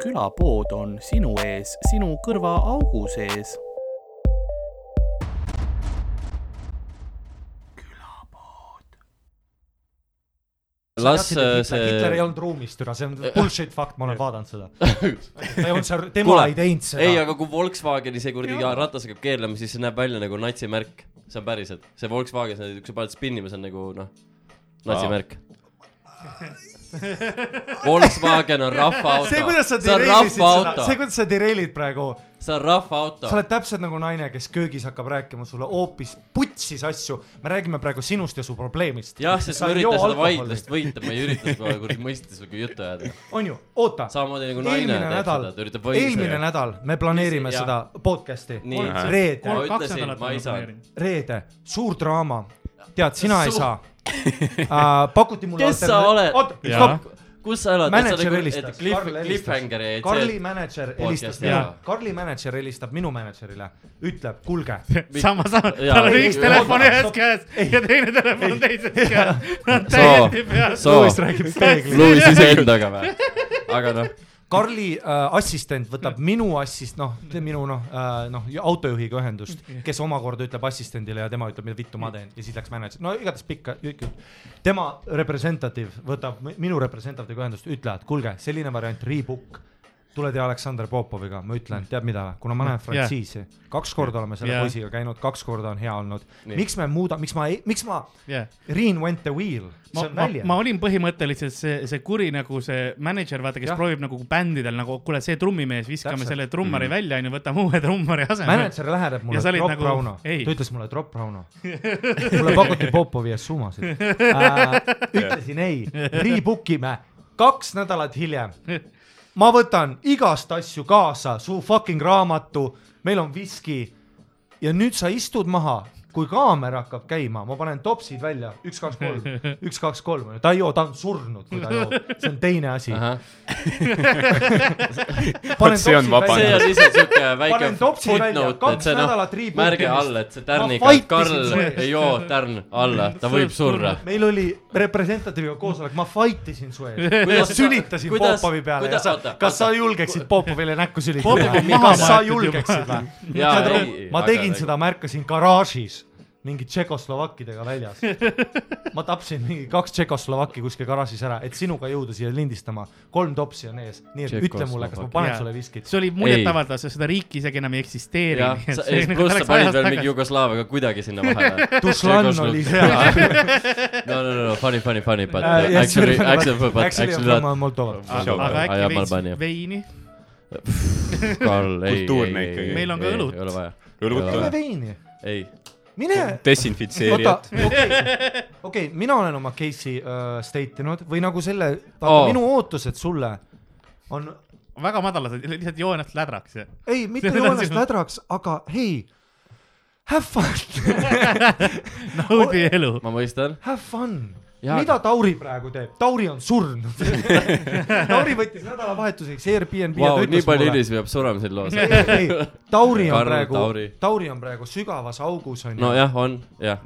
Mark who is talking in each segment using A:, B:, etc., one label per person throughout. A: külapood on sinu ees, sinu kõrvaaugu sees.
B: las äh,
C: Hitler ei
B: see , Äh,
C: olnud ruumis türa , see on bullshit fakt , ma olen vaadanud seda . ta ei olnud seal , tema
B: Kuule,
C: ei teinud
B: ei ,
C: seda .
B: aga kui Volkswageni see kuradi ja ratas hakkab keerlema , siis see näeb välja nagu natsimärk . see on päriselt , see Volkswagen , see , kui sa paned spinnima , see on nagu noh , natsimärk . Volkswagen on rahvaauto .
C: see , kuidas sa
B: on
C: deraiilisid seda ,
B: rahvaauto
C: see ,, kuidas sa derailid praegu ,
B: see on rahvaauto
C: sa . oled täpselt nagu naine , kes köögis hakkab rääkima sulle hoopis putsis asju . me räägime praegu sinust ja su probleemist .
B: jah , sest ma üritan seda vaidlust . võita , ma ei ürita seda kuradi mõista sinuga juttu ajada .
C: on ju , oota .
B: samamoodi nagu naine
C: eelmine
B: teeb
C: nädal
B: seda , ta üritab ,
C: eelmine
B: võita .
C: nädal me planeerime
B: Jah.
C: seda podcast'i .
B: Nii.
C: reede
B: Ma ,
D: kaks
B: ütlesin,
D: nädalat
B: ma ei
D: olen
B: saa.
D: planeerinud .
C: reede , suur draama . tead , sina ei
B: Suur-
C: saa uh, . pakuti mulle .
B: Kes sa oled?
C: oota ,
D: Jaa.
C: stopp .
B: kus sa elad ?
C: mänedžer helistas .
B: Cliffhanger jäi
C: Karli mänedžer helistas
B: podcast'i
C: minu
B: ära. ,
C: Karli mänedžer helistab minu mänedžerile , ütleb , kuulge .
D: sama , sama ,
B: Jaa,
D: tal on
B: ei,
D: üks
B: ei,
D: telefon
C: ei,
D: ühes
C: stopp.
D: käes ja teine telefon teises käes . Nad
B: Soo,
D: täiesti peas .
B: soo.
C: Louis räägib peeglile .
B: Louis iseendaga või ? aga noh ,
C: Karli äh, assistent võtab
D: Hmm.
C: minu assist- , noh , minu noh äh, , noh autojuhiga ühendust ,
D: Hmm.
C: kes omakorda ütleb assistendile ja tema ütleb , mida vittu ma teen ja siis läks mänedžer , no igatahes pikka , tema representatiiv võtab mi- minu representatiiviga ühendust , ütlevad , kuulge , selline variant , rebook tule tea Aleksandr Popoviga , ma
D: Hmm.
C: ütlen , tead mida , kuna ma näen frantsiisi , kaks korda oleme selle
D: Jah.
C: poisiga käinud , kaks korda on hea olnud .
B: Nii.
C: miks me muuda , miks ma , miks ma ,
D: jah ,
C: Reen went the wheel ,
D: ma
C: see , on
D: ma , ma
C: välja .
D: olin põhimõtteliselt see , see kuri nagu see mänedžer , vaata , kes
C: Jah.
D: ja. proovib nagu bändidel nagu , kuule , see trummimees , viskame
C: Täpselt.
D: Täpselt. selle trummari mm. välja , onju , võtame uue trummari asemele .
C: mänedžer läheneb mulle ,
D: Ja sa olid
C: drop nagu...
D: nagu-
C: Rauno ,
D: ei.
C: ta ütles mulle drop Rauno . mulle pakuti Popovi eest summasid äh, . ütlesin ei , rebook ime , kaks nädalat hiljem . ma võtan igast asju kaasa , su fucking raamatu , meil on viski ja nüüd sa istud maha , kui kaamera hakkab käima , ma panen topsid välja , üks , kaks , kolm , üks , kaks , kolm , ta ei joo , ta on surnud , kui ta joob , see on teine asi .
E: Vot see on vabandus.
B: see on lihtsalt siuke väike
C: Panen topsi välja,
B: footnote ,
C: kaks
B: et see noh
C: nädalat , riib
B: märge
C: puhkemist.
B: all , et see
C: Ma
B: tärniga ,
C: vaitisin
B: Karl
C: su
B: ei joo tärn alla , ta võib surra .
C: meil oli representatiiviga koosolek , ma fight isin su ees , ma
B: sa-
C: sülitasin
B: kuidas-
C: Popovi peale
B: kuidas-
C: ja
B: oota,
C: sa , kas sa
B: oota.
C: julgeksid Popovile näkku
D: Popov on
C: sülitada ?
D: maha
C: kas sa
D: maetud
C: julgeksid või ?
B: Jaa, ei, ei,
C: ma
B: aga
C: tegin
B: nagu-
C: seda , märkasin garaažis mingi tšekoslovakkidega väljas . ma tapsin mingi kaks tšekoslovakki kuskil garaažis ära , et sinuga jõuda siia lindistama . kolm topsi on ees , nii et ütle mulle , kas ma panen
D: Jaa.
C: sulle viskit .
D: see oli
B: Ei.
D: muljetavaldav , sest seda riiki isegi enam ei eksisteeri . nagu
B: jah ,
C: nagu
B: pluss sa panid veel mingi Jugoslaaviaga kuidagi sinna vahele .
C: Dušlan oli seal .
B: no , no , no , funny , funny , funny , but uh,
C: Äh, jah,
B: actually ,
C: see-
B: actually , but
C: Actually
B: actually
C: from
B: not .
C: Moldova .
B: Ah.
E: Show.
D: aga
B: Aja
D: äkki
B: Malbania.
D: veits veini ,
B: Karl , ei , ei ,
E: Kultuurne
B: ei , ei
E: ikkagi. ,
D: Meil on ka õlut.
B: ei ole vaja .
C: tule
E: õlut ,
C: veini ,
B: ei ,
C: mine
E: desinfitseerijad .
C: okei , okei , mina olen oma case'i uh, state inud või nagu selle ,
B: Oo.
C: vaata minu ootused sulle on ,
D: väga madalad , lihtsalt joo ennast lädraks ja
C: ei , mitte
D: See on
C: joonest
B: nagu-
D: sinu-
C: lädraks , aga hei , have fun ,
D: naudi elu .
B: ma mõistan .
C: have fun .
B: Jaa,
C: mida Tauri praegu teeb ? Tauri on surnud . Tauri võttis nädalavahetuseks Airbnb
B: Vau ,
C: ja ta
B: nii
C: ütles
B: palju
C: mulle ,
B: inimesi peab surema siin loos .
C: ei , ei , Tauri on
B: Karl
C: praegu
B: Tauri. ,
C: Tauri on praegu sügavas augus on ju no, ,
B: nojah , on , jah .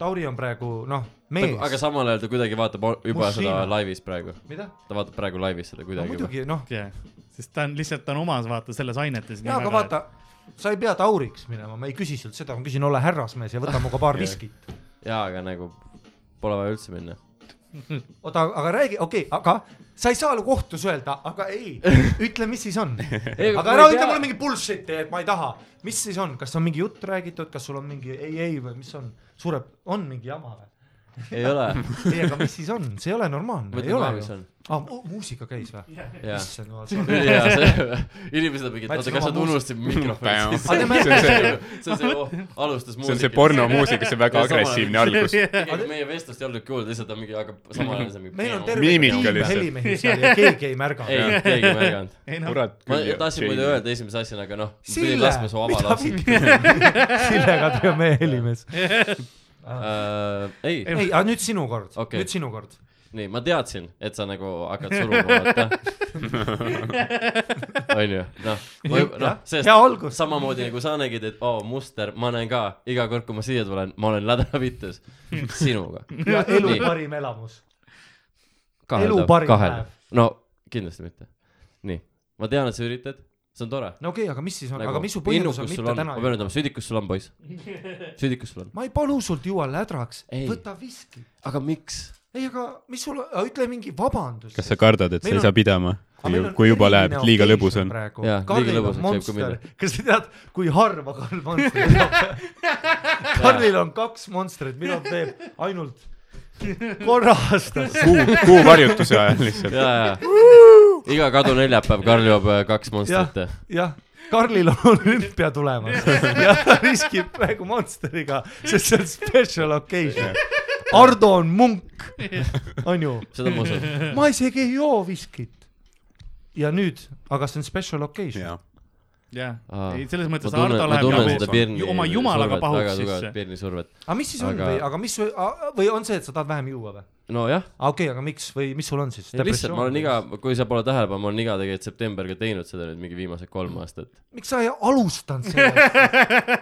C: Tauri on praegu noh , mees ,
B: aga samal ajal ta kuidagi vaatab o- juba
C: Muslima.
B: seda laivis praegu .
C: mida ?
B: ta vaatab praegu laivis seda
C: no
B: kuidagi juba .
C: muidugi noh ,
D: jah , sest ta on lihtsalt , ta on omas vaata selles ainetes .
C: jaa , aga vaata , sa ei pea tauriks minema , ma ei küsi sult seda , ma küsin , ole härrasmees ja võta minuga paar
B: Jah.
C: viskit .
B: jaa , aga nagu pole vaja üldse minna .
C: oota , aga räägi , okei okay, , aga sa ei saa ju kohtus öelda , aga ei , ütle , mis siis on . aga ära ütle mulle . mingi bullshit'i , et ma ei taha . mis siis on , kas on mingi jutt räägitud , kas sul on mingi ei , ei või mis on , sureb , on mingi jama või ?
B: ei ole .
C: ei , aga mis siis on , see ei ole normaalne , ei
B: mõtle
C: ole
B: maha , mis
C: ju .
B: on .
C: aa , muusika käis või ?
B: jaa .
C: issand
B: jaa ,
C: jumal .
B: see , inimesed on mingid ,
C: Ma
B: oota ,
C: ütlesin
B: kas
C: oma
B: nad
C: muus-
B: unustasid mikrofoni
E: Bam.
B: sisse ?
C: Aga me-
E: see on see ,
B: see on see oh, , alustas
E: see on see
B: muusika .
E: pornomuusika , see väga
B: Ja samal ajal-
E: agressiivne algus .
B: tegelikult meie vestlust ei olnudki kuulda , lihtsalt on mingi , aga samal ajal see on mingi .
C: meil on terve
E: Miimika
C: tiim
E: lihtsalt.
C: helimehi seal ja keegi ei märganud . nagu-
B: ei , keegi ei märganud .
D: ei noh ,
E: kurat
B: ma
E: küll .
B: tahtsin muidu . öelda esimese asjana , aga noh ,
C: Sille,
B: pidin laskma su
C: mida
B: avalapsi .
C: Sille Kadri on meie helimees .
B: Äh, ei ,
C: ei , aga nüüd sinu kord
B: Okei.
C: nüüd sinu kord .
B: nii , ma teadsin , et sa nagu hakkad suruma , vaata . onju , noh , noh ,
C: hea
B: sest
C: algus .
B: samamoodi nagu sa nägid , et oo , muster , ma näen ka , iga kord , kui ma siia tulen , ma olen lädavittus sinuga .
C: ja elu
B: Nii.
C: parim elamus . Elu
B: kaheldav ,
C: parim
B: kaheldav
C: päev. .
B: no kindlasti mitte . nii , ma tean , et sa üritad , see on tore .
C: no okei okay, , aga mis siis on nagu, , aga mis su põhjus on mitte täna
B: ma ? pean ütlema , südikus sul on , poiss . südikus sul on .
C: ma ei palu sult juua lädraks ,
B: Ei.
C: võta viski .
B: aga miks ?
C: ei , aga mis sul , ütle mingi vabandus .
E: kas sa kardad , et sa
C: Meil
E: ei
C: on-
E: saa pidama , kui , kui juba läheb , et liiga lõbus on ?
C: praegu
B: Jaa, , liiga
C: Karlil
B: lõbusaks võib
C: on
B: ka
C: monster
B: minna. ,
C: kas sa tead , kui harva Karl Monsterit saab ? Karlil on kaks monstrit , mida ta teeb ainult korra aastas .
E: kuu , kuu varjutuse ajal lihtsalt .
B: ja , ja , iga kadu neljapäev Karl joob äh, kaks monstrit .
C: jah , Karlil on olümpia tulemas ja ta riskib praegu Monsteriga , sest see on special occasion . Ardo on munk , onju ,
B: seda ma usun .
C: ma isegi ei joo viskit . ja nüüd , aga see on special occasion .
D: jah
B: Aa. ,
D: ei selles
B: ma
D: mõttes
B: tunnen ,
D: Ardo
B: ma tunnen seda
D: läheb
B: pirni
D: nagu oma jumalaga
B: survet, väga
D: pahuks
B: tugevat
D: sisse .
B: pirni survet .
C: aga mis siis on
B: Aga-
C: või , aga mis või , või on see , et sa tahad vähem juua või ?
B: nojah ,
C: okei okay, , aga miks või mis sul on siis ?
B: lihtsalt ma olen iga , kui sa pole tähele pannud , ma olen iga tegelikult septembriga teinud seda nüüd mingi viimased kolm aastat .
C: miks sa ei alustanud sellest ,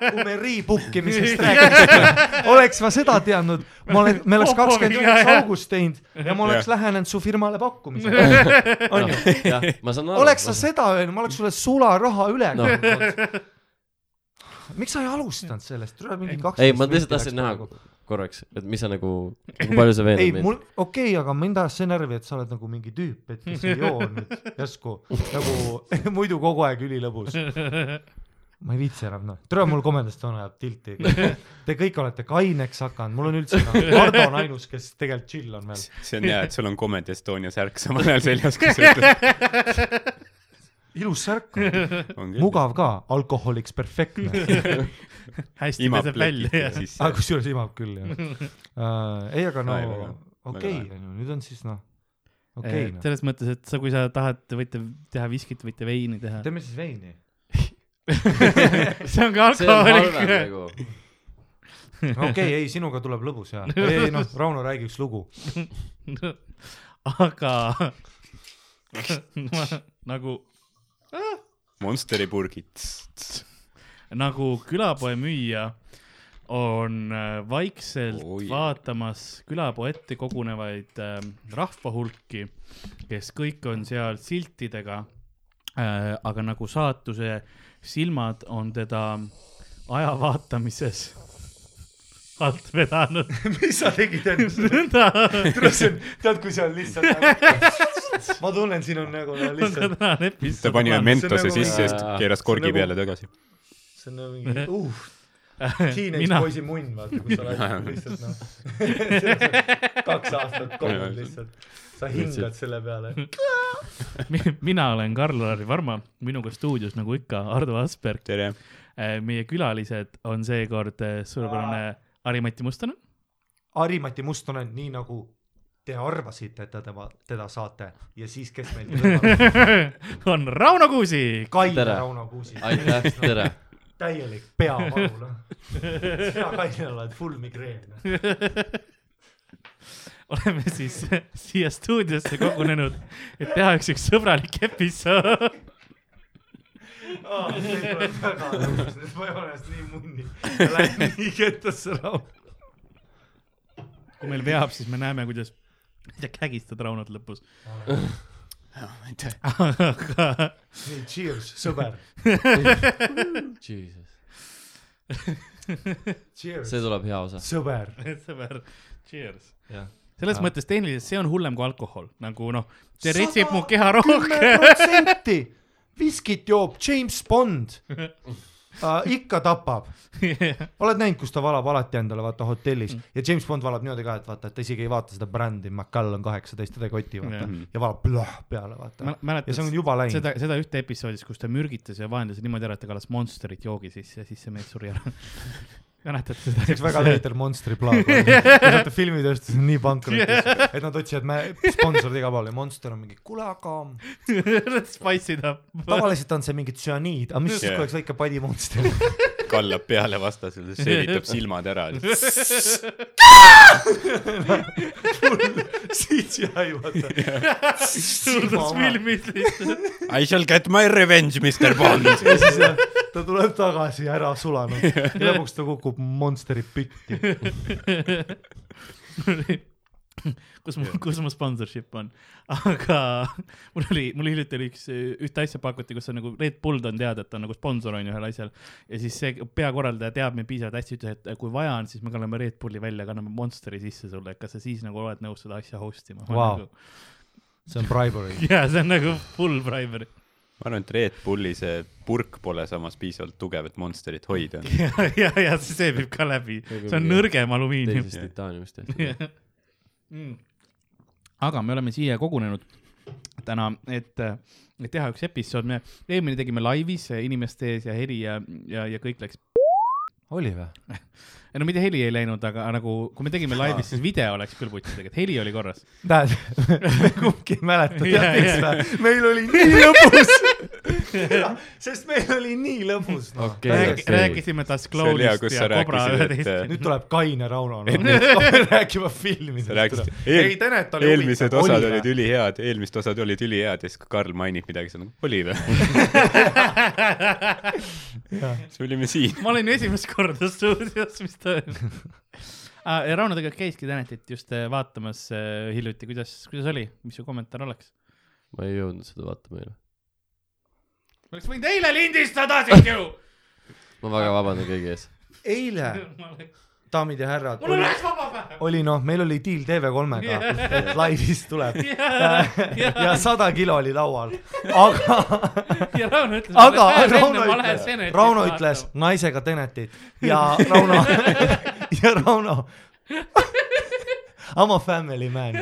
C: kui me rebook imisest rääkisime , oleks ma seda teadnud , ma olen , me oleks kakskümmend üheksa august teinud ja ma oleks lähenenud su firmale pakkumisele , onju .
B: Noh, ma saan aru .
C: oleks sa seda öelnud , ma oleks sulle sularaha üle
B: Noh.
C: kandnud . miks sa ei alustanud sellest , mingi kaksteist .
B: ei , ma lihtsalt tahtsin näha . korraks , et mis sa nagu , kui palju sa
C: ei ,
B: veenad meid .
C: mul , okei okay, , aga mind ajas see närvi , et sa oled nagu mingi tüüp , et kes ei joo nüüd järsku nagu muidu kogu aeg ülilõbus . ma ei viitsi enam noh , tule mul komedast on ajab tilti . Te kõik olete kaineks hakanud , mul on üldse noh , Hardo on ainus , kes tegelikult chill on veel .
E: see on hea , et sul on Comedy Estonia särk samal ajal seljas , kui sa ütled .
C: ilus särk , mugav ka , alkoholiks perfektne .
D: hästi
E: imab
D: peseb välja ja
E: siis .
C: aga kusjuures imab küll jah uh, . ei , aga no
E: Ei, väga hea.
C: okei
E: Väga hea.
C: on ju , nüüd on siis noh , okei noh.
D: Eh,
C: okay, .
D: selles mõttes , et sa , kui sa tahad , võite teha viskit , võite veini teha .
C: teeme siis veini .
D: see on ka
B: see on halvem
D: alkoholik .
B: nagu .
C: okei okay, , ei sinuga tuleb lõbus ja , ei noh , Rauno räägi üks lugu nagu.
D: aga ma- nagu ,
E: Monsteri purgid .
D: nagu külapoe müüja on äh, vaikselt
E: Oi.
D: vaatamas külapoe ette kogunevaid äh, rahvahulki , kes kõik on seal siltidega . Äh, aga nagu saatuse silmad on teda aja vaatamises alt vedanud .
C: mis sa tegid ennast ?
D: nõnda
C: tead , kui see on lihtsalt nagu... . ma tunnen , siin on nagu no lihtsalt ,
D: tänane episood .
E: ta pani ühe mentose
C: nagu-
E: sisse ja siis keeras korgi
C: nagu-
E: peale tagasi .
C: see on nagu mingi uh, teenage
D: mina ,
C: poisi munn , vaata , kui sa oled lihtsalt noh . kaks aastat kogunud lihtsalt , sa hingad selle peale .
D: mina olen Karl-Lari Varma , minuga stuudios nagu ikka Ardo Asperg .
E: tere .
D: Äh, meie külalised on seekord eh, suurepärane Harimati Mustonen .
C: Harimati Mustonen , nii nagu te arvasite , et te tema , teda saate ja siis , kes meil kõrval on ,
D: on Rauno Kuusik .
C: Kaine
B: Tere.
C: Rauno Kuusik ,
B: aitäh , tere .
C: täielik peavalu noh . sina , Kaine , oled full migreen .
D: oleme siis siia stuudiosse kogunenud , et teha üks üks sõbralik episood .
C: aa , nüüd ma olen väga nõus , nüüd ma ei ole ennast nii munni . Lähen nii kettasse laua .
D: kui meil veab , siis me näeme , kuidas sa kägistad Raunot lõpus . aga
C: nii , cheers , sõber .
B: Jesus ,
C: Cheers ,
B: see tuleb hea osa .
C: sõber .
D: sõber , cheers .
B: Jah.
D: selles
B: Aa.
D: mõttes tehniliselt see on hullem kui alkohol , nagu noh , see
C: Sada
D: retsib mu keha
C: kümme
D: rohkem .
C: protsenti viskit joob James Bond uh, . ikka tapab . oled näinud , kus ta valab alati endale , vaata hotellis
D: Mm.
C: ja James Bond valab niimoodi ka , et vaata , et ta isegi ei vaata seda brändi , Macal on kaheksateist , ta ei koti , vaata
D: Jah.
C: ja valab plõh peale , vaata
D: Ma- . mäletad
C: ja see on juba läinud .
D: seda , seda ühte episoodis , kus ta mürgitas ja vaenlas niimoodi ära , et ta kallas Monsterit joogi sisse ja siis see mees suri ära . mäletad seda ?
C: see oleks väga veider Monstri plaag olnud . filmitööstus on nii pankrotis , et nad otsivad mä- sponsorid igal pool ja Monster on mingi , kuule aga
D: Spice it up .
C: tavaliselt on see mingi tsüaniid , aga mis siis ,
E: Jah.
C: kui oleks väike padi Monster .
E: kallab peale vastasele , seelitab silmad ära .
C: CGI vaata .
D: tundus filmis lihtsalt .
E: I shall get my revenge , Mr Bond .
C: ja siis jah, ta tuleb tagasi ära sulanud ja lõpuks ta kukub Monsteri pütti .
D: kus mu , kus mu sponsorship on . aga mul oli , mul hiljuti oli üks , ühte asja pakuti , kus on nagu Red Bull on teada , et ta on nagu sponsor on ju ühel asjal . ja siis see peakorraldaja teab mind piisavalt hästi , ütles , et kui vaja on , siis me kanname Red Bulli välja , kanname Monsteri sisse sulle , et kas sa siis nagu oled nõus seda asja nagu- host ima
C: Vau. see on bribery .
D: jaa , see on nagu full bribery .
E: ma arvan , et Red Bulli see purk pole samas piisavalt tugev , et Monsterit hoida .
D: ja , ja , ja see- see viib ka läbi , see on nõrgem alumiinium .
B: teisest titaaniumist tehti .
D: mm. . aga me oleme siia kogunenud täna , et , et teha üks episood , me eelmine tegime laivis inimeste ees ja heli ja , ja , ja kõik läks .
C: oli või ?
D: no mitte heli ei läinud , aga nagu , kui me tegime laivis , siis video läks küll putsi tegelikult , heli oli korras .
C: näed , me kumbki ei mäleta ,
D: Jaa,
C: tead miks
D: jaa.
C: või ? meil oli nii lõbus . sest meil oli nii lõbus , noh .
B: Okei.
C: Täiesti.
B: see-
D: rääkisime Tast
E: oli hea,
D: Clownist
E: kus
D: ja
E: sa
D: Cobra
E: rääkisid, et-
D: üheteistkümnest .
C: nüüd tuleb Kaine Rauno no, rääkima filmidest .
E: sa rääkisid ,
C: ei , Tenet oli
E: eelmised osad olid ülihead , eelmised osad olid ülihead ja siis , kui Karl mainib midagi , siis on , oli või ? siis me olime siin .
D: ma olin esimest korda stuudios , mis toimub ah, . ja Rauno tegelikult käiski Tänetit just eh, vaatamas eh, hiljuti , kuidas , kuidas oli , mis su kommentaar oleks ?
B: ma ei jõudnud seda vaatama eile .
D: me oleks võinud eile lindistada sind ju .
B: ma väga vabandan kõigi ees .
C: eile ,
D: mul
C: daamid ja härrad ,
D: on
C: oli,
D: üks vaba päev .
C: oli noh , meil oli deal TV3-ga , et laivis tuleb . ja
D: ja ,
C: sada kilo oli laual , aga ,
D: ja Rauno ütles .
C: aga Rauno ütles , Rauno ütles . naisega Tenetit ja Rauno ja Rauno I m a family man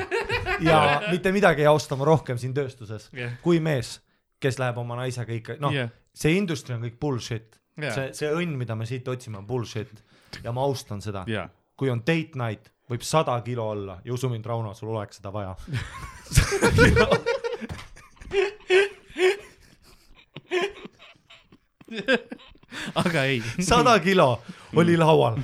C: ja mitte midagi ei austa ma rohkem siin tööstuses
D: Jah.
C: kui mees , kes läheb oma naisega ikka , noh ,
D: Jah.
C: see industry on kõik bullshit
D: Jah.
C: see , see õnn , mida me siit otsime , on bullshit ja ma austan seda
D: jaa ,
C: kui on date night , võib sada kilo olla ja usu mind , Rauno , sul oleks seda vaja .
D: aga ei .
C: sada kilo oli laual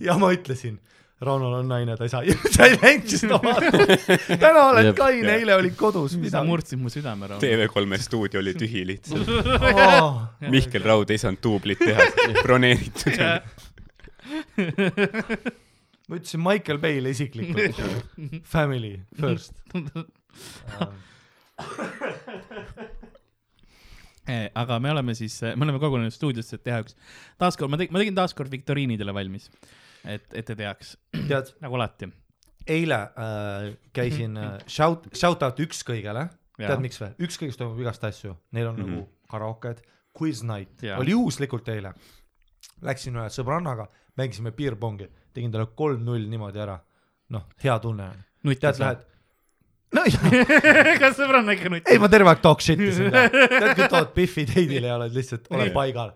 C: ja ma ütlesin , Raunol on naine , ta ei saa , sa ei läinud seda vaatama . täna oled
B: Jep.
C: kaine , eile olid kodus ,
D: sa
C: mida
D: murdsid mu südame , Rauno .
E: TV3 stuudio oli tühi lihtsalt .
C: oh, .
E: Mihkel Raud ei saanud duublit teha , broneeritud oli .
C: ma ütlesin Michael Bay'le isiklikult , family first . Äh,
D: Eh, aga me oleme siis , me oleme kogunenud stuudiosse , et teha üks , taaskord ma tegin , ma tegin taaskord viktoriinidele valmis , et , et te teaks ,
C: tead ,
D: nagu alati .
C: eile äh, käisin äh, shout , shout out ükskõigele ,
D: Mhm. Jaa. Mhm.
C: tead miks või , ükskõiges toimub igast asju , neil on mm -hmm. nagu karaoked , quiz night
D: Jaa.
C: yeah. oli juhuslikult eile . Läksin ühe sõbrannaga , mängisime piirpongi , tegin talle kolm-null niimoodi ära , noh , hea tunne on , tead , lähed . no jaa ,
D: kas sõbranna ikka nutis ?
C: ei ma terve aeg talk shit isin ka , tead kui tood Biffi teidile ja oled lihtsalt , oled paigal .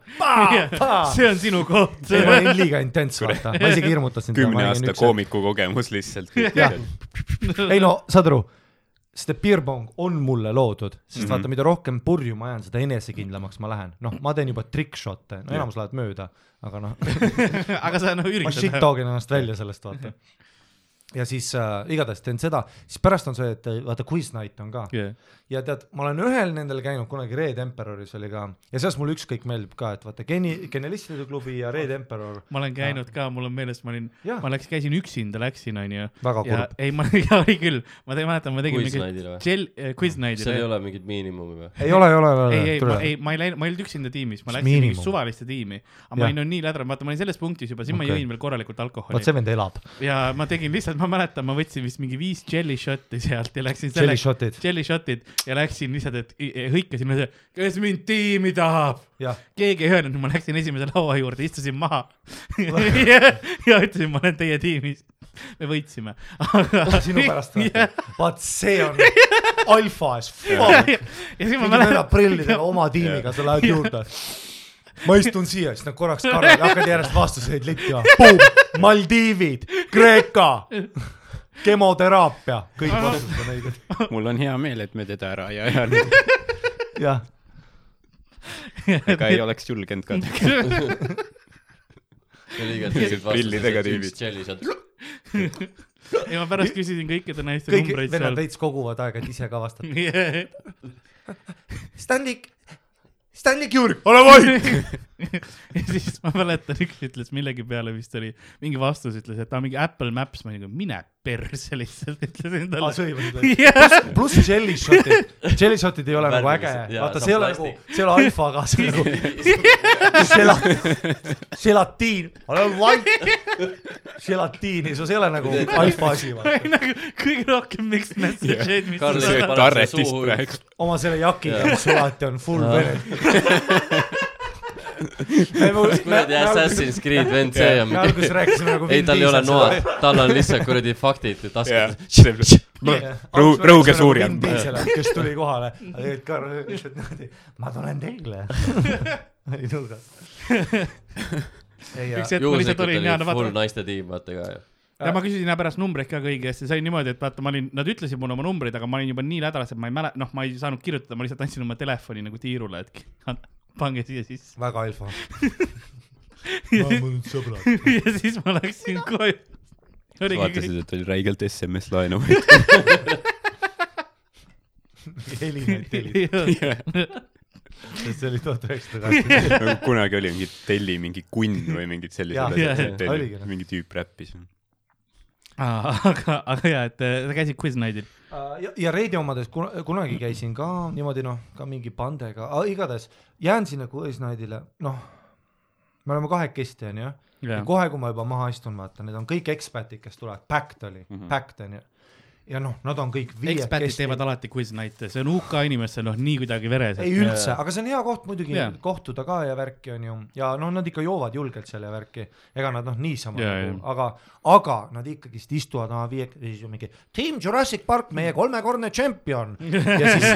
D: see on sinu koht .
C: ei , ma olin liiga intens , vaata , ma isegi hirmutasin .
E: kümne aasta . koomiku kogemus lihtsalt .
C: Jah. ei no saad aru , see piirpong on mulle loodud , sest mm
D: Mhm.
C: -hmm. vaata , mida rohkem purju ma jään , seda enesekindlamaks ma lähen , noh , ma teen juba trick-shot'e , no enamus lähevad mööda , aga noh ,
D: aga sa nagu
C: ma shit
D: üritad .
C: dogin ennast välja sellest , vaata . ja siis äh, igatahes teen seda , siis pärast on see , et äh, vaata quiz night on ka ja tead , ma olen ühel nendel käinud kunagi Red Emperoris oli ka ja sealt mulle ükskõik meeldib ka , et vaata geni- , genialistide klubi ja Red Emperor ,
D: ma olen käinud ka , mul on meeles , ma olin ,
C: Jaa.
D: ma läks , käisin üksinda , läksin , onju .
C: Väga kurb. .
D: ei , ma , jaa , oli küll , ma te- mäletan , ma tegin
B: Quiz night'ile või?
D: džel- , quiz night'ile .
B: seal ei ole mingit miinimumi või ?
C: ei ole , ei ole , ei ole ,
D: ei , ei , ma , ei , ma ei läinud , ma ei olnud üksinda tiimis , ma
C: Mis
D: läksin mingit
C: miinimum?
D: suvaliste tiimi . aga ma
C: Jah.
D: olin no nii lädranud , vaata , ma olin selles punktis juba , siin okay. ma
C: Okei.
D: jõin veel korralikult alkoholi
C: vot see vend elab ,
D: ja ma tegin lihtsalt , ma mäletan , ma võtsin vist mingi viis jelly shot'i sealt ja läksin selle
C: jelly , shot'id ,
D: jelly shot'id ja läksin lihtsalt , et i- i- hõikasin , kes mind tiimi tahab .
C: jah
D: keegi ei öelnud , ma läksin esimese laua juurde , istusin maha ja, ja ütlesin , ma olen teie tiimis . me võitsime , aga .
C: sinu pärast
D: ja,
C: vaata , vaat see on alfa as
D: ja,
C: fuck .
D: ja, ja siis ma
C: mingid vennad
D: mäletan ,
C: prillidega oma tiimiga , sa lähed juurde . ma istun siia , siis nad korraks karjavad ja hakkad järjest vastuseid littima . Maldiivid , Kreeka , kemoteraapia , kõik vastused on õiged .
E: mul on hea meel , et me teda ära ei ajanud ,
C: jah ,
E: ega ei oleks julgenud ka teha . prillidega tiibid.
B: tšellised .
D: ja ma pärast küsisin kõikide naiste
C: kõik
D: numbreid
C: vennad
D: seal .
C: veits koguvad aega , et ise ka vastata .
D: Yeah.
C: Stanlik , Stanlik Jürg , ole vait .
D: ja siis ma mäletan , üks ütles millegi peale vist oli , mingi vastus ütles , et aa mingi Apple Maps , ma nagu mine perse lihtsalt ütlesin
C: aa ,
D: talle .
C: sõimad või ?
D: jah ,
C: pluss jelly shot'id , jelly shot'id ei ole nagu äge
B: Värvilised, , jaa,
C: vaata see ei ole nagu
B: saab ,
C: see ei ole alfa , aga see on nagu sela- , selatiin , olen vait , selatiini , see ei ole nagu alfa asi , vaata .
D: nagu kõige rohkem mixed message'eid , mis
B: Karl
D: tuleb.
B: sööb
E: sööd
B: paned selle
E: arretist
B: suhu.
E: praegu .
C: oma selle jakiga , mis sul alati on , full
B: Jaa.
C: vene .
B: kuradi Assassin's Creed vend see on
C: me
B: mingi
C: alguses rääkisime nagu
B: ei , tal ei ole noad , tal on lihtsalt kuradi faktid
E: jah
B: taskus .,
E: Rõu-
C: nagu
E: rõuge suurjam.
C: kes tuli kohale , aga tegelikult Karl ütles , et niimoodi , ma tulen teile . oli nuga . ei ,
D: üks hetk ma lihtsalt
B: juhuslikult
D: olin
B: oli
D: ja no
B: full
D: vaata ,
B: naiste tiim , vaata ka ju .
D: ja ma küsisin ja pärast numbreid ka kõigi eest ja sai niimoodi , et vaata , ma olin , nad ütlesid mulle oma numbrid , aga ma olin juba nii lädalas , et ma ei mäle- , noh , ma ei saanud kirjutada , ma lihtsalt andsin oma telefoni nagu tiirule , et pange siia sisse .
C: väga alfa .
D: ja siis-
C: mul sõbrad .
D: ja siis ma läksin koju . oligi kõik ,
E: vaatasid , et oli räigelt SMS laenu .
C: helineid tellid , see oli tuhat üheksasada kaheksakümmend .
E: nagu kunagi oli mingi Telli mingi kunn või mingid sellised
D: Jah, jah,
E: asjad
C: oligi, noh. .
E: mingi tüüp räppis .
D: aga , aga ja , et äh, sa käisid Quiznaidil .
C: Ah, ja , ja Reidi omades kun- kunagi käisin ka niimoodi noh , ka mingi bandega , igatahes jään sinna Kuisnaidile , noh , me oleme kahekesti onju . ja kohe , kui ma juba maha istun , vaata , need on kõik ekspatid , kes tulevad , Pact oli mm , -hmm. Pact onju . ja noh , nad on kõik
D: ekspatid teevad alati Quiznaite , see on UK inimestel noh , nii kuidagi veres .
C: ei üldse , aga see on hea koht muidugi
D: Jaa.
C: yeah. kohtuda ka ja värki on ju ja noh , nad ikka joovad julgelt seal ja värki , ega nad noh , niisama
D: Jaa,
C: nagu , aga , aga nad ikkagist istuvad oma viie , siis on mingi Team Jurassic Park , meie kolmekordne tšempion ja siis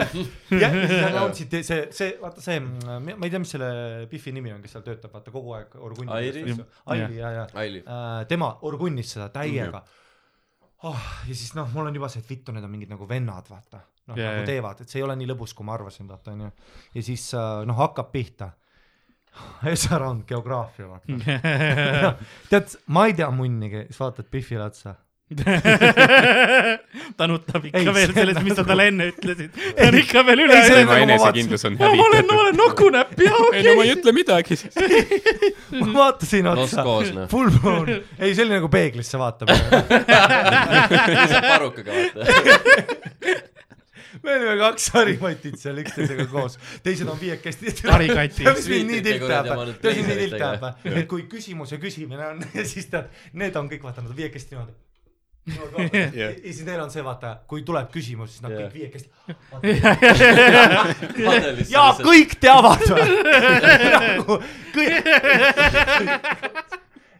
C: ja siis announce iti see , see , vaata see , ma ei tea , mis selle Biffi nimi on , kes seal töötab , vaata kogu aeg
B: Airi?
C: orgundi . Airi ja , ja
B: Aili .
C: Äh, tema orgunnis seda täiega .
D: Mhm.
C: Oh, ja siis noh , mul on juba see , et vittu , need on mingid nagu vennad , vaata . noh
D: Jaa,
C: yeah, , nagu
D: jaa.
C: teevad , et see ei ole nii lõbus , kui ma arvasin , vaata onju . ja siis äh, noh , hakkab pihta . Esar on geograafia , vaata . tead , ma ei tea munnigi , siis vaatad Biffile otsa .
D: ta nutab ikka
C: Ei,
D: ei, veel
C: see
D: sellest ,
C: on
D: mis sa
C: nagu-
D: talle enne ütlesid . ta on ikka veel üle
C: ei, see on nagu
D: öelnud .
E: tema
C: ma
E: enesekindlus on
D: ma olen , ma
E: hävitatud .
D: olen nokunäpp ja
E: ei no ma ei
D: okei .
E: ütle midagi siis .
D: Mhm.
C: ma vaatasin
B: Lost
C: otsa .
B: koos noh ,
C: Full moon , ei see oli nagu peeglisse vaatamine .
B: lihtsalt parukaga vaata .
C: me olime kaks harimatit seal üksteisega koos , teised on viiekesti .
D: Harikatid.
C: mis mind
B: Sviitid
C: nii
B: ja
C: tilt
B: kuradi
C: ajab
B: oma , need
C: tead , mis mind
B: pleiseritega.
C: tilt ajab , et kui küsimus ja küsimine on ja siis tead , need on kõik vaata , nad on viiekesti niimoodi . ja
E: Jah.
C: siis neil on see vaata , kui tuleb küsimus , siis nad
B: Jah.
C: kõik viiekesti .
B: padelisse
C: ja kõik teavad või ? kõik ,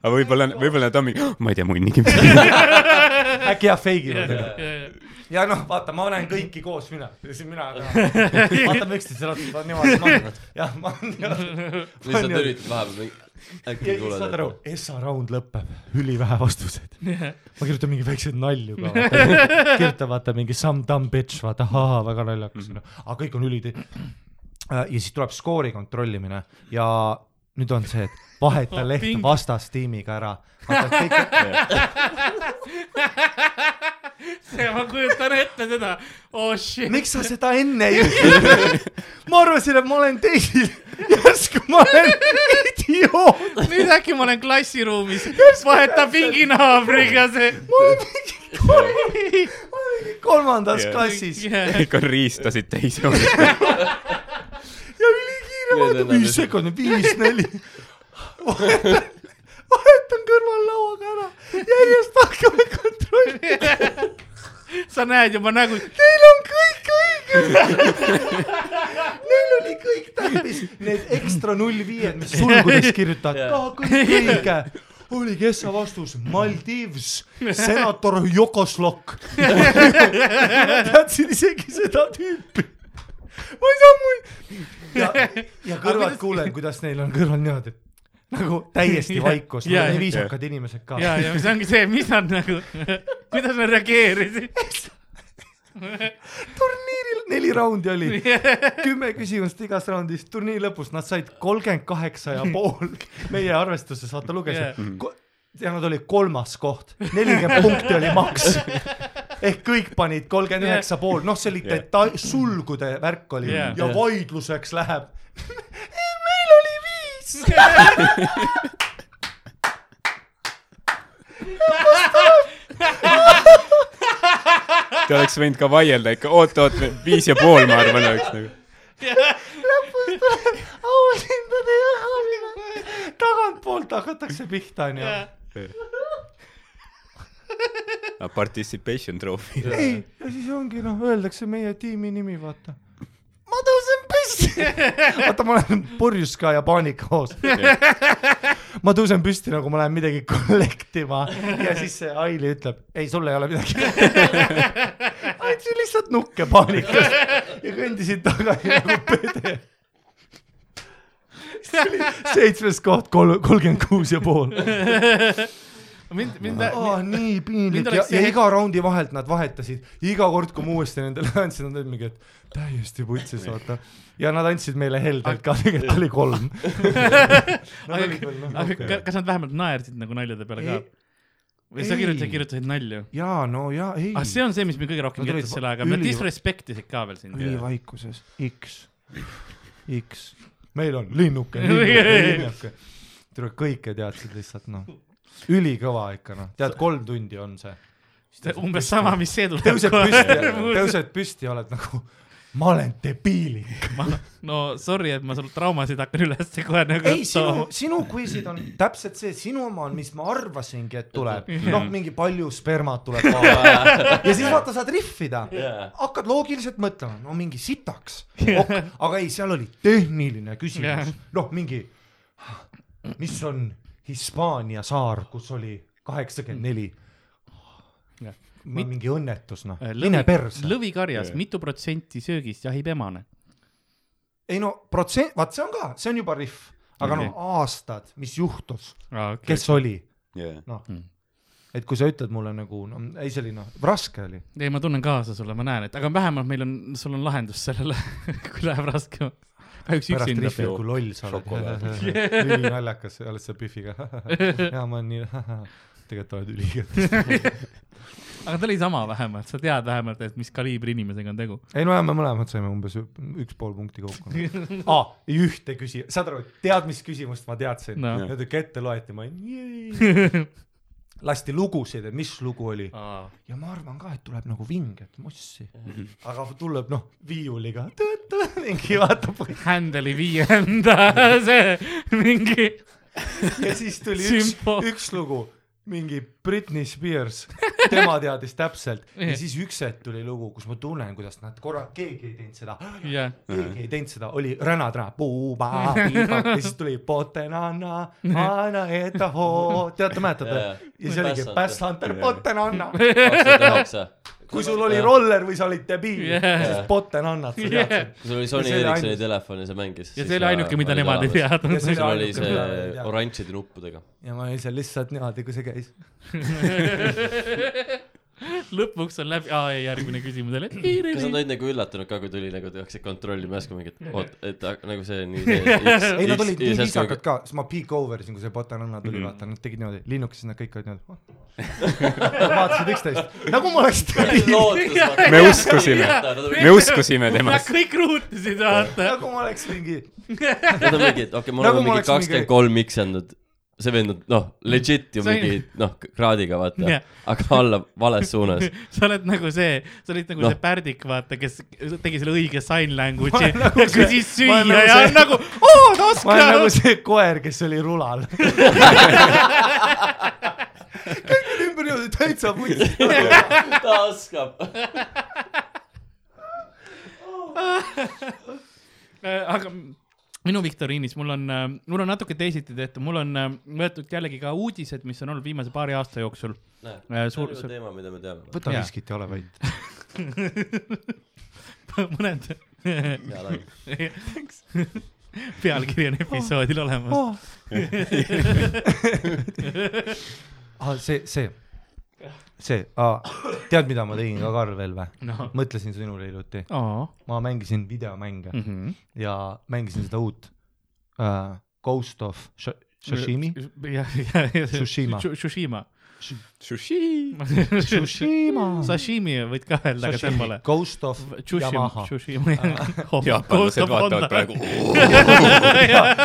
E: aga võib-olla , võib-olla ta on mingi , ma ei tea munnigi .
C: äkki jah , feigivad . ja noh , vaata , ma näen kõiki koos mina , siis mina ka . vaatame üksteisele otsa , ta on niimoodi , ma olen , jah , ma olen .
B: lihtsalt üritad vahepeal , äkki
C: ja siis saad aru
B: kuuled .,
C: SA raund lõpeb , ülivähe vastuseid . ma kirjutan mingeid väikseid nalju ka , kirjutan vaata mingi some dumb bitch , vaata ahaa , väga naljakas onju , aga kõik on üliti . ja siis tuleb skoori kontrollimine ja nüüd on see , et vaheta leht
D: Ping.
C: vastastiimiga ära . Kõik...
D: ma kujutan ette seda , oh shit .
C: miks sa seda enne ei öelnud ? ma arvasin , et ma olen teil , järsku ma olen idioot .
D: nüüd äkki ma olen klassiruumis , vaheta pinginaabriga see .
C: kolmandas
E: Jah.
C: klassis
E: kõik on riistasid täis joonud .
C: ja ülikiire
B: Need
C: vaata
B: on , need-
C: viis sekundit , viis , neli . vahetan , vahetan kõrval lauaga ära , järjest hakkame kontrollima ,
D: sa näed juba nagu- nägu ,
C: neil on kõik õige . Neil oli kõik täpis , need ekstra null viied , mis sulgudes kirjutavad ,
B: Jaa.
C: ka kõik õige oligi Essa vastus , Maldiivs , senator Jokoslok . teadsin isegi seda tüüpi . ma ei saa muid . ja , ja kõrvalt kuulen , kuidas neil on kõrval niimoodi , nagu täiesti
D: Jaa.
C: vaikus ,
D: Jaa,
C: nii
D: jaa.
C: viisakad inimesed ka .
D: ja , ja see ongi see , mis nad nagu , kuidas nad reageerisid .
C: turniiril neli raundi oli , kümme küsimust igas raundis , turniiri lõpus nad said kolmkümmend kaheksa ja pool meie arvestuses , vaata
D: Jaa.
C: lugesin yeah. . ja nad olid kolmas koht , nelikümmend punkti oli maks . ehk kõik panid kolmkümmend
D: Jaa.
C: üheksa pool , noh , see oli
E: Jaa.
C: deta- , sulgude värk oli
D: Jaa.
C: ja
B: Jaa.
C: vaidluseks läheb . meil oli viis .
D: rets .
E: Te oleks võinud ka vaielda ikka , oot-oot , viis ja pool , ma arvan , oleks nagu .
C: auhindade jagamine . tagantpoolt hakatakse pihta , onju .
E: Participation trophy .
C: ei , ja siis ongi noh , öeldakse meie tiimi nimi , vaata . ma tõusen püsti . vaata , ma olen purjus ka ja paanikahoos . ma tõusen püsti nagu ma lähen midagi kollektima ja siis see Aili ütleb , ei , sul ei ole midagi . andsin lihtsalt nukke paanikas ja kõndisin tagasi nagu pede . seitsmes koht , kolm , kolmkümmend kuus ja pool
D: mind , mind ,
C: oh, . nii piinlik
D: mind
C: ja,
D: oleks
C: ja
D: see-
C: iga raundi vahelt nad vahetasid , iga kord , kui ma uuesti nendele andsin , nad olid mingi , et täiesti putsis , vaata . ja nad andsid meile heldelt ka , tegelikult oli kolm .
D: aga, aga ka- kas nad vähemalt naersid nagu naljade peale ka
C: Ei. ?
D: või sa
C: Ei.
D: kirjutasid , kirjutasid nalju ?
C: jaa , no jaa , ei
D: ah , see on see , mis mind kõige rohkem
C: Nad olid
D: kirjutas selle ajaga ,
C: üli-
D: nad disrespektisid ka veel sind .
C: ülivaikuses , X , X , meil on linnuke , linnuke , linnuke . tule kõike teadsid lihtsalt noh , ülikõva ikka noh , tead , kolm tundi on see .
D: umbes sama , mis see tuleb
C: tõused püsti , tõused püsti ja oled nagu , ma olen debiilik .
D: no sorry , et ma sul traumasid hakkan ülesse kohe nagu
C: ei , sinu , sinu quiz'id on täpselt see sinu oma on , mis ma arvasingi , et tuleb ,
D: Mhm.
C: noh , mingi palju spermat tuleb kohale ja siis vaata , saad rihvida
B: Jaa. ,
C: hakkad loogiliselt mõtlema , no mingi sitaks ok. , aga ei , seal oli tehniline
D: Jah.
C: küsimus , noh , mingi , mis on Hispaania saar , kus oli kaheksakümmend neli ,
D: Jah.
C: mingi õnnetus , noh , mine
D: Eh, Äh, lõvi ,
C: perse ,
D: lõvikarjas , mitu protsenti söögist jahib emane ?
C: ei no protsent , vaat see on ka , see on juba rihv , aga
D: Okei.
C: no aastad , mis juhtus ,
D: kes ?
C: kes oli
E: jah ,
C: noh
D: Mm.
C: mm. , et kui sa ütled mulle nagu , no ei , see oli noh , raske oli .
D: ei , ma tunnen kaasa sulle , ma näen , et aga vähemalt meil on , sul on lahendus sellele , kui läheb raskemaks . kahjuks
C: pärast
D: üksinda
C: rihvi , kui loll sa oled
E: Šokolaad. .
C: ülinaljakas , oled sa Biffiga . jaa , ma olen nii , tegelikult oled üliõige .
D: aga ta oli sama vähemalt , sa tead vähemalt , et mis kaliibri inimesega on tegu .
C: ei no jaa , me mõlemad saime umbes ü- üks pool punkti kokku . aa , ei ühte küsi- , saad aru , tead , mis küsimust ma teadsin
D: No.
C: no. ? Need ikka ette loeti , ma olin . lasti lugusid , et mis lugu oli
D: Ah.
C: ja ma arvan ka , et tuleb nagu vinget mossi , aga tuleb noh viiuliga , mingi vaatab
D: Händeli viienda see mingi
C: ja siis tuli üks
D: Sümpo. ,
C: üks lugu , mingi Britney Spears , tema teadis täpselt ja siis üks hetk tuli lugu , kus ma tunnen , kuidas nad korra , keegi ei teinud seda ,
D: jah ,
C: keegi ei teinud seda , oli ränadräna , puuba , piiba ja siis tuli potenanna , anna eta hoo , teate , mäletate
B: Jaa. ?
C: ja siis oligi
B: Pässanter.
C: Passanter , potenanna .
B: kakssada üheksa .
C: kui sul oli roller või sa olid debiil
D: Jaa. ,
C: siis potenannat sa teadsid .
B: kui sul oli
C: Ja
B: Sony
C: see oli
B: Ericssoni
C: ainus-
B: telefon ja sa mängisid .
D: ja see oli ainuke , mida nemad ei . teadnud
C: Ja . see
B: sul
C: oli
B: oli
C: ainuke,
B: see
C: mida nad ei teadnud.
B: oranžide nuppudega .
C: ja ma olin seal lihtsalt niimoodi , kui see käis .
D: lõpuks on läbi , aa ei , järgmine küsimus oli .
B: kas nad olid nagu üllatunud ka , kui tuli nagu hakkasid kontrollima järsku mingit , oot , et ha- nagu see nii see .
C: ei , nad olid nii viisakad ka , siis ma peak over isin , kui see Botanana tuli mm , -hmm. vaata , nad tegid niimoodi , linnukeses nad kõik olid niimoodi . vaatasid üksteist , nagu ma oleks debiil ,
E: Me uskusime. me uskusime
D: Nad
E: temast .
D: kõik ruutisid , vaata .
C: nagu ma oleks mingi ,
B: Nad on mingid , okei , mul on
C: Nagu ma
B: mingi
C: oleks mingi-
B: kakskümmend kolm miksanud , see vend on noh , legit ju
D: See-
B: mingi noh , kraadiga vaata
D: Jah. ,
B: aga alla vales suunas .
D: sa oled nagu see , sa olid nagu
B: Noh.
D: see pärdik , vaata , kes tegi selle õige sign language'i
C: Ma olen nagu
D: ja
C: see-
D: küsis
C: ma olen
D: süüa
C: nagu
D: ja
C: see-
D: on nagu , oo , ta
C: ma olen nagu
D: oskab .
C: see koer , kes oli rulal . kõik olid ümber jõudnud täitsa puisti .
B: ta oskab .
D: Äh, aga minu viktoriinis mul on , mul on natuke teisiti tehtud , mul on äh, võetud jällegi ka uudised , mis on olnud viimase paari aasta jooksul .
B: see
D: Äh, suur-
B: on ju teema , mida me teame .
C: võta
D: Jaa.
C: miskit ja ole vait .
D: mõned pealkiri on episoodil olemas .
C: aa , Ah, see , see , see , tead , mida ma tegin ka , Karl , veel või ?
D: noh ,
C: mõtlesin sinule hiljuti , ma mängisin
D: Mhm.
C: videomänge
D: aa .
C: ja mängisin seda uut uh, äh, Ghost of Sh Sashimi?
D: jah , jah , jah .
C: Tsushima.
D: Tsushima .
E: Sushi .
C: Tsushima .
D: Sashimi võid ka öelda , aga see pole .
C: Ghost of
D: Tsushima
C: Yamaha .,
D: Tsushima .
E: jaapanlased vaatavad praegu .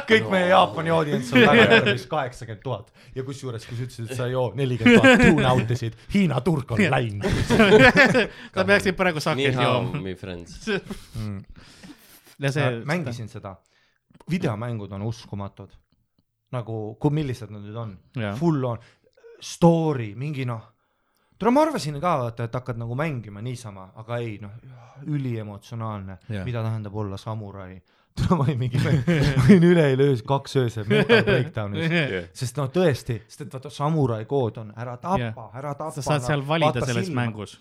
C: kõik meie Jaapani audients on väga tervis kaheksakümmend tuhat ja kusjuures , kui sa ütlesid , et sa ei joo nelikümmend tuhat , tune out isid , Hiina turg on läinud .
D: sa peaksid praegu
B: nii
D: saket
B: hea ,
D: jooma .
B: my friends .
D: ja Mm. see .
C: Äh, mängisin seda , videomängud on uskumatud , nagu , kui millised nad nüüd on ,
D: Jah.
C: full on , story , mingi noh tule , ma arvasin ka vaata , et hakkad nagu mängima niisama , aga ei noh , üliemotsionaalne ,
D: Jah.
C: mida tähendab olla samurai . tule , ma olin mingi , ma olin üleeile öösel kaks öösel mental breakdown'is , sest no tõesti , sest et vaata samurai kood on ära tapa yeah.
D: Jah. ,
C: ära tapa .
D: sa saad seal valida selles silma. . mängus ,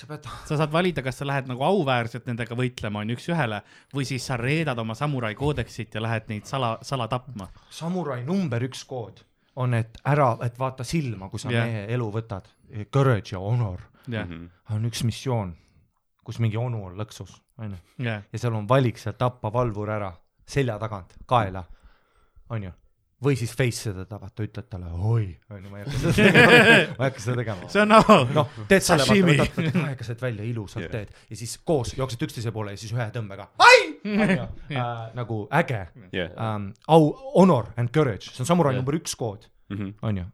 C: sa pead ,
D: sa saad valida , kas sa lähed nagu auväärselt nendega võitlema , on ju , üks-ühele või siis sa reedad oma samurai koodeksit ja lähed neid sala , sala tapma .
C: samurai number üks kood on , et ära , et vaata silma , kui sa
D: Jah.
C: yeah. mehe elu võtad . Courage ja honor
D: jah ,
B: Mhm.
C: on üks missioon , kus mingi onu on lõksus , onju ,
D: jah ,
C: ja seal on valik seal tappa valvur ära selja tagant , kaela , onju või siis face seda tagant , ütled talle oi , onju , ma ei hakka seda tegema , ma ei hakka seda tegema .
D: see on au no. .
C: noh , teed selle vaata ,
D: Sashimi.
C: võtad võtad aeglaselt välja , ilusalt
E: Jah.
C: yeah. teed ja siis koos jooksed üksteise poole ja siis ühe tõmbega . ai , äh, nagu äge
E: jah .
C: ähm, , au , honor and courage , see on samurai
B: Jah.
C: yeah. number üks kood , onju .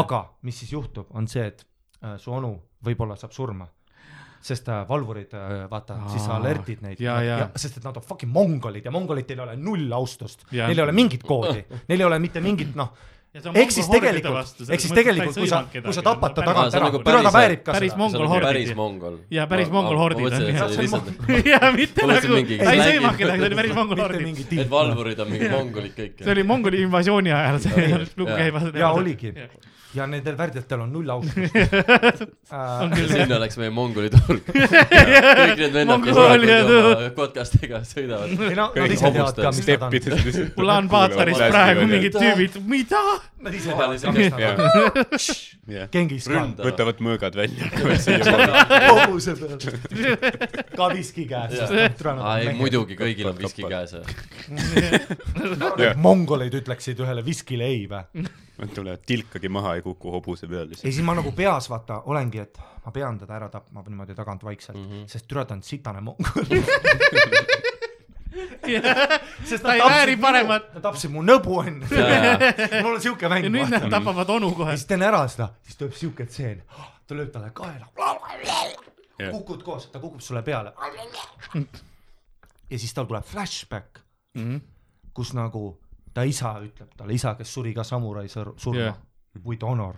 C: aga mis siis juhtub , on see , et äh, su onu võib-olla saab surma , sest äh, valvurid äh, , vaata , siis sa
D: Aa,
C: alert'id neid
D: jaa, jaa.
C: sest et nad on fucking mongolid ja mongolitel ei ole null austust ,
D: Jah.
C: neil ei ole mingit koodi , neil ei ole mitte mingit noh ehk siis tegelikult , ehk siis tegelikult , kui sa , kui sa tapad ta
B: Aa,
C: tagant
B: see on
C: ära ,
B: nagu
C: türa ta
B: päris-
C: väärib ka
D: päris
C: seda .
D: mongol hordid .
B: päris mongol .
D: Jaa, päris mongol hordid
B: on . ma mõtlesin ,
D: on,
B: et
D: jah.
B: see oli lihtsalt ,
D: jaa , mitte
B: Ma mõtlesin
D: nagu ,
B: mingi
D: ta ei
B: slängi.
D: sõimanud kedagi , see oli päris mongol
C: mitte
D: hordid .
C: mingi
B: et
C: tiim .
B: valvurid on mingid mongolid kõik .
D: see oli mongoli invasiooni ajal , see lugu
B: jaa.
D: käib .
C: jaa , oligi . ja nendel värdjatel on null austust . Äh,
B: sinna läks meie mongoli turg . kõik need vennad , kes
D: Mongoolia
B: praegu oma podcast'iga sõidavad .
C: ei no , nad
E: kõik
C: ise teavad ka ,
B: hobustel
C: mis nad on .
E: stepid .
D: Ulan Baataris praegu mingid . tüübid , mida ?
C: Nad ise teavad ka ,
B: Kohe
C: mis nad on . Genghis Khan ,
B: Ründavad.
E: võtavad mõõgad välja .
C: hobuse peal . ka viski käes , sest türa
B: aa ei ,
C: nad on .
B: muidugi , kõigil on viski käes .
C: mongoleid ütleksid ühele viskile ei või ?
E: Nad tulevad tilkagi maha ja kuku hobuse peal
C: ei ,
E: lihtsalt .
C: siis ma nagu peas vaata olengi , et ma pean teda ära tapma niimoodi tagant vaikselt
D: Mhm.
C: mm , -hmm. sest türa ta on sitane mongol . sest
D: Ta ei vääri paremat. .
C: ta tapsid mu nõbu enne . mul on siuke mäng
D: ja nüüd
C: vaata
D: nad . tapavad onu kohe
C: ja . siis teen ära seda , siis tuleb siuke tseen , ta lööb talle kaela , kukud koos , ta kukub sulle peale . ja siis tal tuleb flashback ,
D: Mm-hmm.
C: kus nagu ta isa ütleb talle , isa , kes suri ka samurai sõr- surma
D: Jah.
C: yeah. , with honor ,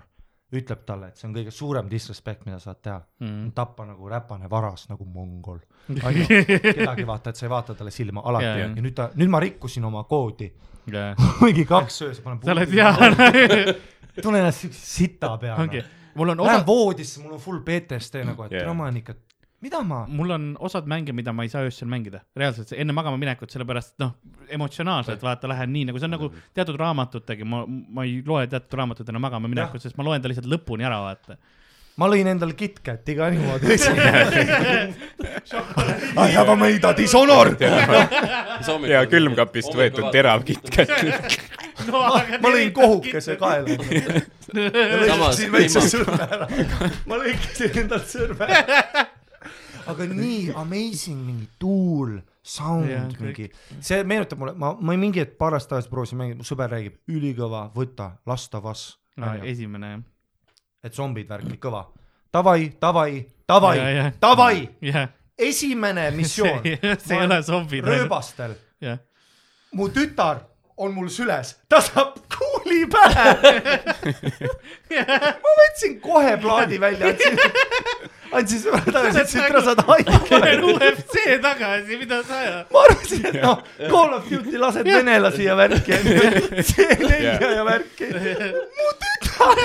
C: ütleb talle , et see on kõige suurem disrespect , mida saad teha
D: Mm-hmm.
C: mm. . tappa nagu räpane varas nagu mongol . kedagi vaata , et sa ei vaata talle silma alati
D: Jaa,
C: yeah.
D: jaa.
C: ja nüüd ta , nüüd ma rikkusin oma koodi ,
D: sa
C: mingi kaks öösel panen .
D: oled jaa ,
C: tunnen ennast siukse sita peale
D: ongi . mul on
C: lähen
D: osad ,
C: voodisse , mul on full PTSD
D: Mm.
C: nagu , et
E: Jaa.
C: yeah. ma olen ikka , mida ma ,
D: mul on osad mänge , mida ma ei saa öösel mängida , reaalselt enne magama minekut , sellepärast et noh , emotsionaalselt vaata , lähen nii nagu see on nagu teatud raamatutegi , ma , ma ei loe teatud raamatut enne magama minekut , sest ma loen ta lihtsalt lõpuni ära , vaata .
C: ma lõin endale KitKati ka niimoodi . I have a made a dishonor .
E: ja külmkapist võetud . terav kitkat .
D: no aga
C: ma lõin kohukese kaela .
B: Samas
C: lõikasin väikse sõrme ära . ma lõikasin endalt sõrme ära . aga nii amazing mingi tuul ,
D: Jah,
C: sound
D: kõik.
C: mingi , see meenutab mulle , ma , ma mingi hetk paar aastat tagasi proovisin mängida , mu sõber räägib , ülikõva , võta , lasta vas
D: no, . esimene jah ,
C: et zombid värk oli kõva . Davai , davai , davai
D: Ja, ja. ,
C: davai ,
D: jah .
C: esimene missioon
D: see , see ei ole zombi .
C: rööbastel ,
D: jah ,
C: mu tütar on mul süles , ta saab kuuli pähe . ma võtsin kohe plaadi välja , andsin , andsin sõbrale tagasi , ütlesin , et ära saad
D: ma olen
C: haige .
D: UFC tagasi , mida sa ajad ?
C: ma arvasin , et noh , Call of Duty lased venelasi ja värki , C4 ja värki . mu tütar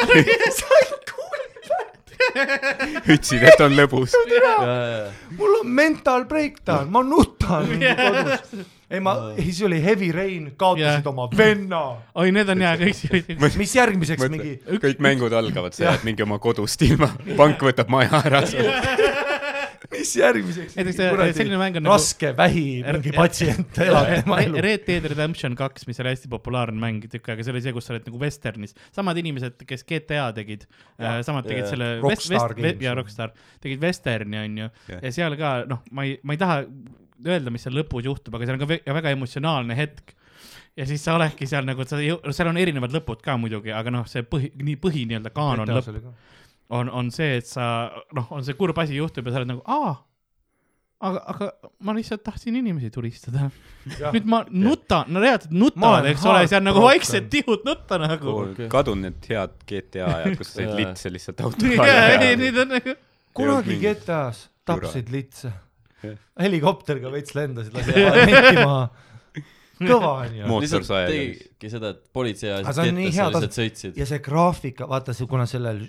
C: sai kuuli pähe ,
E: ütlesid , et on lõbus .
C: türa . mul on mental breakdown , ma nutan mingi kodus . ei ma , siis oli Heavy Rain , kaotasid
D: Jah.
C: oma venna .
D: oi , need on hea kõik siuksed .
C: mis järgmiseks mingi
E: mõtle , kõik mängud algavad , sa jääd mingi oma kodust ilma . pank võtab maja ära .
C: mis
E: mis järgmiseks ?
D: näiteks äh,
C: Kuradi
D: selline mäng on
C: raske vähi mingi patsient elab tema
D: Re-
C: elu .
D: Red Dead Redemption kaks , mis oli hästi populaarne mäng tükk aega , see oli see , kus sa oled nagu vesternis , samad inimesed , kes GTA tegid , samad tegid
B: Jaa.
D: selle vest- ,
C: Rockstar
D: vest- ,
C: Games.
D: ja Rockstar tegid vesterni , onju ,
E: Jah.
D: ja seal ka noh , ma ei , ma ei taha öelda , mis seal lõpus juhtub , aga see on ka ve- väga emotsionaalne hetk ja siis sa oledki seal nagu , sa ei jõu- , seal on erinevad lõpud ka muidugi , aga noh , see põhi , nii põhi nii-öelda kaanon lõpp on , on see , et sa noh , on see kurb asi juhtub ja sa oled nagu aa , aga , aga ma lihtsalt tahtsin inimesi tulistada . nüüd ma nutan , no reaalselt
C: Ma
D: nutavad ,
C: olen
D: eks ole , seal nagu
C: heartbroken.
D: vaikselt tihud nutta nagu .
E: kadunud need head GTA ajad , kus sa said
B: Jaa.
E: litse lihtsalt autoga
D: jaa , ei , neid on nagu ,
C: kunagi
E: mingit-
C: GTA-s tapsid litse
E: Jah. .
C: helikopteriga veits lendasid , lasid parlamenti maha . kõva on ju .
E: mootor sai .
B: tegigi seda , et politsei
C: Aga
B: ajas
C: see on nii
B: kettasse
C: hea
B: ja lihtsalt sõitsid .
C: ja see graafika , vaata see , kuna sellel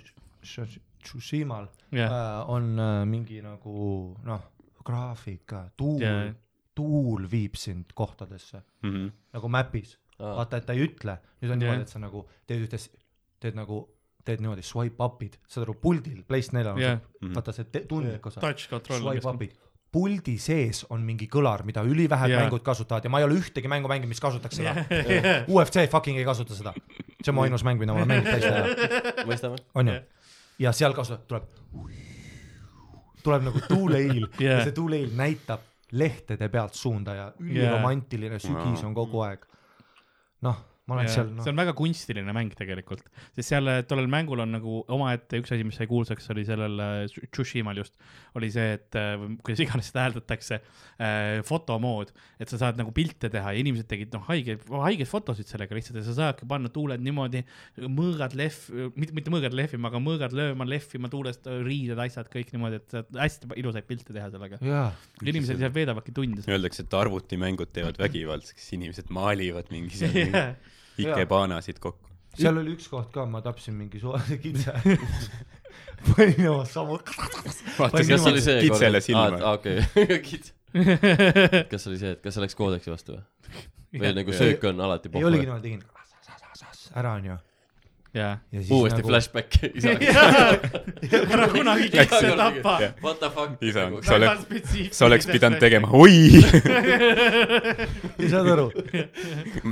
C: Sh- Tsushimal
D: Jah.
C: äh, on äh, mingi nagu noh , graafika , tuul
D: Jah.
C: yeah. , tuul viib sind kohtadesse
E: Mhm.
C: nagu map'is
B: Aa.
C: ah. , vaata , et ta ei ütle , nüüd on
D: Jah.
C: yeah. niimoodi , et sa nagu teed ühte , teed nagu , teed niimoodi swipe up'id , saad aru , puldil , PlayStation 4 on
D: Jah.
C: see , vaata see te- tundlik osa ,
D: touch control .
C: swipe up'id puldi sees on mingi kõlar , mida ülivähed
D: Jah.
C: yeah. mängud kasutavad ja ma ei ole ühtegi mängu mänginud , mis kasutaks seda yeah. . UFC fucking ei kasuta seda . see on mu ainus mäng , mida ma olen mänginud PlayStation 4-l
B: mõistame ?
C: onju , ja seal kasutab , tuleb , tuleb nagu tuuleiil yeah.
D: Yeah.
C: ja see tuuleiil näitab lehtede pealt suunda ja üliromantiline sügis on kogu aeg . noh , ma olen
D: Jaa,
C: seal ,
D: see
C: noh ,
D: on väga kunstiline mäng tegelikult , sest seal äh, tollel mängul on nagu omaette üks asi , mis sai kuulsaks , oli sellel äh, Tsu- Tsushimal just , oli see , et äh, või kuidas iganes seda hääldatakse , fotomood , et sa saad nagu pilte teha ja inimesed tegid noh , haigeid , haigeid fotosid sellega lihtsalt ja sa saadki panna tuuled niimoodi , mõõgad lehv , mitte , mitte mõõgad lehvima , aga mõõgad lööma , lehvima tuulest , riided , asjad kõik niimoodi , et saad hästi ilusaid pilte teha sellega .
C: jaa ,
D: inimesed seal veedavadki tunde sellega .
E: Öeldakse , et arvutimängud teevad vägivaldseks , inimesed maalivad mingi seal mingi
D: Jah.
E: ikebanasid kokku .
C: seal oli üks koht ka , ma tapsin mingi suvalise kitse . panin oma samu ,
E: vaata
C: Või
B: kas
C: niimoodi.
B: oli see ?
E: kitsele silma .
B: okei , kits . kas oli see , et kas see läks koodeksi vastu või ? või nagu söök on alati
C: ei oligi
B: pohv .
C: niimoodi , tegin ära onju .
D: jaa .
B: uuesti nagu... . flashback isa .
D: ära kunagi
B: Iga
D: kitse
B: kord-
D: tapa
B: What the fuck ? Nagu-
E: isa , sa
D: Väga
E: oled ,
D: spetsiifiline
E: sa oleks pidanud tegema , oi ,
C: ei saanud aru ,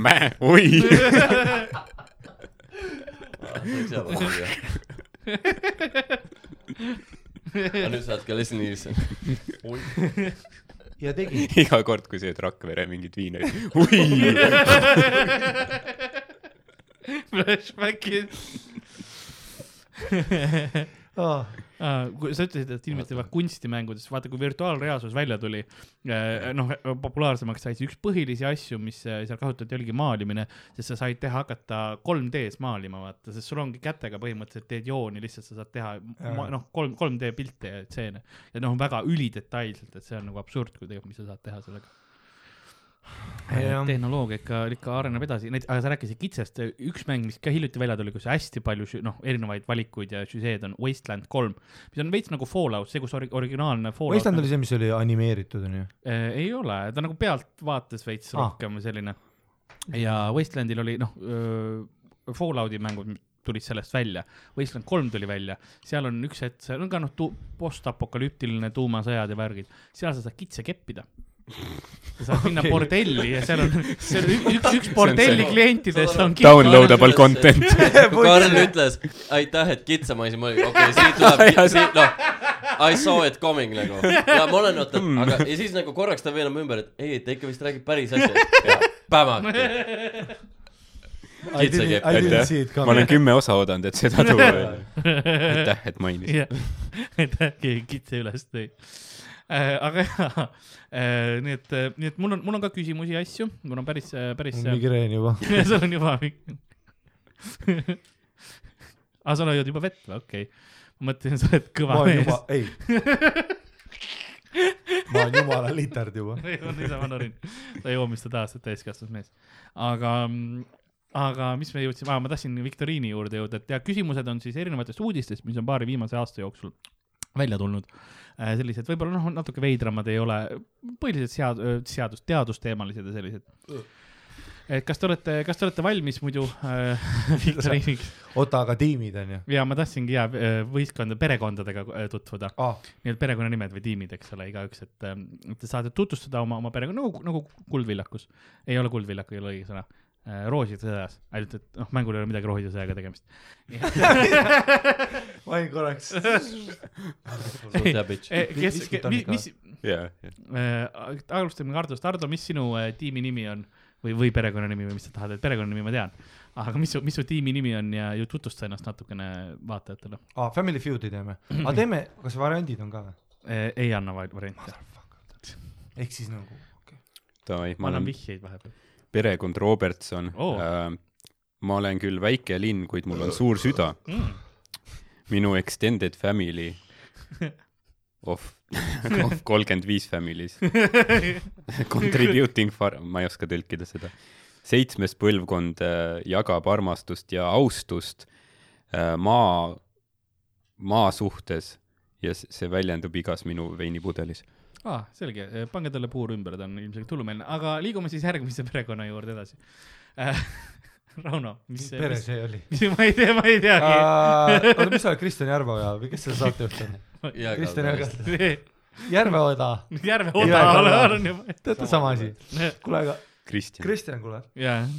E: mäe , oi .
B: Nagu tegema . aga nüüd saad ka Leslie Nielsen .
C: ja tegin ,
E: iga kord , kui sööd Rakvere mingit viina , oi .
D: Flashbackid . sa ütlesid , et inimesed teevad kunstimängudes , vaata kui virtuaalreaalsus välja tuli , noh , populaarsemaks sai , siis üks põhilisi asju , mis äh, seal kasutati , oligi maalimine , sest sa said teha , hakata 3D-s maalima , vaata , sest sul ongi kätega põhimõtteliselt teed jooni , lihtsalt sa saad teha ma- noh , kolm , 3D pilte ja stseene ja noh , väga ülidetailselt , et see on nagu absurd , kui tegelikult , mis sa saad teha sellega .
C: Jah.
D: tehnoloogia ikka , ikka areneb edasi , näiteks , aga sa rääkisid kitsest , üks mäng , mis ka hiljuti välja tuli , kus hästi palju sü- noh , erinevaid valikuid ja süžeed on Wasteland kolm , mis on veits nagu Fallout , see , kus ori- , originaalne Fallout .
C: Wasteland oli see , mis oli animeeritud onju .
D: Eh, ei ole , ta nagu pealtvaates veits
C: Ah.
D: ah. rohkem selline . ja Wastelandil oli noh , Fallouti mängud tulid sellest välja , Wasteland kolm tuli välja , seal on üks hetk , seal on ka noh , postapokalüptiline tuumasõjad ja värgid , seal sa saad kitse keppida . sa saad minna okay. bordelli ja seal on , seal on üks , üks bordelli
E: see-
D: klientidest on kitse .
E: Downloadable content .
B: Karl ütles , aitäh , et kitsamaisim oli , okei , siit tuleb , siit noh , I saw it coming nagu . ja ma olen ootanud ,
C: Hmm.
B: aga ja siis nagu korraks ta veenab ümber , et ei , ta ikka vist räägib päris asja . Pämak .
C: I
B: Kitse
C: didn't
B: kepp-
C: I didn't
E: aitäh
C: see it ,
E: ma olen
C: coming .
E: kümme osa oodanud , et seda tuua . aitäh , et mainisid .
D: et äkki kitse üles tõi . aga jaa , nii et , nii et mul on , mul on ka küsimusi ja asju , mul on päris , päris .
C: migreen juba .
D: ja sul on juba mingi . aa , Ah, sa oled juba vett või , okei okay. . ma mõtlesin , sa oled
C: ma
D: kõva
C: olen
D: mees
C: juba ., ei . ma olen jumala litard juba .
D: niisama norin , ta joomiste taastab täiskasvanud mees . aga , aga mis me jõudsime , aa , ma tahtsin viktoriini juurde jõuda , et ja küsimused on siis erinevatest uudistest , mis on paari viimase aasta jooksul välja tulnud . sellised võib-olla noh , äh, natuke veidramad ei ole , põhiliselt sead- , seadus , teadusteemalised ja sellised . et kas te olete , kas te olete valmis muidu äh, viktoriiniks ?
C: oota , aga tiimid on ju ?
D: ja ma tahtsingi ja äh, võistkonda , perekondadega äh, tutvuda ,
C: Ah,
D: nii-öelda perekonnanimed või tiimid , eks ole , igaüks , et ähm, te saate tutvustada oma , oma perekonna , nagu , nagu Kuldvillakus . ei ole Kuldvillak , ei ole õige sõna . Rooside sõjas , ainult et noh , mängul ei ole midagi Rooside sõjaga tegemist .
C: ma olin korraks .
B: suht hea bitch .
D: Äh, kes ,
C: Viskit on
D: mis ,
C: ikka.
D: mis ,
E: jaa , jaa .
D: alustame Hardost , Hardo , mis sinu äh, tiimi nimi on või , või perekonnanimi või mis sa tahad , et perekonnanimi ma tean . aga mis su , mis su tiimi nimi on ja ju tutvusta ennast natukene vaatajatele .
C: aa , Ah, Family Feudi teeme . aga teeme , kas variandid on ka või ?
D: Äh, ei anna va- variante ,
C: ehk siis nagu ,
E: davai ,
D: ma
E: ma
D: annan
E: olen
D: vihjeid vahepeal .
E: perekond Robertson
D: Oo.
E: Äh, ma olen küll väike linn , kuid mul on suur süda . minu extended family of , of kolmkümmend viis families contributing for , ma ei oska tõlkida seda . seitsmes põlvkond äh, jagab armastust ja austust äh, maa , maa suhtes ja s- see väljendub igas minu veinipudelis .
D: aa , Ah, selge , pange talle puur ümber , ta on ilmselgelt hullumeelne , aga liigume siis järgmise perekonna juurde edasi . Rauno , mis ,
C: mis pere
D: mis ,
C: see oli ?
D: ma ei tea , ma ei teagi .
C: oota , mis sa oled , Kristjan Järveoja või kes selle saatejuht on ? Kristjan Järveoja . Järveoda ,
D: järve
C: Jaa,
D: oda
C: Rauno.
D: olen juba .
C: teate sama asi . kuule , aga
E: Kristjan .
C: Kristjan , kuule ,
D: jaa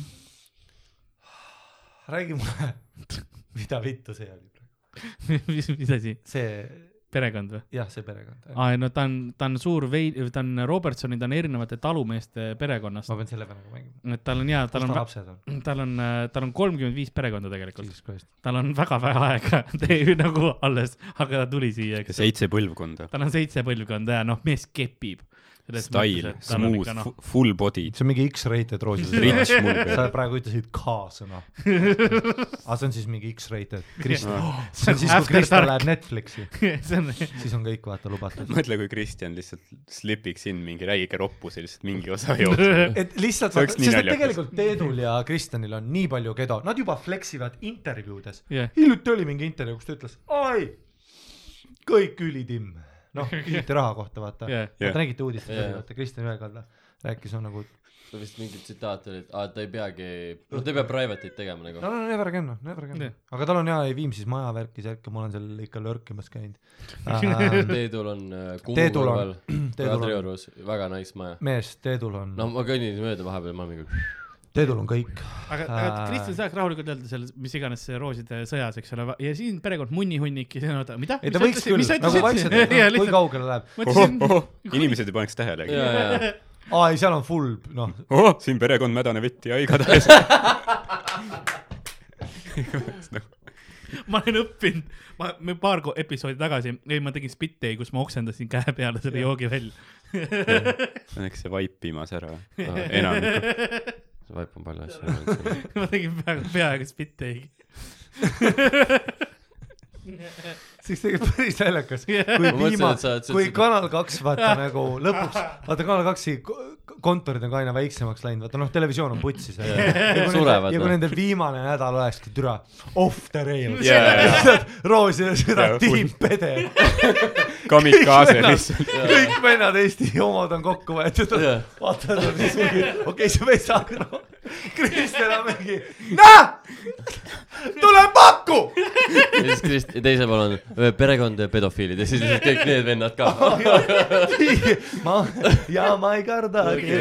C: räägi mulle , mida vittu see oli ?
D: mis , mis asi ,
C: see ,
D: perekond või ?
C: jah , see perekond .
D: aa , ei no ta on , ta on suur vei- , ta on Robertsoni , ta on erinevate talumeeste perekonnast .
C: ma pean selle peale ka mängima .
D: et tal on jaa ,
C: kus
D: tal
C: ta
D: on ,
C: lapsed on ?
D: tal on , tal on kolmkümmend viis perekonda tegelikult .
C: Jesus Christ .
D: tal on väga vähe aega tee- nagu alles , aga ta tuli siia , eks .
E: seitse põlvkonda .
D: tal on seitse põlvkonda ja noh , mees kepib .
E: Style , smooth ,
D: noh.
E: full body ,
C: see on mingi X-rated roosis .
E: rich mul peal .
C: sa praegu ütlesid K-sõna . aga see on siis mingi X-rated . see on siis , kui
D: After
C: Kristjan
D: Dark ,
C: läheb Netflixi ,
D: see on ,
C: siis on kõik vaata lubatud .
E: mõtle , kui Kristjan lihtsalt slipiks in mingi räige roppuse lihtsalt mingi osa jooksma .
C: et lihtsalt ,
E: See oleks
C: sest
E: nii
C: et
E: naljakas.
C: tegelikult Teedul ja Kristjanil on nii palju kedo , nad juba fleksivad intervjuudes .
D: jah ,
C: hiljuti oli mingi intervjuu , kus ta ütles , ai , kõik ülitimm . noh , küsiti raha kohta , vaata
D: Jah.
C: yeah. . Te nägite uudist
B: Jah.
C: yeah. , vaata Kristjan Jõekalda rääkis , on nagu ,
B: ta vist mingi tsitaat oli , et aa , ta ei peagi , no ta ei pea private'it tegema nagu
C: no , no never again , noh never again
D: Jah.
C: yeah. . aga tal on jaa , ei Viimsis maja värkis järk ja ma olen seal ikka lörkimas käinud
B: no. . Teedul on äh, Kumu
C: Teedul on
B: kõrval ,,
C: Teedul on ,
B: Kadriorus , väga nice maja .
C: mees , Teedul on
B: no
C: no. ,
B: ma kõnnin mööda vahepeal , ma mingi ,
C: Teedul on kõik .
D: aga , aga Kristjan saaks rahulikult öelda seal , mis iganes see rooside sõjas , eks ole , ja siin perekond Munnihunnik ja siin oota , mida ?
C: ei ta võiks küll , nagu vaikselt , kui kaugele läheb .
E: Oh, inimesed ei paneks tähelegi .
B: jaa , jaa ,
C: aa ei , seal on full , noh ,
E: Oh, siin perekond mädaneb vett ja igatahes .
D: ma olen õppinud , ma , me paar ko- episoodi tagasi , ei ma tegin spit-day , kus ma oksendasin käe peale selle joogi välja .
E: Õnneks see vaip viimas ära . Ah, enamikku .
B: see vaip on palju asju .
D: ma tegin peaaegu , peaaegu spit-day'i .
C: see oleks tegelikult päris naljakas , kui
B: Ma mõtlesin,
C: viima
B: et sa oled ,
C: kui
B: seda-
C: Kanal kaks vaata nagu lõpuks , vaata Kanal kaksi ko- kontorid on ka aina väiksemaks läinud , vaata noh , televisioon on putsis .
B: Surevad,
C: ja kui
B: noh.
C: nende viimane nädal olekski türa off the rail
E: Jaa, jaa, jaa.
C: lihtsalt Roosi ja seda
E: Jaa,
C: tiim
E: full.
C: pede ,
E: kamikaase lihtsalt .
C: kõik vennad Eesti omad on kokku võetud
B: Jaa. ,
C: vaatad , okei , see mees saab nagu , Kristjan on mingi , näe , tule pakku ,
B: ja siis Krist- , teise pool on öö, perekond ja pedofiilid ja siis lihtsalt kõik need vennad ka .
C: ma ja ma ei karda kedagi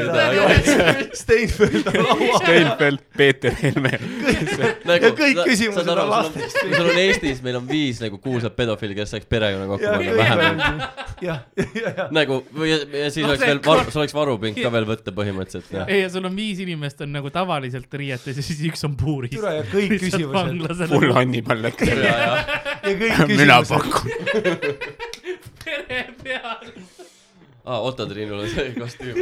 B: kedagi. ,
C: Steinfeld on laua
E: Steinfeld , Peeter Helme .
B: Nagu,
C: ja kõik küsimused on lastest .
B: kui sul on Eestis , meil on viis nagu kuulsat pedofiili , kes saaks perekonna kokku panna ,
C: ja kõik on Noh,
B: vähemalt .
C: jah , ja , ja ,
B: nagu või ja, ja siis oleks veel var- , sul oleks varupink ka veel võtta põhimõtteliselt jah .
D: ei , ja sul on viis inimest on nagu tavaliselt riietes ja siis üks on puuris .
C: Türa, ja kõik küsimused.
E: full
D: nagu
E: Hannibal Lecter .
B: ja , ja ,
C: ja kõik
E: müna
C: küsimused .
E: pakun .
B: aa , Otto Triinul on see kostüüm .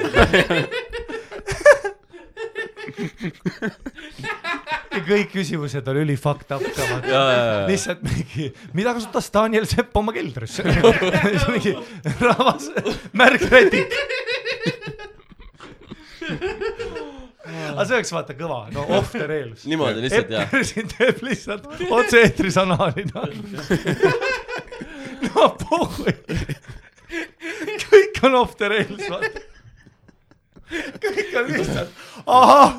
C: ja kõik küsimused on üli fucked up ka vaata
B: ja , ja , ja ,
C: lihtsalt mingi , mida kasutas Daniel Sepp oma keldris ? mingi rahvas , märgrätik . aga see oleks vaata kõva , no off the rails .
B: niimoodi lihtsalt jah .
C: Epler siin teeb lihtsalt otse-eetris anal'i taga . no puhui . kõik on off the rails , vaata . kõik on lihtsalt , ahah ,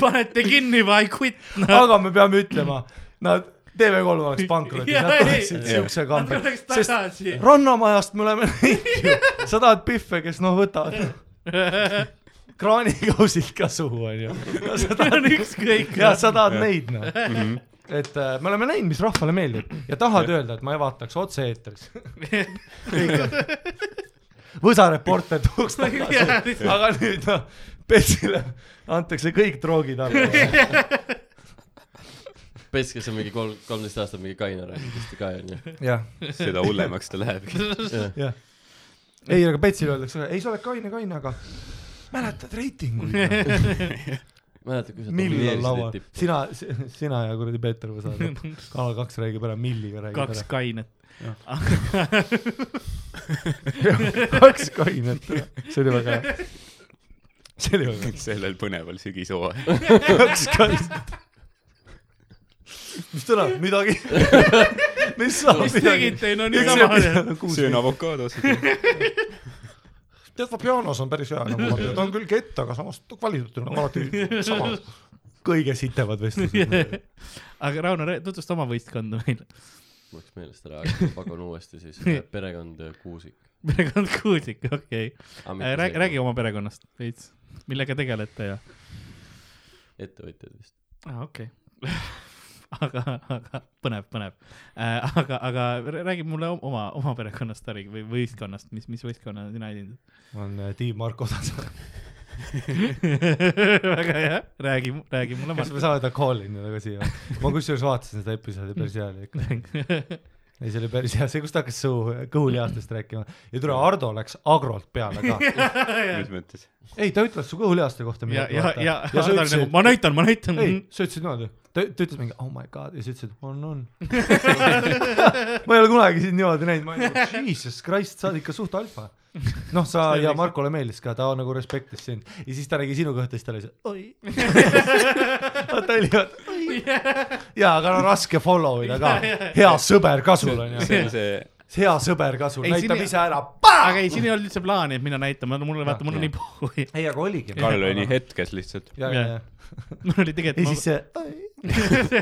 D: panete kinni või I quit no. .
C: aga me peame ütlema , nad , TV3 oleks pankrotis , nad
D: Jaa, ei.
C: tahaksid siukse
D: Nad
C: kambi ,
D: tuleks
C: sest
D: tagasi .
C: rannamajast me oleme näinud ju , sa tahad pihve , kes noh võtavad kraanikausid ka suhu onju ,
D: Nad on ükskõik .
C: ja sa tahad neid noh . et äh, me oleme näinud , mis rahvale meeldib ja tahad öelda , et ma ei vaataks otse-eetris võsa reporter tuleks tagasi , aga nüüd noh , Petsile antakse kõik droogid alla .
B: Pets , kes on mingi kolm , kolmteist aastat mingi kaine rääkinud ka onju .
C: jah ,
E: seda hullemaks ta lähebki .
C: jah . ei , aga Petsile öeldakse , ei sa oled kaine , kaine , aga mäletad reitinguid ?
B: mäletad , kui sa
C: millal laua
B: tipp- ,
C: sina , sina ja kuradi Peeter Võsa , Kanal kaks räägib ära , milliga räägib
D: kaks
C: ära .
D: kainet .
C: kaks kainet , see oli väga hea . see oli väga hea .
E: sellel põneval sügishooajal .
C: kaks kainet . mis tuleb , midagi ? mis saab
D: mis ? tegite , no nii sama .
E: söön avokaadosid .
C: tead , Fabianos on päris hea nagu vaata , ta on küll kett , aga samas ta kvaliteet on nagu alati sama . kõige sitemad vestlused .
D: aga Rauno , tutvusta oma võistkonda meile .
B: mul läks meelest ära , aga pakun uuesti siis äh, perekond Kuusik .
D: perekond Kuusik , okei okay. .
C: Äh,
D: räägi , räägi . oma perekonnast veits , millega tegelete ja .
B: ettevõtjad vist .
D: aa , Ah, okei okay. aga , aga põnev , põnev äh, . aga , aga rää- räägi mulle om- oma , oma perekonnast Harri või võistkonnast , mis , mis võistkonna sina esindad ?
C: on äh, tiim Marko Tasalu .
D: väga hea , räägi , räägi mulle
C: kas me saame ta call-in'i nagu siia ? ma kusjuures vaatasin seda episoodi , päris hea oli ikka .
D: Marko .
C: ei , see oli päris hea , see , kus ta hakkas suu kõhulihastest rääkima ja tule Ardo läks agrolt peale ka .
E: mis mõttes ?
C: ei , ta ütles su kõhulihaste kohta
D: ja ,
C: midagi .
D: ja , ja ,
C: ja
D: ja
C: sa
D: nagu,
C: ütlesid ,
D: ma näitan , ma näitan .
C: ei , sa ütlesid niimoodi ta ta ütles mingi oh my god ja sa ütlesid on , on . ma ei ole kunagi sind niimoodi näinud , ma olin nagu jesus christ , sa oled ikka suht alfa . noh , sa ja Markole meeldis ka , ta nagu respektis sind ja siis ta nägi sinu kohta , siis ta oli see oi . ta oli vaata oi . jaa , aga no raske follow ida ka , hea sõber ka sul on
E: see
C: ju ,
E: on see ,
C: hea sõber ka sul ,
D: Ei, siin
C: näitab
D: ei-
C: ise ära .
D: aga ei , siin ei olnud üldse plaani , et mina näitan , mul oli , vaata , mul on nii puhui .
C: ei , aga oligi .
E: Karl oli nii hetkes lihtsalt .
C: ja , ja , ja ,
D: mul oli tegelikult .
C: ja siis see oi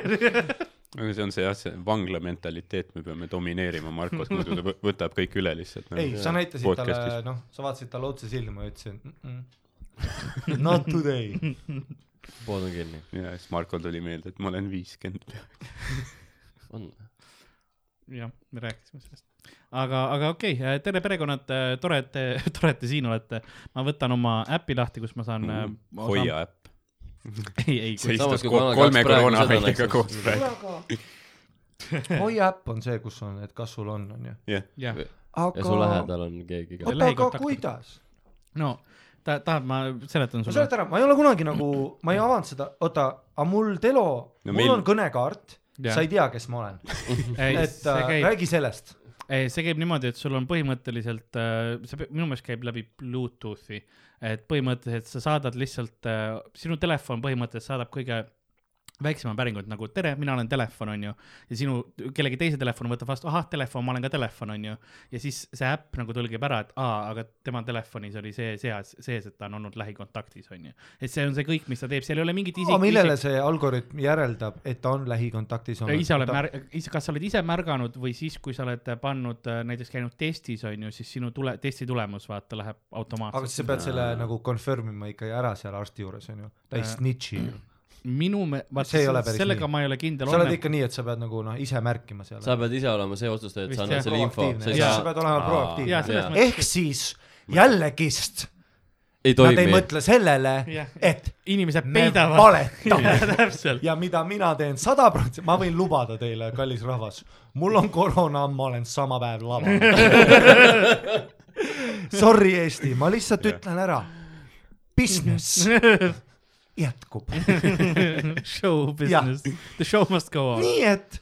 E: aga see on see jah , see vangla mentaliteet , me peame domineerima Markot , muidu ta võ- võtab kõik üle lihtsalt . noh.
C: ei , sa näitasid talle ,
E: Podcastis.
C: noh , sa vaatasid talle otse silma ja ütlesid mm -mm. not today .
B: pood on kinni .
E: ja siis Markol tuli meelde , et ma olen viiskümmend .
B: on .
D: jah , me rääkisime sellest . aga , aga okei okay. , tere perekonnad , tore , et te , tore , et te siin olete . ma võtan oma äpi lahti , kus ma saan mm, .
E: Hoia äpp .
D: ei , ei ,
E: see
B: Samas,
E: istus
B: kui
E: ko-
B: Kanal
E: kolme
B: kaks praegu seda
E: koroonahaigega
B: näitas.
E: koos praegu .
C: Hoia äpp on see , kus on , et kas sul on , on ju .
E: jah ,
D: jah ,
B: ja su lähedal on keegi ka .
C: oota , aga
D: lähikontaktid.
C: kuidas ?
D: no ta , tahad , ma seletan
C: no
D: sulle .
C: seleta ära , ma ei ole kunagi nagu , ma ei avanud seda , oota , aga mul Telo no, , mul
E: meil-
C: on kõnekaart ,
D: Jah.
C: sa ei tea , kes ma olen . et
D: see
C: äh,
D: käib ,
C: räägi sellest .
D: see käib niimoodi , et sul on põhimõtteliselt , see pe- minu meelest käib läbi Bluetoothi . et põhimõtteliselt sa saadad lihtsalt , sinu telefon põhimõtteliselt saadab kõige väiksema päringut nagu tere , mina olen telefon , onju . ja sinu , kellegi teise telefon võtab vastu , ahah , telefon , ma olen ka telefon , onju . ja siis see äpp nagu tõlgib ära , et aa , aga tema telefonis oli see seas , sees , et ta on olnud lähikontaktis , onju . et see on see kõik , mis ta teeb , seal ei ole mingit isik- .
C: millele see algoritm järeldab , et ta on lähikontaktis
D: Ja
C: olnud ?
D: ise oled märg- , ise , kas sa oled ise märganud või siis , kui sa oled pannud äh, näiteks käinud testis on ju , siis sinu tule , testi tulemus vaata läheb
C: aga siis sa
D: automaatselt .
C: pead selle nagu confirm ima ikka ära seal arsti juures , on ju . ta ei
D: Äh,
C: snitši ju .
D: minu me- , vaata
C: See ei ole päris
D: sellega
C: nii.
D: ma ei ole kindel
C: sa oled . ikka nii , et sa pead nagu noh , ise märkima seal .
B: sa pead ise olema see otsustaja , et
D: Vist
B: sa annad
D: jah.
B: selle info . sa ei
C: Jaa, sa
B: saa ,
C: pead olema
E: Aa.
D: jaa ,
C: proaktiivne .
D: selles
B: Jaa.
D: mõttes ,
C: ehk siis jällegist
B: ei
C: nad ei
B: toimi .
C: mõtle sellele
D: Jah. ,
C: et
D: inimesed
C: me
D: peidavad .
C: valetame
D: täpselt ,
C: ja mida mina teen sada protsenti , ma võin lubada teile , kallis rahvas , mul on koroona , ma olen sama päev laval . Sorry , Eesti , ma lihtsalt ütlen ära , business jätkub ,
D: show business , the show must go on .
C: nii et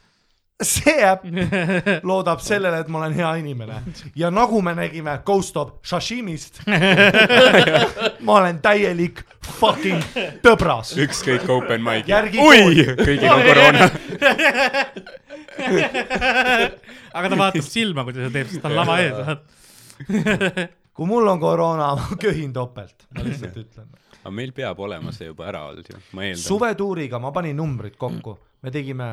C: see äpp loodab sellele , et ma olen hea inimene ja nagu me nägime Ghost of Shashimist , ma olen täielik fucking tõbras .
E: ükskõik open mic .
C: Järgi
E: oi , kõigil on koroona .
D: aga ta vaatab silma , kui ta seda teeb , sest ta on lava ees , vaata .
C: kui mul on koroona , ma köhin topelt , ma lihtsalt ütlen .
E: aga meil peab olema see juba ära olnud ju , ma eeldan .
C: suvetuuriga ma panin numbrid kokku , me tegime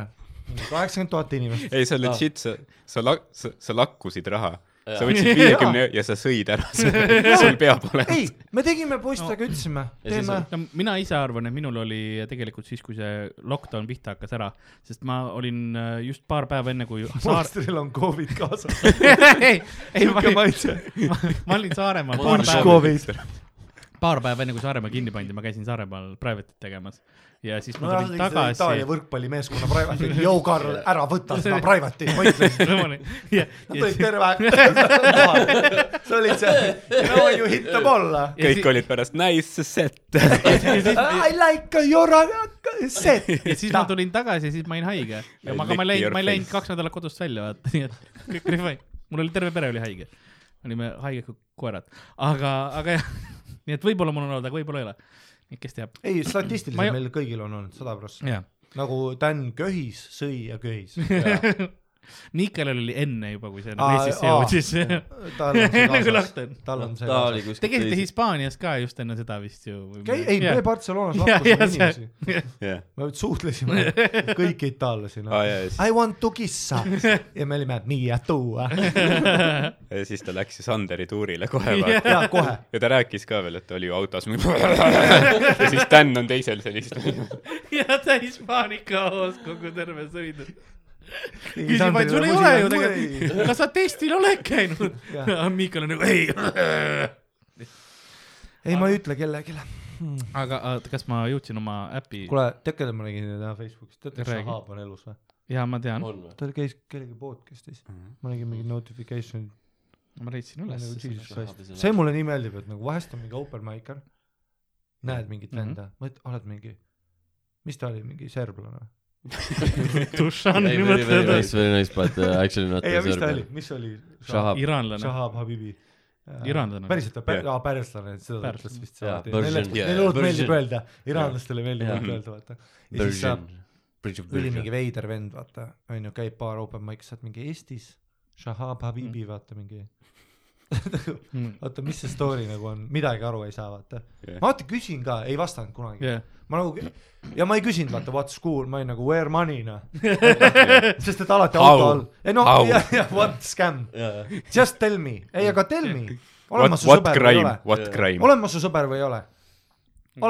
C: kaheksakümmend tuhat inimest .
E: ei , sa legit , sa , sa lak- , sa, sa lakkusid raha . sa võtsid viiekümne ja sa sõid ära selle , sul peab olema .
C: ei , me tegime poistega , ütlesime ,
B: Ja siis
C: teeme
B: on-
D: no mina ise arvan , et minul oli tegelikult siis , kui see lockdown pihta hakkas ära , sest ma olin äh, just paar päeva enne , kui saar...
C: monstril on KOV-id kaasas .
D: ei , ei , ma
C: sihuke
D: olin ,
C: maitse .
D: ma olin Saaremaal paar
B: Monstril
D: päeva ,
C: KOV-id .
D: paar päeva enne , kui Saaremaa kinni pandi , ma käisin Saaremaal private'it tegemas ja siis ma tulin
C: Itaalia
D: tagasi .
C: võrkpallimeeskonna private'i , joo Karl , ära võta seda private'i , ma ütlesin .
D: ja ,
C: Nad
D: ja
C: olid terve , sa olid see , no you hit the ball .
E: kõik olid pärast nice set .
C: I like your set .
D: ja siis ma tulin tagasi ja siis ma olin haige ja
E: I
D: ma , aga ma ei
E: lick
D: läinud ,
E: your
D: ma ei läinud
E: face.
D: kaks nädalat kodust välja , vaata , nii et kõik oli fine . mul oli terve pere oli haige , olime haiged kui koerad , aga , aga jah , nii et võib-olla mul on olnud , aga võib-olla ei ole . kes teab .
C: ei ,
D: Ma
C: statistiliselt
D: ei-
C: meil kõigil on olnud sada prossa .
D: jah ,
C: nagu Dan köhis , sõi ja köhis .
D: Niikel oli enne juba , kui see nagu
C: Aa,
D: Eestisse
C: aa.
D: jõudis .
C: tal on see
D: Nagu
C: kaasas
D: lahti on. ,
C: tal on see
B: Noh, ta oli
C: kaasas .
B: kuskil
D: Te käisite Hispaanias ka just enne seda vist ju .
C: käi , ei , me Barcelonas
D: Jah, jah,
C: lahkusime
D: see-
C: inimesi ,
E: jah ,
C: me suhtlesime kõiki itaallasi ,
E: aa
C: noh .
E: ja siis ,
C: I want to kiss ja me olime mia tua
E: ja siis ta läks ju Sanderi tuurile kohe vaata .
C: ja kohe
E: ja ta rääkis ka veel , et ta oli ju autos . ja siis Dan on teisel seal istunud .
D: ja ta Hispaania hoos kogu terve sõidab . küsib ,
C: Sandrile
D: et sul ei
C: musi-
D: ole ju
C: mul
D: tegelikult , kas sa testil oled käinud ? Miikal on nagu ei .
C: ei , ma ei ütle kellelegi .
D: aga oota, kas ma jõudsin oma äpi ?
C: kuule , tead , keda ma nägin täna Facebookis , teate , kas
D: Räägi.
C: Šahab on elus või ?
D: jaa , ma tean ,
B: on või ?
C: ta käis kellegi podcast'is , ma nägin mingi notification ,
D: ma leidsin üles
C: nagu . Jesus
B: Shahabi
C: Christ ,
B: sõnum.
C: see mulle nii meeldib , et nagu vahest on mingi open mic'er , näed mingit
D: Mhm.
C: venda , mõtled , oled mingi , mis ta oli , mingi serblane või ?
D: Dušan ,
B: ei , very , very
D: mõtled ,
B: nice , very nice , but uh, actually not
C: ei , aga mis ta
B: Serbian.
C: oli , mis oli ?
B: Shahab.
D: iraanlane .
C: Shahab Habibi .
D: Iranlane.
C: päriselt või
E: Jah.
C: pär- , aa perslane , seda ta
D: Pers-
C: ütles vist
B: jaa,
C: alati.
B: Persian.
C: Neile
B: Jaa,
C: neile
B: jaa,
C: hullult meeldib
B: Persian.
C: öelda , iranlastele meeldib
B: Jaa.
C: hullult öelda , vaata . ja siis saab
B: Persian . Bridge of
C: üli
B: Persia
C: mingi . veider vend , vaata , onju , käib paar open mic'i , saad mingi Eestis , Shahab
E: Mm.
C: Habibi , vaata mingi . oota , mis see story nagu on , midagi aru ei saa , vaata . ma vaata küsin ka , ei vastanud kunagi
D: jah ,
C: ma nagu ja ma ei küsinud , vaata what's cool , ma olin nagu where money noh sest et alati
E: How?
C: auto all , ei no
E: How?
C: ja , ja what scam , just tell me , ei aga tell me , olen ma
E: What ,
C: su
E: what
C: sõber või ei
E: crime
C: ole ,?
E: what crime ? Mm.
C: olen ma su sõber või ei ole ,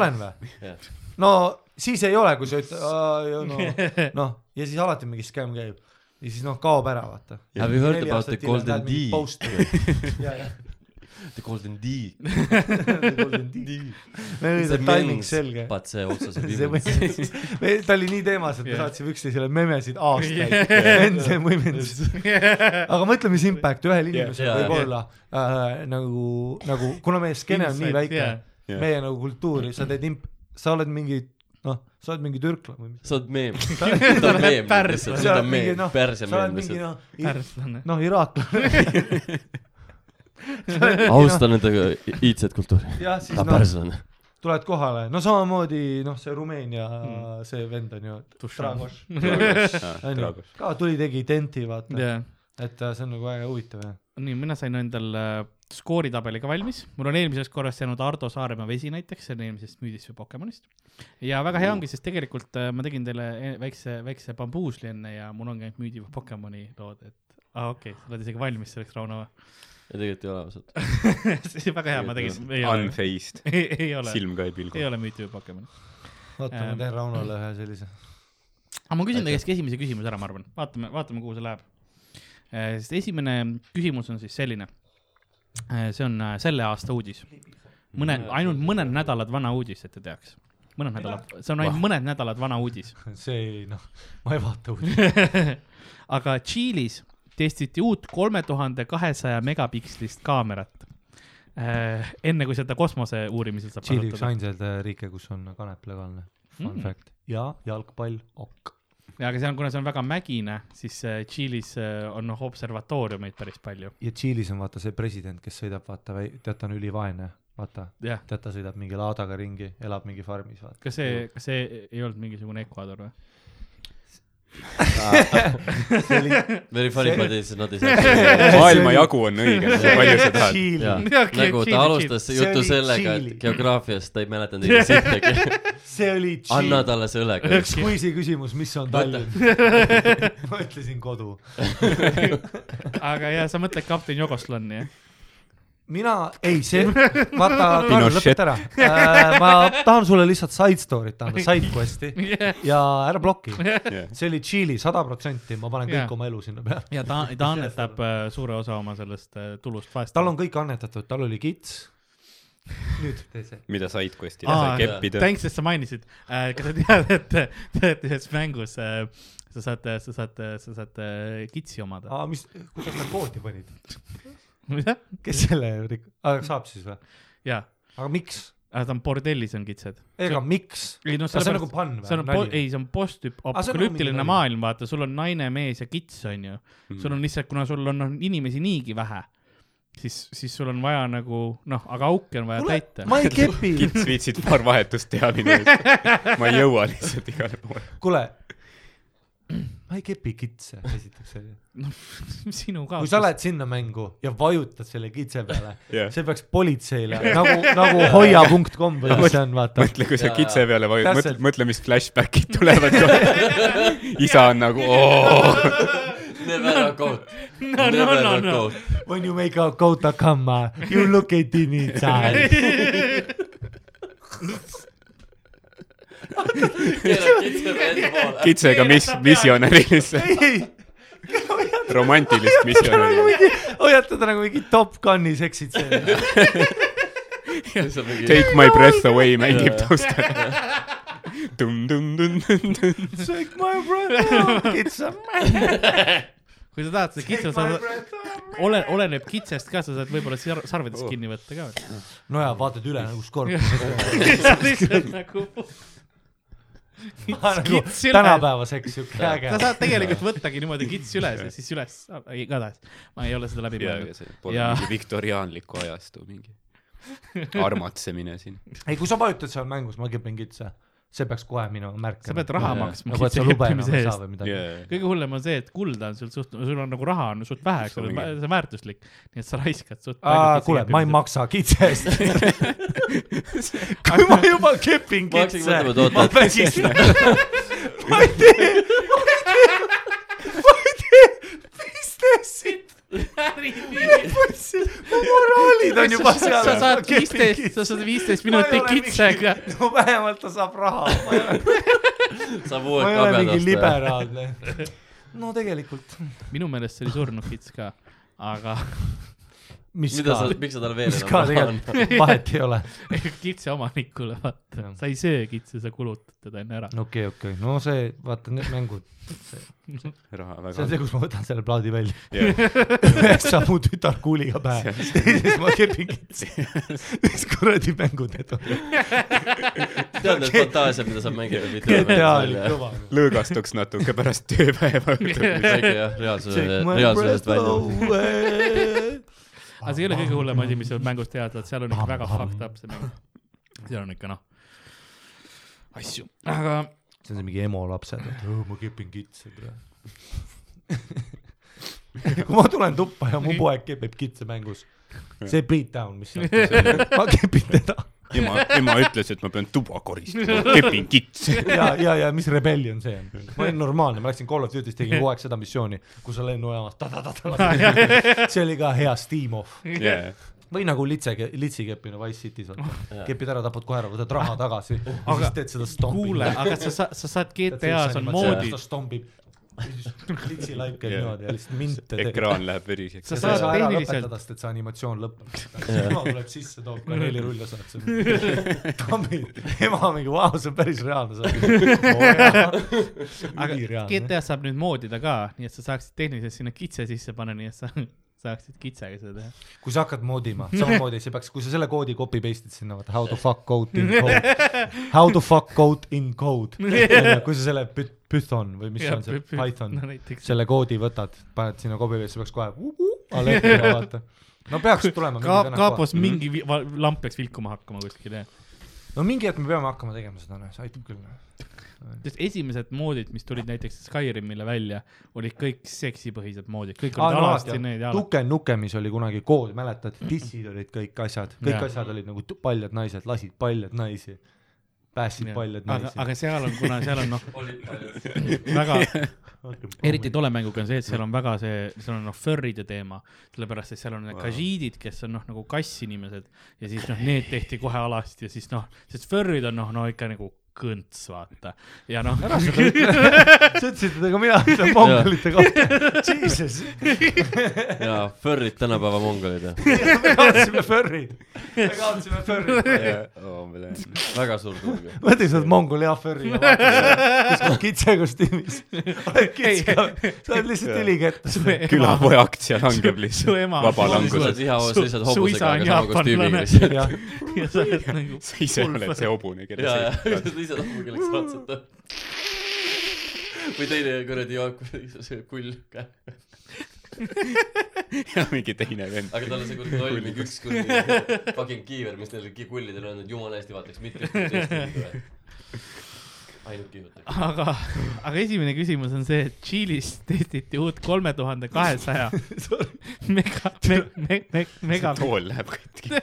C: olen või
B: Jah. ,
C: no siis ei ole , kui sa ütled , noh , noh ja siis alati mingi scam käib ja siis noh , kaob ära vaata .
B: Have you heard about the golden D ?
C: D ?
B: The golden D .
C: meil oli see timing selge .
B: But see otsa see
C: see
B: viimane .
C: võimendus , ta oli nii teemas , et me
D: Jah.
C: saatsime üksteisele memesid aastaid
D: Jah. ,
C: enne see võimendus . aga mõtle , mis impact ühel inimesel
B: Jah.
C: võib olla äh, nagu , nagu , kuna meie skeene on nii
D: Insight,
C: väike
D: jah. ,
E: Jah.
C: meie nagu kultuuri , sa teed imp- , sa oled mingi , noh , sa oled mingi türklane või mis .
B: sa oled meem . ta on meem
D: Pärs-
B: lihtsalt ,
C: sa
B: ta on
C: oled mingi
B: meem ,
C: noh ,
B: perse
C: sa oled
B: meem
C: mingi
B: lihtsalt .
C: noh ,
D: pärslane .
C: noh iraaklane .
B: austa nende iidset kultuuri .
C: noh, jah , siis
B: ta on
C: noh ,
B: pärslane .
C: tuled kohale , no samamoodi noh , see Rumeenia see vend on ju ,
D: Dušan.
C: Dragoš , onju
E: onju ,
C: ka tuli , tegi identi , vaata ,
D: jah ,
C: et äh, see on nagu väga huvitav jah .
D: nii , mina sain endal äh, skooritabeli ka valmis , mul on eelmisest korrast jäänud Ardo Saaremaa vesi näiteks , see on eelmisest müüdist või Pokemonist . ja väga hea ongi , sest tegelikult äh, ma tegin teile e- väikse , väikse bambuusli enne ja mul ongi ainult müüdi või Pokemoni lood , et aa ah, okei okay, , sa oled isegi valmis selleks , Rauno või ?
B: ja tegelikult ei ole ausalt .
D: see oli väga hea , ma tegin , ei ole ,
E: Unfaced ,
D: ei, ei ole ,
E: silm ka ei
D: ei
E: pilgu .
D: ole müüdi või Pokemoni .
C: oota , ma
D: Ähm.
C: teen Raunole ühe sellise .
D: aga ma küsin teie käest esimese küsimuse ära , ma arvan , vaatame , vaatame , kuhu see läheb . sest esimene küsimus on siis selline . see on äh, selle aasta uudis . mõne , ainult mõned nädalad vana uudis , et te teaks . mõned nädalad , see on ainult mõned nädalad vana uudis .
C: see ei noh , ma ei vaata uudiseid .
D: aga Tšiilis testiti uut kolme tuhande kahesaja megapikslist kaamerat . enne kui seda kosmose uurimisel saab
C: Tšiili üks
D: kasutada .
C: ainsaid äh, riike , kus on kanep legaalne . Fun
D: Mm.
C: mm. fact . ja jalgpall ok .
D: aga see on , kuna see on väga mägine , siis äh, Tšiilis äh, on noh observatooriumeid päris palju .
C: ja Tšiilis on vaata see president , kes sõidab , vaata , tead , ta on ülivaene , vaata .
D: jah ,
C: tead , ta sõidab mingi laadaga ringi , elab mingi farmis , vaata .
D: kas see , kas see ei olnud mingisugune Ecuador või ?
C: see oli
B: Very funny , but it's not
E: maailmajagu on õige , palju sa tahad .
C: chill ,
D: Okei,
B: nagu
D: chill,
B: ta alustas
C: chill.
B: juttu
C: See oli
B: sellega ,
C: chili.
B: et geograafiast ta ei mäletanud ise sittagi .
C: see oli
B: anna
C: chill .
B: talle see õlega .
C: üks kuisi küsimus , mis on Tallinn ? ma ütlesin kodu .
D: aga jaa , sa mõtled kapten Jogoslanni , jah ?
C: mina , ei see , vaata , Karl ,
E: Pinochet.
C: lõpeta ära äh, . ma tahan sulle lihtsalt side story't anda , side quest'i ja ära bloki . see oli Tšiili sada protsenti , ma panen kõik
D: Jah.
C: oma elu sinna peale .
D: ja ta , ta annetab äh, suure osa oma sellest äh, tulust vaest .
C: tal on kõik annetatud , tal oli kits . nüüd tee see .
E: mida sidequest'ile
D: Aa,
E: sai keppida .
D: Thanks , et sa mainisid . kas sa tead , et , et ühes mängus äh, sa saad , sa saad , sa saad äh, kitsi omada ?
C: aa , mis , kuidas nad koodi panid ?
D: mida ?
C: kes selle , aga saab siis või ?
D: jaa ,
C: aga miks ?
D: aga ta on bordellis on kitsed .
C: ega miks ?
D: ei noh ,
C: aga see on nagu pann
D: see on po- ,
C: või ?
D: ei , see on postüp- ,
C: Aa, see on nagu mingi
D: apokalüptiline
C: nali.
D: maailm , vaata , sul on naine , mees ja kits , onju . sul on lihtsalt , kuna sul on, on inimesi niigi vähe , siis , siis sul on vaja nagu noh , aga auke on vaja
C: kuule
D: täita ,
C: ma ei kepi ,
E: kits viitsid paar vahetust teha minu eest . ma ei jõua lihtsalt igale poole .
C: kuule . ma ei kepi kitse , esiteks see
D: sinu ka .
C: kui sa lähed sinna mängu ja vajutad selle kitse peale
E: Jah.
C: yeah. , see peaks politseile nagu , nagu hoia.com või mis see on , vaata .
E: mõtle , kui sa
B: Jaa,
E: kitse peale vajud , mõtle
C: Täpselt. ,
E: mõtle , mis flashbackid tulevad . isa on nagu oo .
B: Never a goat .
D: no , no , no , no .
C: When you make a coat a kama , you look at it inside .
E: kitsega mis , missionäris ,
C: ei ,
E: romantilist missionäri .
C: hoiata ta nagu mingi Top Guni seksid seal .
E: Take my breath away mängib taustal . tumm-tumm-tumm-tumm-tumm .
C: Take my breath out , kits on
D: kui sa tahad seda kitsa saada ,
C: mine .
D: ole , oleneb kitsest ka , sa saad võib-olla sar- sarvedest kinni võtta ka .
C: no ja vaatad üle nagu skorp .
D: sa lihtsalt nagu ,
C: nagu
D: kits üle.
C: tänapäevaseks siuke
D: sa
C: äge .
D: saad tegelikult võttagi niimoodi kits üles ja siis üles , igatahes . ma ei ole seda läbi mõelnud . Jaa.
E: mingi viktoriaanliku ajastu mingi armatsemine siin .
C: ei , kui sa vajutad seal mängus , ma kipin kitse , see peaks kohe minu märk .
D: sa pead raha
E: Jaa.
D: maksma
C: nagu , et
D: kitse
C: sa lube enam
D: keppimise
C: ei
D: eest
C: saa . või midagi .
E: see
D: kõige hullem on see , et kulda on sul suht , sul on nagu raha on suht vähe , eks ole ,
E: Mingi-
D: see on väärtuslik , nii et sa raiskad suht .
C: aa , kuule , ma ei . maksa kitse eest . kui ma juba kepin
B: Ma hakkasin
C: kitse
B: mõtlema, , et
C: ma
B: oota,
C: vägistan . ma ei tee , ma ei tee , ma ei tee , mis te siin , mu moraalid on juba seal .
D: sa saad viisteist , sa saad viisteist minutit kitsega .
C: no vähemalt ta saab raha , ma ei ole-
B: saab
C: ma
B: uued
C: ei ole
B: kabjad
C: mingi
B: osta .
C: liberaalne . no tegelikult ,
D: minu meelest see oli surnud kits ka , aga
C: mis
B: mida
C: ka
B: sa , miks sa talle veel
C: mis ka
B: enam annad ?
C: tegelikult vahet ei ole .
D: kitse omanikule vaata
C: Jah. ,
D: sa ei söö kitse , sa kulutad teda enne ära .
C: okei , okei , no see , vaata need mängud , see
E: raha väga
C: on see , kus ma võtan selle plaadi välja .
E: Jah.
C: ühes saab mu tütar kuuliga pähe , teises ma kepin kitsi . mis kuradi mängud need on ?
B: tead need fantaasiad , mida saab mängida ?
C: GTA oli . kõva .
E: lõõgastuks natuke pärast tööpäeva õhtut .
B: väike jah , reaalsuse , reaalsusest välja .
D: aga see ei ole kõige hullem asi , mis seal mängus teada , et seal on ikka väga fucked up see mäng . seal on ikka noh , asju , aga
C: see on see mingi emo lapsed , et "Õõ, ma kepin kitsi praegu . kui ma tulen tuppa ja mu poeg kepib kitse mängus , see beatdown , mis seal ma kepin teda
E: ema , ema ütles , et ma pean tuba koristama , kepin kitse .
C: ja , ja , ja mis rebellion see on ? ma olin normaalne , ma läksin Call of Duty's , tegin kogu aeg seda missiooni , kus sa lennujaamas ta-ta-ta-ta , see oli ka hea steam-off . või nagu litse , litsi keppimine Wise City's vaata , kepid ära , tapad koera , võtad raha tagasi ja
D: Aga
C: siis teed seda stompi .
D: kuule , aga sa saad , sa saad GTA-s on moodid ,
C: stompib , litsi laip käib
E: Jah.
C: niimoodi ja lihtsalt minte
E: ekraan läheb veriseks
C: sa
D: Sa .
C: ei
D: saad
C: saa ära
D: tehniliselt-
C: lõpetada , sest et see animatsioon lõpeb . ema tuleb sisse , toob kaneelirulla , saad selle . tammid , ema mingi , vau , see on päris reaalne saade .
D: aga GTA-s saab nüüd moodida ka , nii et sa saaksid tehniliselt sinna kitse sisse panna , nii et sa saaksid kitsega seda teha .
C: kui sa hakkad moodima , samamoodi see peaks , kui sa selle koodi copy paste'id sinna , vaata nagu, how to fuck code in code , how to fuck code in code , kui sa selle pü- Python või mis see on see Python ,
D: no näiteks .
C: selle koodi võtad , paned sinna copy paste'i , peaks kohe alertida vaata . no peaks tulema .
D: Kaap- , kaapos mingi vi- va- lamp peaks vilkuma hakkama kuskil , jah .
C: no mingi hetk me peame hakkama tegema seda , noh , see aitab küll .
D: sest esimesed moodid , mis tulid näiteks Skyrimile välja , olid kõik seksipõhised moodid , kõik
C: Aa,
D: olid
C: no
D: alasti
C: alati,
D: need
C: jah.
D: jalad .
C: tuke nukemis oli kunagi kood , mäletad , dissid olid kõik asjad , kõik
D: Jah.
C: ja. asjad olid nagu tu- paljad naised , lasid paljad naisi , päästsid paljad
D: aga ,
C: naisi .
D: aga seal on , kuna seal on noh ,
C: oh.
D: väga , eriti tolle mänguga on see , et seal on väga see , seal on noh , furry'de teema , sellepärast et seal on need kažiidid , kes on noh , nagu kassinimesed ja siis noh , need tehti kohe alasti ja siis noh , sest furry'd on noh , no ikka nagu kõnts , vaata . ja noh ,
C: sa ütlesid seda ka mina , ütlen mongolite kohta . Jesus ,
B: jaa , furrid tänapäeva mongolid ,
C: me kaotasime furry'd , me kaotasime furry'd .
B: väga suur turg .
C: mõtle , sa oled mongol hea furry , kuskil kitsekostüümis . oled kitse , sa oled lihtsalt ülikettas .
E: külapoe aktsia langeb
D: su
E: lihtsalt
D: ema-
B: sa
E: vabalanguses
B: oled . iha hoos
D: Su-
B: lihtsalt
D: suisa
B: hobusega ,
D: on
B: aga sama kostüümiga
D: jaapanlane.
B: lihtsalt .
C: jah ,
D: ja sa oled nagu
E: sa ise oled see hobune , kelle
B: jaa , jaa ,
E: sa
B: lihtsalt ise tahab kelleks ratsata . või teine kuradi jook , see kull , aga
E: ja mingi teine vend .
B: tal on see kuradi loll mingi üks kuradi fucking kiiver , mis neil ki- kullidel on , et jumala eest ei vaataks mitte ühtegi teist kullidele . ainult kihutab .
D: aga , aga esimene küsimus on see , et Tšiilis testiti uut kolme tuhande kahesaja mega , me- , me- , me- , mega ,
E: tool läheb katki .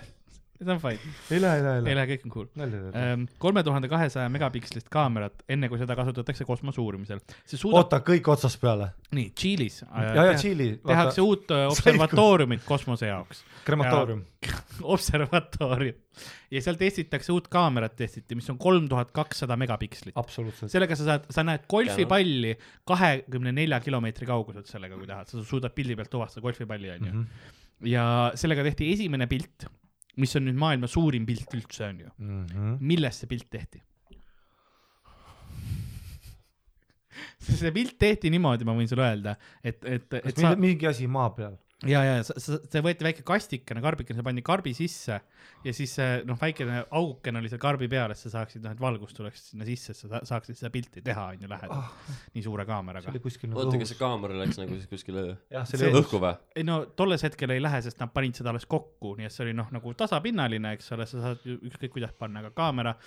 D: see on fine ,
C: ei lähe , ei lähe ,
D: ei
C: ei lähe .
D: lähe , Äh, kõik on cool .
C: nalja teed .
D: kolme tuhande kahesaja megapikslist Ehm, kaamerat , enne kui seda kasutatakse kosmose uurimisel . see suudab ,
C: oota , kõik otsast peale .
D: nii , Tšiilis
C: ja , ja Tšiili ,
D: tehakse
C: vaata ,
D: uut äh, observatooriumit kosmose jaoks ,
C: krematoorium .
D: observatoorium . ja seal testitakse uut kaamerat testiti , mis on kolm tuhat kakssada megapikslit .
C: absoluutselt .
D: sellega sa saad , sa näed golfipalli kahekümne nelja kilomeetri kauguselt sellega , kui tahad , sa suudad pildi pealt tuvastada golfipalli ,
C: Mhm.
D: onju . ja sellega tehti esimene pilt , mis on nüüd maailma suurim pilt üldse , onju .
C: Mhm.
D: millest see pilt tehti ? see pilt tehti niimoodi , ma võin sulle öelda , et , et , et
C: kas
D: sa
C: mingi , mingi asi maa peal ?
D: ja , ja sa- sa- see võeti väike kastikene , karbikene , see pandi karbi sisse ja siis see, noh , väikene augukene oli seal karbi peal , et sa saaksid , noh , et valgus tuleks sinna sisse , et sa sa- saaksid seda pilti teha , on ju , lähedalt . nii suure
C: see
D: kaameraga
C: oli . kuskil nagu
B: oota , kas
C: õhus .
B: see kaamera läks nagu siis kuskile
C: jah , see
D: see-
C: oli õhus .
B: õhku või ?
D: ei no tolles hetkel ei lähe , sest nad panid seda alles kokku , nii et see oli noh , nagu tasapinnaline , eks ole , sa saad ju ükskõik kuidas panna , aga kaamera ,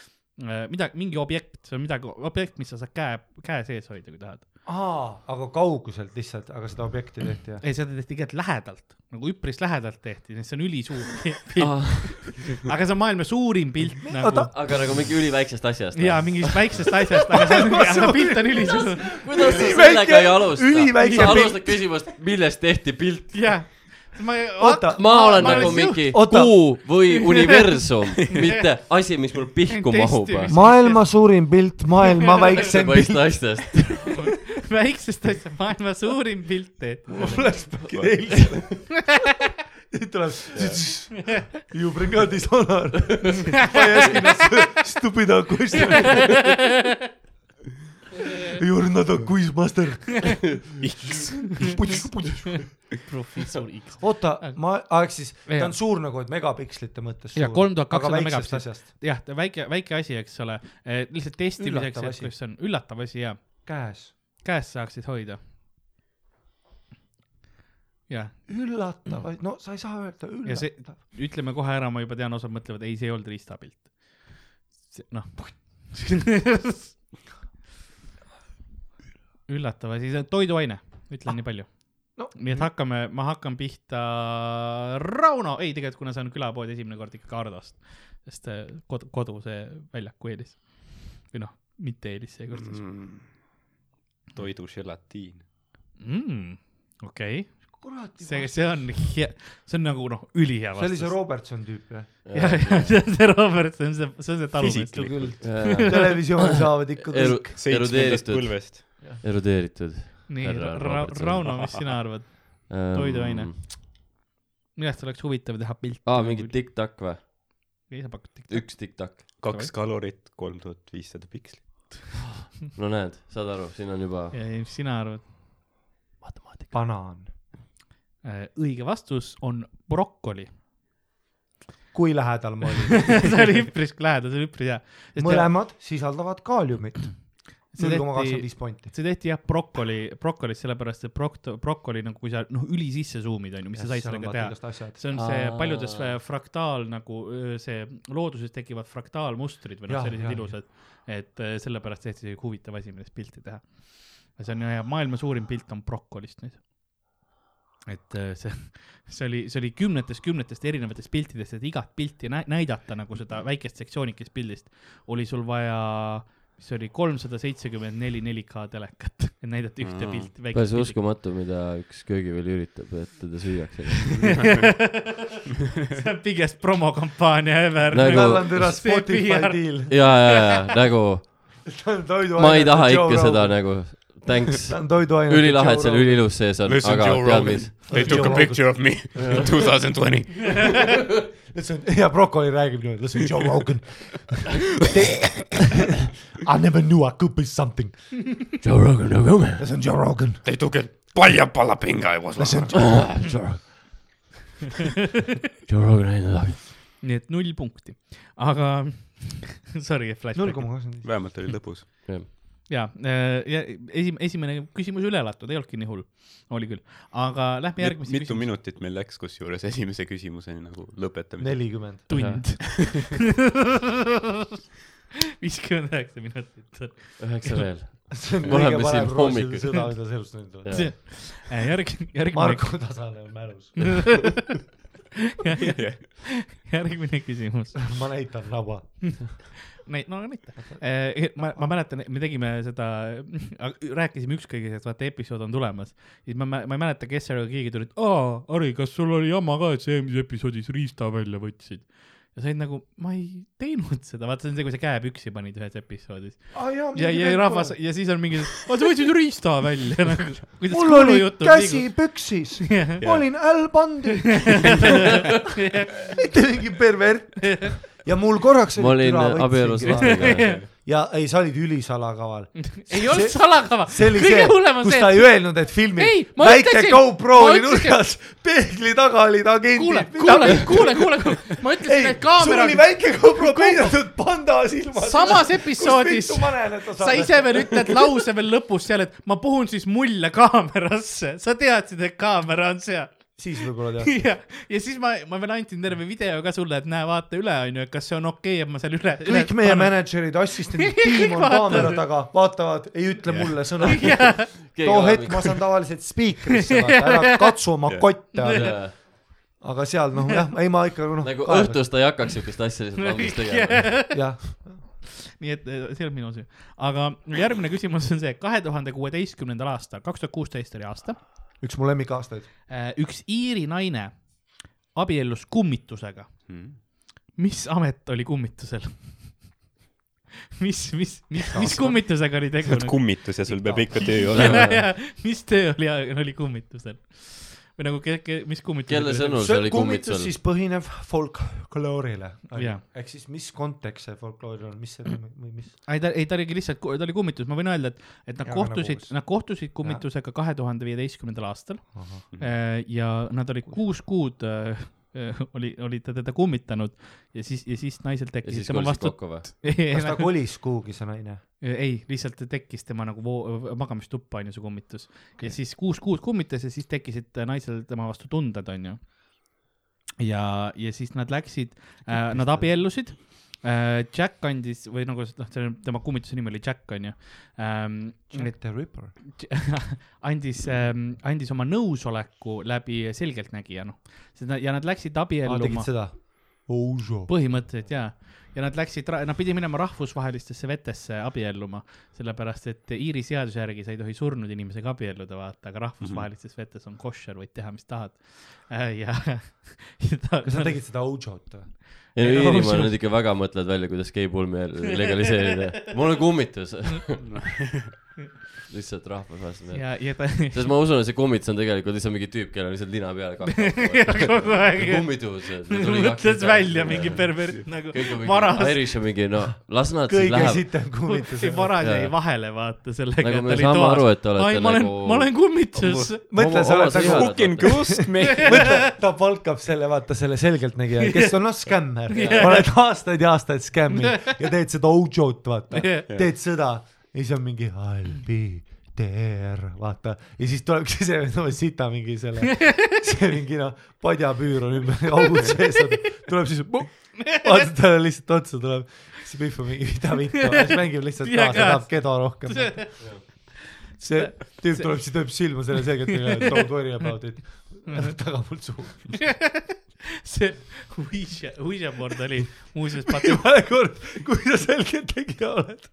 D: midagi , mingi objekt , see on midagi , objekt , mis sa saad käe , käe sees hoida , kui tahad .
C: aa , aga kauguselt lihtsalt , aga seda objekti tehti jah ?
D: ei , seda tehti tegelikult lähedalt , nagu üpris lähedalt tehti , see on ülisuur pilt . aga see on maailma suurim pilt nagu
C: Oota.
B: Ah, aga nagu mingi üliväiksest asjast ?
D: ja mingist väiksest asjast , aga see on , aga see pilt on ülisuur .
B: kuidas sa
C: Üliväike-
B: sellega ei alusta ?
C: üliväike
B: sa
C: pilt.
B: alustad küsimust , millest tehti pilt ?
D: jah , ma ei ,
C: Oota.
B: ma olen
D: ma
B: nagu
D: olen
B: mingi
C: Oota.
B: kuu või universum , mitte asi , mis mul pihku mahub .
D: Testimis-
C: maailma suurim pilt , maailma väiksem pilt .
B: mõista asjast .
D: väiksest asjast maailma suurim pilt tehti .
C: mul läks päkki eilsele . nüüd tuleb . You bring out this honor . ma ei askinud stupida question . You are not a quiz master .
D: professor X .
C: oota ,
D: Äh.
C: ma , ehk siis ta
D: Jah.
C: on suur nagu , et megapikslite mõttes
D: Jah,
C: suur,
D: 3200
C: aga väiksest
D: megapikslit.
C: asjast
D: jah , väike , väike asi , eks ole , lihtsalt testimiseks ,
C: Üllatav
D: et
C: asi.
D: kas see on üllatav asi ja
C: käes .
D: käes saaksid hoida . jah ,
C: üllatav , no sa ei saa öelda
D: Mm. Ja see-
C: üllatav .
D: ütleme kohe ära , ma juba tean , osad mõtlevad , ei , see ei olnud riistapilt . noh . üllatav asi , see on toiduaine , ütlen nii palju
C: No.
D: nii et hakkame , ma hakkan pihta Rauno , ei tegelikult , kuna see on külapood esimene kord ikkagi Hardost , sest äh, kod- , kodu see väljaku eelis või noh , mitte eelis seekord
C: Mhm.
D: siis
E: toidu želatiin .
D: mm, . okei okay. ,
C: kurat ,
D: see ,
C: see
D: see on hea , see on nagu noh , ülihea
C: oli see
D: vastus .
C: Robertson tüüp jah ?
D: jah , see on see Robert , see on see , see on see talumees .
E: isiklikult .
C: televisioonis saavad ikka
B: Äh, Eru-
C: kõik .,
E: seitsmendast
B: erudeeritud ,
E: põlvest .
B: erudeeritud .
D: nii ,
B: Härra Robertson.
D: Rauno , mis sina arvad ,
B: Ähm,
D: Toiduaine. millest oleks huvitav teha pilt ?
B: aa , mingi . tiktak või ?
D: ei , sa pakud tikk .
B: üks tiktak .
E: kaks kalorit , kolm tuhat viissada pikslit .
B: no näed , saad aru , siin on juba
D: ja , ja mis sina arvad ?
B: matemaatika .
C: banaan .
D: Äh, õige vastus on brokkoli .
C: kui lähedal ma olin .
D: see oli üpris lähedal , see oli üpris hea .
C: mõlemad sisaldavad kaaliumit .
D: see
C: null koma kakskümmend
D: tehti ,
C: viis pointi .
D: see tehti jah brokoli , brokolist sellepärast , et brok- , brokoli nagu kui sa noh , üli sisse suumid onju , mis sa said sellega teha . see on see
B: Aa.
D: paljudes äh, fraktaal nagu öö, see looduses tekivad fraktaalmustrid või noh ,
C: Jah,
D: sellised
C: jah,
D: ilusad , et öö, sellepärast tehti see huvitav asi , millest pilti teha . ja see on jah , maailma suurim pilt on brokolist nüüd . et öö, see , see oli , see oli kümnetest-kümnetest erinevatest piltidest , et igat pilti nä näidata nagu seda väikest sektsioonikest pildist oli sul vaja , mis see oli , kolmsada seitsekümmend neli 4K telekat , näidati ühte
C: Mm.
E: Aa.
D: pilti .
B: päris uskumatu , mida üks köögiväli üritab , et teda süüakse .
D: see on biggest promokampaania ever
B: Nagu-
C: tal on täna
D: See
C: Spotify
D: PR.
C: deal .
B: ja , ja , ja nagu ma ei taha ikka seda . nagu , thanks ,
C: ta on toiduaine .
B: ülilahe , et seal . üliilus sees on ,
E: Listen,
B: aga
E: Joe
B: tead
E: Rogan.
B: mis ,
E: They took a picture of me in 2020 .
C: ja Brokoli räägib niimoodi , listen Joe Rogan . I never knew I could be something .
B: Joe Rogan , no come on .
C: listen Joe Rogan .
E: They took a paljapala pinga ja was
C: listen
E: like .
B: Joe Rogan on enda taga .
D: nii et null punkti , aga sorry ,
C: null
D: flashback .
C: koma kakskümmend viis .
E: vähemalt oli lõbus .
D: ja , ja esim- , esimene küsimus üle elatud , ei olnudki nii hull , oli küll , aga lähme järgmisse
E: mitu . minutit meil läks kusjuures esimese küsimuseni nagu lõpetamiseni ?
C: nelikümmend .
D: tund . viiskümmend üheksa minutit .
B: üheksa veel .
C: see on
B: Me oleme
C: kõige
B: siin
C: parem
B: hommikul.
C: roosil sõda , mida sa elust näinud oled .
D: Äh, järg , järgmine ,
C: Marko Tasane on mälus .
D: järgmine küsimus .
C: ma näitan raba .
D: näi- , no mitte . ma , ma mäletan , me tegime seda , rääkisime ükskõigis , et vaata episood on tulemas . siis ma , ma ei mäleta , kes seal oli , keegi tuli , et aa , Harri , kas sul oli jama ka , et sa eelmises episoodis riista välja võtsid ? ja said nagu , ma ei teinud seda , vaata see on see , kui sa käe püksi panid ühes episoodis .
C: Ah,
D: ja , ja rahvas ja siis on mingi , vaata sa võtsid riista välja nagu .
C: mul oli
D: nagu-
C: käsi . püksis , ma olin äll pandud , mitte mingi pervert . ja mul korraks
B: ma olin abielus Laariga .
C: ja ei , sa olid ülisalakaval .
D: ei olnud salakava ,
C: see oli
D: kõige
C: see ,
D: hullem on
C: kus
D: see ,
C: ta ei öelnud , et filmi
D: Ei, ma
C: väike
D: ütlesin-
C: GoPro
D: ma
C: oli
D: ütlesin-
C: nurgas , peegli taga olid
D: kuule ,
C: agendid .
D: kuule , kuule , kuule , kuule , ma
C: ei
D: ütlesin , et ,
C: sul
D: kaamera
C: oli väike GoPro peidetud panda silmas .
D: samas episoodis sa ise veel ütled lause veel lõpus seal , et ma puhun siis mulle kaamerasse , sa teadsid , et kaamera on seal .
C: siis võib-olla tead .
D: ja , ja siis ma , ma veel andsin terve video ka sulle , et näe , vaata üle , onju , et kas see on okei okay, , et ma seal üle .
C: kõik meie . mänedžerid , assistendid , tiim on
D: Kõik
C: kaamera
D: vaatavad.
C: taga , vaatavad , ei ütle mulle sõna .
D: jah ,
C: too hetk ma saan tavaliselt spiikrisse , ära katsu oma kotte , onju .
B: Yeah.
C: aga seal noh , jah , ei ma ikka noh .
B: nagu õhtust ta ei hakkaks siukest asja lihtsalt valmis tegema .
C: jah ,
D: nii et eh, see on minu süü . aga järgmine küsimus on see , kahe tuhande kuueteistkümnendal aastal , kaks tuhat kuusteist oli aasta ,
C: üks mu lemmikaastaid .
D: üks Iiri naine abiellus kummitusega
E: Hmm.
D: mis amet oli kummitusel ? mis , mis , mis , mis kummitusega oli tegu ?
E: kummitus ja sul peab ikka töö olema .
D: mis töö oli , oli kummitusel ? või nagu , mis kummitus ?
B: kelle sõnul see oli kummitusel ?
C: siis põhineb folkloorile .
D: Jah.
C: ehk siis mis kontekst see folklooril on , mis see või mis ?
D: ei , ta , ei ta oligi lihtsalt , ta oli kummitus , ma võin öelda , et , et nad
C: Jaa,
D: kohtusid
C: nagu ,
D: nad kohtusid kummitusega kahe tuhande viieteistkümnendal aastal Eh, ja nad olid kuus kuud eh, eh, oli , oli ta teda kummitanud ja siis , ja siis naisel
B: ja
D: tekkis
B: siis
D: tema
B: kuulsid
D: vastu .
B: kokku või ?
C: kas ta kolis kuhugi , see naine ?
D: Äh, ei , lihtsalt tekkis tema nagu voo- , magamistuppa onju see kummitus okay. ja siis kuus kuud kummitas ja siis tekkisid äh, naisel tema vastu tunded onju . ja , ja siis nad läksid äh, , nad abiellusid äh, . Jack andis või nagu noh , see tema kummituse nimi oli Jack onju ähm, .
C: Jack the Ripper .
D: andis ähm, , andis oma nõusoleku läbi selgeltnägija noh , ja nad läksid
C: aa ,
D: abielluma
C: tegid seda ? Ouzo .
D: põhimõtteliselt jaa , ja nad läksid , nad pidid minema rahvusvahelistesse vetesse abielluma , sellepärast et Iiri seaduse järgi sa ei tohi surnud inimesega abielluda , vaata , aga rahvusvahelistes
B: Mhm.
D: vetes on koššer , võid teha , mis tahad . ja, ja ta,
C: kas nad tegid seda Ozot või ?
B: ei no
D: Ei,
B: Iirimaal
D: ausalt.
B: nad ikka väga mõtlevad välja , kuidas geipulmi legaliseerida . mul on kummitus . lihtsalt rahvusvaheline .
D: ja , ja ta
B: sest ma usun , et see kummitus on tegelikult lihtsalt mingi tüüp , kellel on lihtsalt lina peal kaks
D: kogu aeg
B: Nagu kummitus .
D: mõtles välja mingi . pervert nagu varas ,
B: Irish on mingi noh , las nad siis
C: kõige
B: läheb .
C: sitem kummitus .
D: varas
B: Jaa.
D: jäi vahele , vaata sellega .
B: Nagu me saame aru, et te olete
D: ma olen
B: nagu- ,
D: ma olen kummitus .
C: mõtle , sa oled nagu
E: Fucking ghost me .
C: mõtle , ta palkab selle , vaata selle selgeltnägija , kes on noh , skämmer . oled aastaid ja aastaid skämminud ja teed seda ojot , vaata .
D: Jah.
C: teed seda ja siis on mingi halbi teer , vaata . ja siis tulebki see no, sita mingi selle , see mingi noh , padjapüür on ümber , augud sees on , tuleb siis , vaata talle lihtsalt otsa tuleb , siis Pihv on mingi mida vittu , siis mängib lihtsalt
D: Tühja
C: kaasa ,
D: käest.
C: tahab kedo rohkem . see tüüp tuleb , siis lööb silma selle selgelt , don't worry about it , ära taga mult suhu .
D: see Ouija , Ouija board oli muuseas patu- ,
C: viimane kord , kui sa selgelttegija oled ,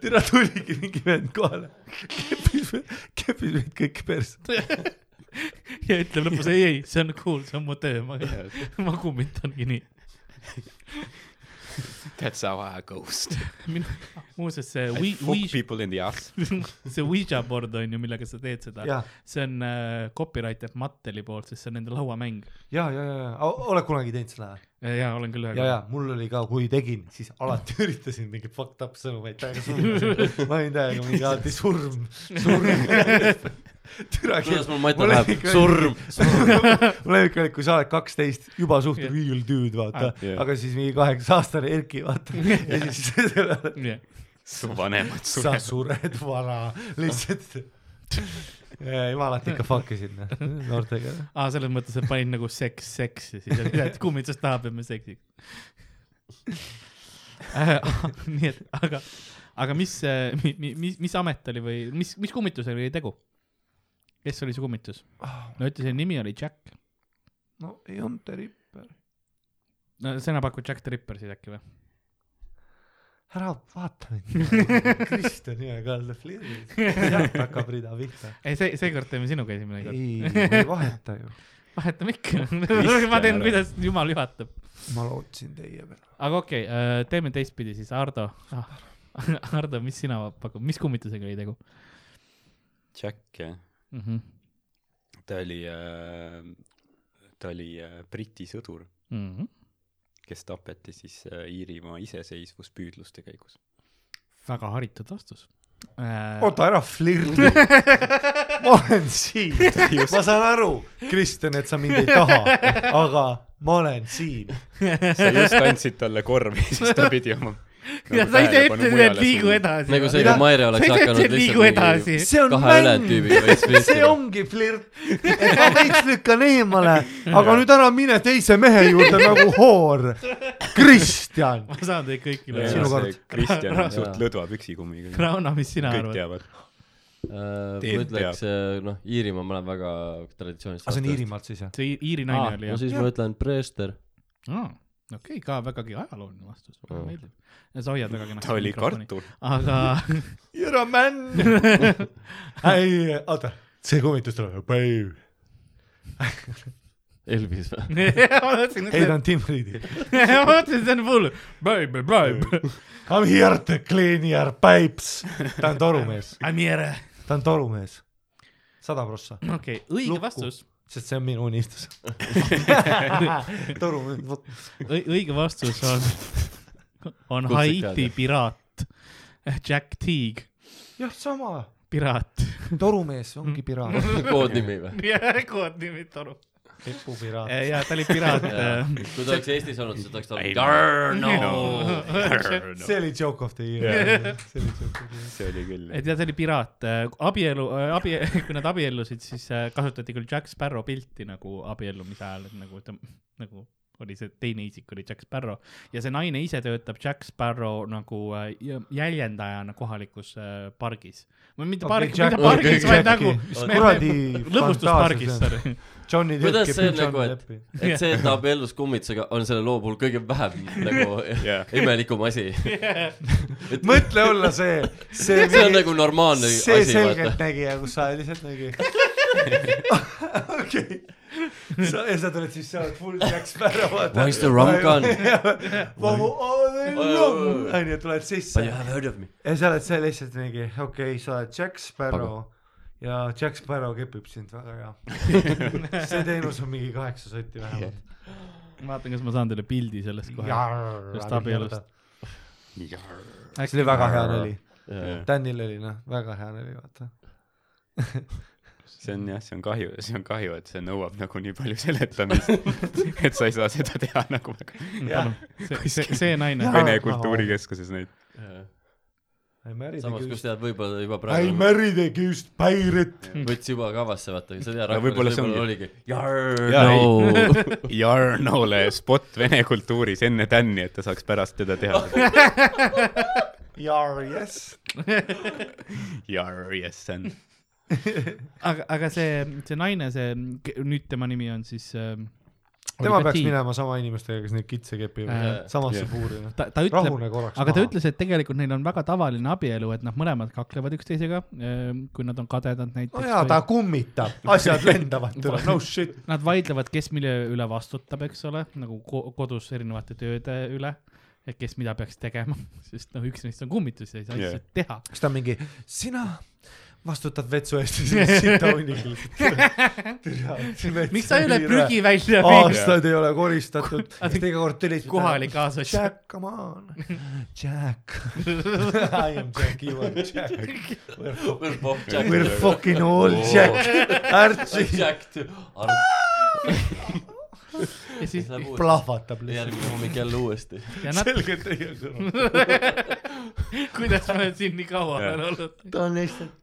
C: täna tuligi mingi vend kohale , kepis , kepis meid kõik persse .
D: ja ütleb lõpus ei , ei , see on cool , see on mu töö , ma , ma kummitangi nii .
E: That's how I ghost .
D: minu , muuseas see
E: I
D: Ouija ,
E: fuck
D: Ouija ,
E: people in the ass .
D: see Ouija board on ju , millega sa teed seda
C: ja ,
D: see on äh, copyrighted Matteli poolt , sest see on nende lauamäng .
C: ja , ja , ja , oled kunagi teinud seda või ?
D: ja olen küll
C: ja ,
D: ühe .
C: ja mul oli ka , kui tegin , siis alati üritasin mingeid fucked up sõnumeid täiega suruda . ma olin täiega mingi alati surm , surm . türa
B: kuidas
C: keel ,
B: mul maitse
C: Mul
B: läheb
C: ikka- ?
B: surm ,
C: mu lemmik oli , kui sa oled kaksteist , juba suht real dude , vaata ,
E: Jah.
C: aga siis mingi kaheksa aastane Erki , vaata , ja siis selle
E: su vanemad
C: sa
E: surevad .
C: sured vara , lihtsalt . ma alati ikka fuck isin noh, noortega .
D: aa , selles mõttes , et panin nagu seks , seks ja siis , et kumb meid siis tahab , et me seksiks äh, . nii et , aga , aga mis , mis , mis amet oli või mis , mis kummitusega oli tegu ? kes oli see kummitus ? no ütle , selle nimi oli Jack .
C: no ei olnud ta ripper .
D: no sina pakud Jack the Ripper siis äkki või ?
C: ära vaata mind . Kristjan ja Kalle Flirin . sealt hakkab rida pihta .
D: ei , see , seekord teeme sinuga esimene kord .
C: ei , ei vaheta ju .
D: vahetame ikka .
E: Issand,
D: ma teen ,
E: ära.
D: kuidas jumal juhatab .
C: ma lootsin teie peale .
D: aga okei okay, , teeme teistpidi siis , Ardo ah, . Ardo , mis sina pakud , mis kummitusega oli tegu
E: Jack , jah .
D: mm ? -hmm.
E: ta oli , ta oli äh, Briti sõdur ,
D: Mm -hmm.
E: kes tapeti siis äh, Iirimaa iseseisvuspüüdluste käigus .
D: väga haritud vastus äh, .
C: oota , ära flirdi . ma olen siin . ma saan aru , Kristjan , et sa mind ei taha , aga ma olen siin .
E: sa just andsid talle korvi , siis ta pidi oma nagu
D: ja sa ise ütlesid , et liigu . edasi .
B: nagu see , kui Maire oleks
D: sa
B: hakanud
D: ütlesid , et liigu
B: lihtsalt
D: edasi
B: mingi .
C: see on
B: kahe
C: mäng
B: ületüübiga veits
C: see
B: vestlema .
C: ongi flirt , et ma veits lükkan eemale , aga nüüd ära mine teise mehe juurde nagu hoor . Kristjan ,
D: ma saan teid kõiki
C: Jaa. Sinu ka-
D: lööma .
E: kord . Kristjan on
B: Jaa.
E: suht lõdva püksikummiga .
D: Rauno , mis sina
E: kõik
D: arvad ? Ah,
E: teavad .
B: Äh, ma
E: Teeb
B: ütleks , noh , Iirimaa , ma olen väga traditsioonilist .
C: Ah, see on . Iirimaalt siis jah ?
D: see I- Iiri naine
B: Ah,
D: ah, oli
B: no
D: jah ?
B: siis ma ütlen preester .
D: okei , ka vägagi ajalooline vastus , väga
B: Mm.
D: meeldib . sa hoiad väga kenasti .
E: ta oli . kartul .
D: aga
C: You are a man . ei , oota , see kummitus tuleb , babe .
B: Elvis või ?
D: ma mõtlesin ,
C: ei ,
D: et
C: ta on Tim Reedi .
D: ma mõtlesin , et see on full baby , baby ,
C: I m here to clean your pipes . ta on torumees ,
D: I m here .
C: ta on torumees . sada prossa ,
D: okei , õige
C: Lukku.
D: vastus ,
C: sest see on minu unistus . torumees ,
D: õige vastus on , on
B: Kuldseid
D: Haiti piraat , Jack Teague ,
C: jah , sama ,
D: piraat .
C: torumees ongi piraat ,
B: koodnimi või ?
D: koodnimi toru .
C: kepupiraat .
D: ja ta oli piraat . äh,
C: äh,
B: kui ta oleks Eestis olnud , siis ta oleks olnud Darno .
C: see oli joke of the year . see oli joke of the year .
E: see oli küll .
D: et ja ta oli piraat , abielu , abi , kui nad abiellusid , siis äh, kasutati küll Jack Sparrow pilti nagu abiellumise ajal , et nagu ta nagu oli see teine isik oli Jack Sparrow ja see naine ise töötab Jack Sparrow nagu äh, jä- jäljendajana kohalikus äh, pargis . või mitte pargi , mitte pargis , vaid nagu
C: kuradi
D: lõbustuspargis , sorry .
C: Johnny Depp
B: Kuidas
C: ja
B: see
C: Johnny
B: nagu, et-
C: Deppi.
B: et see , et ta abiellus kummitsega , on selle loo puhul kõige vähem nagu
E: Jah.
B: imelikum asi .
C: mõtle olla see , see ,
B: see on nagu normaalne
C: see
B: asi , vaata .
C: selgeltnägija , kus sa oled lihtsalt nägija . okei , sa ja sa tuled siis , sa oled full Jack Sparrow , vaata .
B: Why is the rum gone?
C: onju , tuled sisse
B: But you have heard of me .
C: ja sa oled seal lihtsalt mingi , okei okay, , sa oled Jack Sparrow ja Jack Sparrow kipib sind väga hea . see teenus on mingi kaheksa sotti vähemalt .
D: vaatan , kas ma saan teile pildi sellest kohe . Just abielust.
C: see
D: see
C: oli väga hea nali ,
E: Jah.
C: Tänil oli noh , väga hea nali , vaata .
E: see on jah , see on kahju , see on kahju , et see nõuab nagu nii palju seletamist , et sa ei saa seda teha nagu väga
D: Mm, see , see naine
C: Jaa.
E: Vene kultuurikeskuses neid .
C: I married a
B: samas , kus
C: goose .
B: tead , võib-olla juba
C: I
B: praegu
C: married a goose pirate .
B: võttis juba kavasse , vaata , sa tead
E: No , võib-olla see
B: oligi . jarr ,
E: Jaa,
B: no .
E: Jarnole spot vene kultuuris enne tänni , et ta saaks pärast teda teha .
C: Jar , yes .
E: Jar , yes , see on .
D: aga , aga see , see naine , see , nüüd tema nimi on siis äh,
C: tema
D: oli
C: peaks
D: Kati.
C: minema sama inimestega , kes neid kitse kepivad
D: Äh,
C: samasse
E: jah.
C: puuri , noh .
D: ta , ta ütleb ,
C: rahune korraks
D: aga ta ütles , et tegelikult neil on väga tavaline abielu , et nad mõlemad kaklevad üksteisega , kui nad on kadedad näiteks
C: no jaa , ta kummitab , asjad lendavad üle , no shit .
D: Nad vaidlevad , kes mille üle vastutab , eks ole , nagu ko kodus erinevate tööde üle , et kes mida peaks tegema , sest noh , üks neist on kummitus ja ei saa
E: Jah.
D: lihtsalt teha .
C: siis ta on mingi , sina vastutad vetsu eest ja siis siit taunikil .
D: miks sa ei ole prügi välja viinud ?
C: aastaid ei ole koristatud , siis teine kord tuli .
D: kohalik kaasas .
C: Jack , come on , Jack . I am Jack , you are Jack . We're fucking all Jack , Archie
B: Jacked . arv
D: ja siis ,
B: läheb uuesti .
C: plahvatab lihtsalt .
B: järgmine hommik jälle uuesti .
D: ja nad ,
C: selge teie sõnum .
D: kuidas ma olen siin nii kaua
E: Jah.
D: veel olnud .
B: ta on lihtsalt .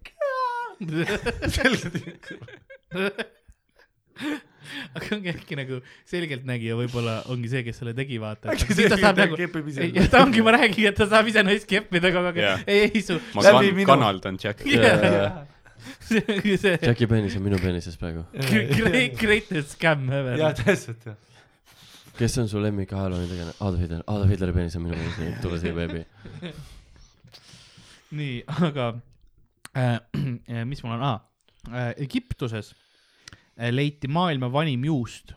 D: aga ongi äkki nagu selgeltnägija võib-olla ongi see , kes selle tegi , vaata .
C: Äkki
D: siis ta saab
C: selgeltnägija
D: nagu ,
C: kepib ise.
D: ja ta ongi , ma räägin , et ta saab ise naist keppida kogu
E: Jah.
D: aeg . ei , ei su .
E: ma
C: Läbi
E: kan-
C: minu.
E: kanaldan Jacki yeah. .
D: see , see
B: Jacki peenis on minu peenises praegu .
D: Great , greatest scam ever .
C: jah , täpselt jah .
B: kes on su lemmik ajalooni tegelane ? Adolf Hitler , Adolf Hitleri peenis on minu peenis , tule siia beebi .
D: nii , aga äh, äh, mis mul on , aa äh, , Egiptuses äh, leiti maailma vanim juust .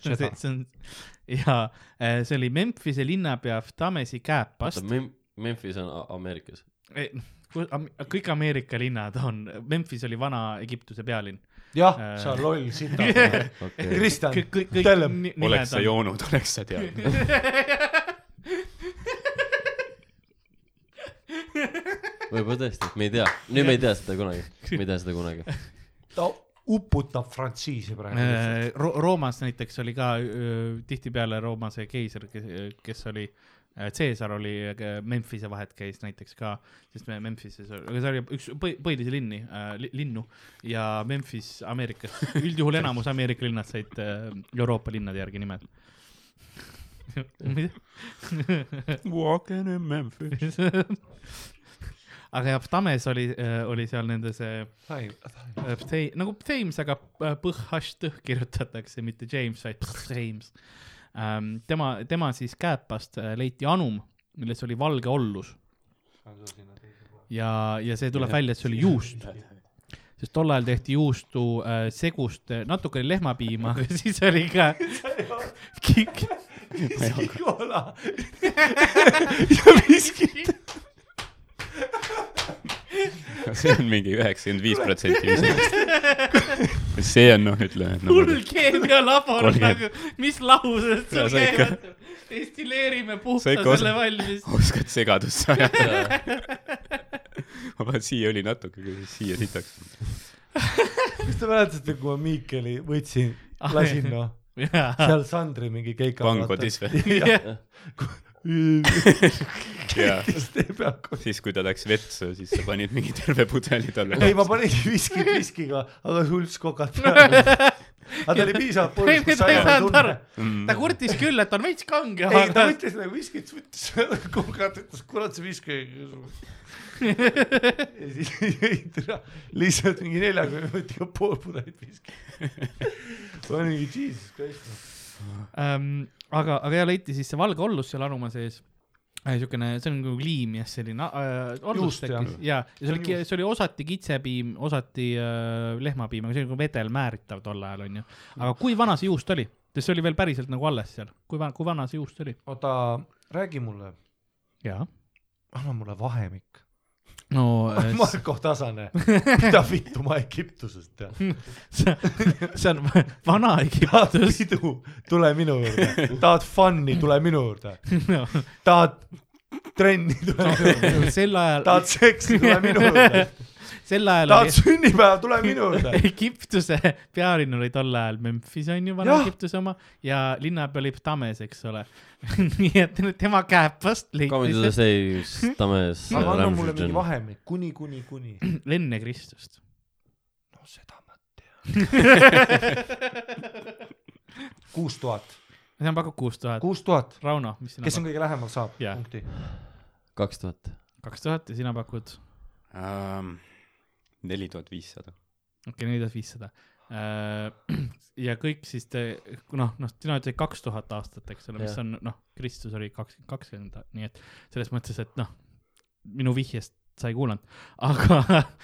D: see
C: Seda.
D: see on ja äh, see oli Memphise linnapea Ptamesi
B: oota
D: käepast ,,
B: Memphis on A- Ameerikas .
D: kõik Ameerika linnad on , Memphis oli vana Egiptuse pealinn .
C: jah
D: Äh. ,
C: sa loll sita .
B: okei .
C: Kristjan ,
D: kõik , kõik ,
C: tell
D: kõik
C: him.
D: ni- nimed
E: oleks sa
D: on .
E: joonud , oleks sa teadnud .
B: võib-olla tõesti , me ei tea , nüüd me ei tea seda kunagi , me ei tea seda kunagi .
C: ta uputab frantsiisi praegu .
D: Äh, Ro- Roomas näiteks oli ka öö, tihtipeale Rooma see keiser , kes , kes oli , Caesar oli , Memphise vahet käis näiteks ka , sest me Memphises , aga see oli üks põhi- põhilisi linni , linnu ja Memphis Ameerikas , üldjuhul enamus Ameerika linnad said äh, Euroopa linnade järgi nimed .
E: Walking in Memphis .
D: aga jah , Ptames oli , oli seal nende see Äh, Ptei- , nagu James , aga äh, PH-st kirjutatakse , mitte James , vaid James . tema , tema siis kääpast äh, leiti anum , milles oli valge ollus ja , ja see tuleb välja , et see oli juust . sest tol ajal tehti juustu äh, segust , natuke oli lehmapiima , aga siis oli ka kik- ,
C: Kikola ,
E: see on mingi üheksakümmend viis protsenti vist . see on noh , ütleme .
D: hull keemialabor
E: Oli.
D: nagu , mis laused
E: Ja
D: sul
E: sa ikka-
D: käivad , destilleerime
E: Sa
D: puhta
E: ikka osa-
D: selle valmis .
E: oskad segadusse ajada . ma panen siia õli natuke , kui siia sitaks .
C: kas te mäletate , kui ma Miikeli võtsin , lasin noh , seal Sandri mingi keika .
E: pangodis või ? jaa ,
C: siis teeb jagu .
E: siis kui ta läks vetsu , siis sa panid mingi terve pudeli talle .
C: ei , ma panin viski viskiga , aga sults kokad peale . aga ta oli piisavalt
D: ei ,
C: põhjus ,
D: ta
C: et sa
D: ei
C: ei
D: saanud
C: tunne
D: aru .,
E: Mm.
D: ta kurtis küll , et on veits kange ,
C: ei , ta
D: aga
C: võttis nagu viskit , võttis kokad , ütles kurat see viski . ja siis jõi türa , lihtsalt mingi neljakümne minutiga pool pudelit viski . ma olin mingi jesus christ .
D: ähm, , aga , aga ja leiti siis see valge ollus seal anuma sees . niisugune , see on nagu liim jah , selline äh, ollus
C: Juust,
D: tekkis
C: jah.
D: ja , ja see oli
C: See on ,
D: see oli osati kitsepiim , osati äh, lehmapiim , aga see oli nagu vedel määritav tol ajal onju . aga kui vana see juust oli ? sest see oli veel päriselt nagu alles seal , kui vana , kui vana see juust oli ?
C: oota , räägi mulle ,
D: jaa .
C: anna mulle vahemik .
D: no äh,
C: Marko Tasane , mida vittu ma Egiptusest tean ?
D: see, see on vana
C: tahad
D: Egiptus .
C: pidu , tule minu juurde , tahad fun'i , tule minu juurde ,
D: No,
C: tahad trenni , tule minu juurde ,
D: sel ajal
C: tahad seksi , tule minu juurde .
D: sel ajal
C: tahad sünnipäeva , tule minu juurde
D: oli . Egiptuse pealinn oli tol ajal Memphis onju , vana
C: Jah.
D: Egiptuse oma ja linnapea oli Ptames , eks ole . nii et tema käepast
B: Comedy
D: leiti
B: to the Stage , Tames ,
C: aga anna mulle mingi
B: Ramsden .
C: vahemik , kuni , kuni , kuni .
D: see enne Kristust .
C: no seda ma tean . kuus tuhat ,
D: see on pakub kuus tuhat .
C: kuus tuhat ,
D: Rauno , mis sina
C: kes on
D: pakud ?
C: kõige lähemal , saab
D: Jah.
C: punkti .
B: kaks tuhat .
D: kaks tuhat ja sina pakud ,
E: Ehm, neli tuhat viissada .
D: okei , neli tuhat viissada . ja kõik siis te , noh , noh , sina ütlesid kaks tuhat aastat , eks ole , mis
B: Jah.
D: on noh , Kristus oli kakskümmend , kakskümmend , nii et selles mõttes , et noh , minu vihjest sa ei kuulanud , aga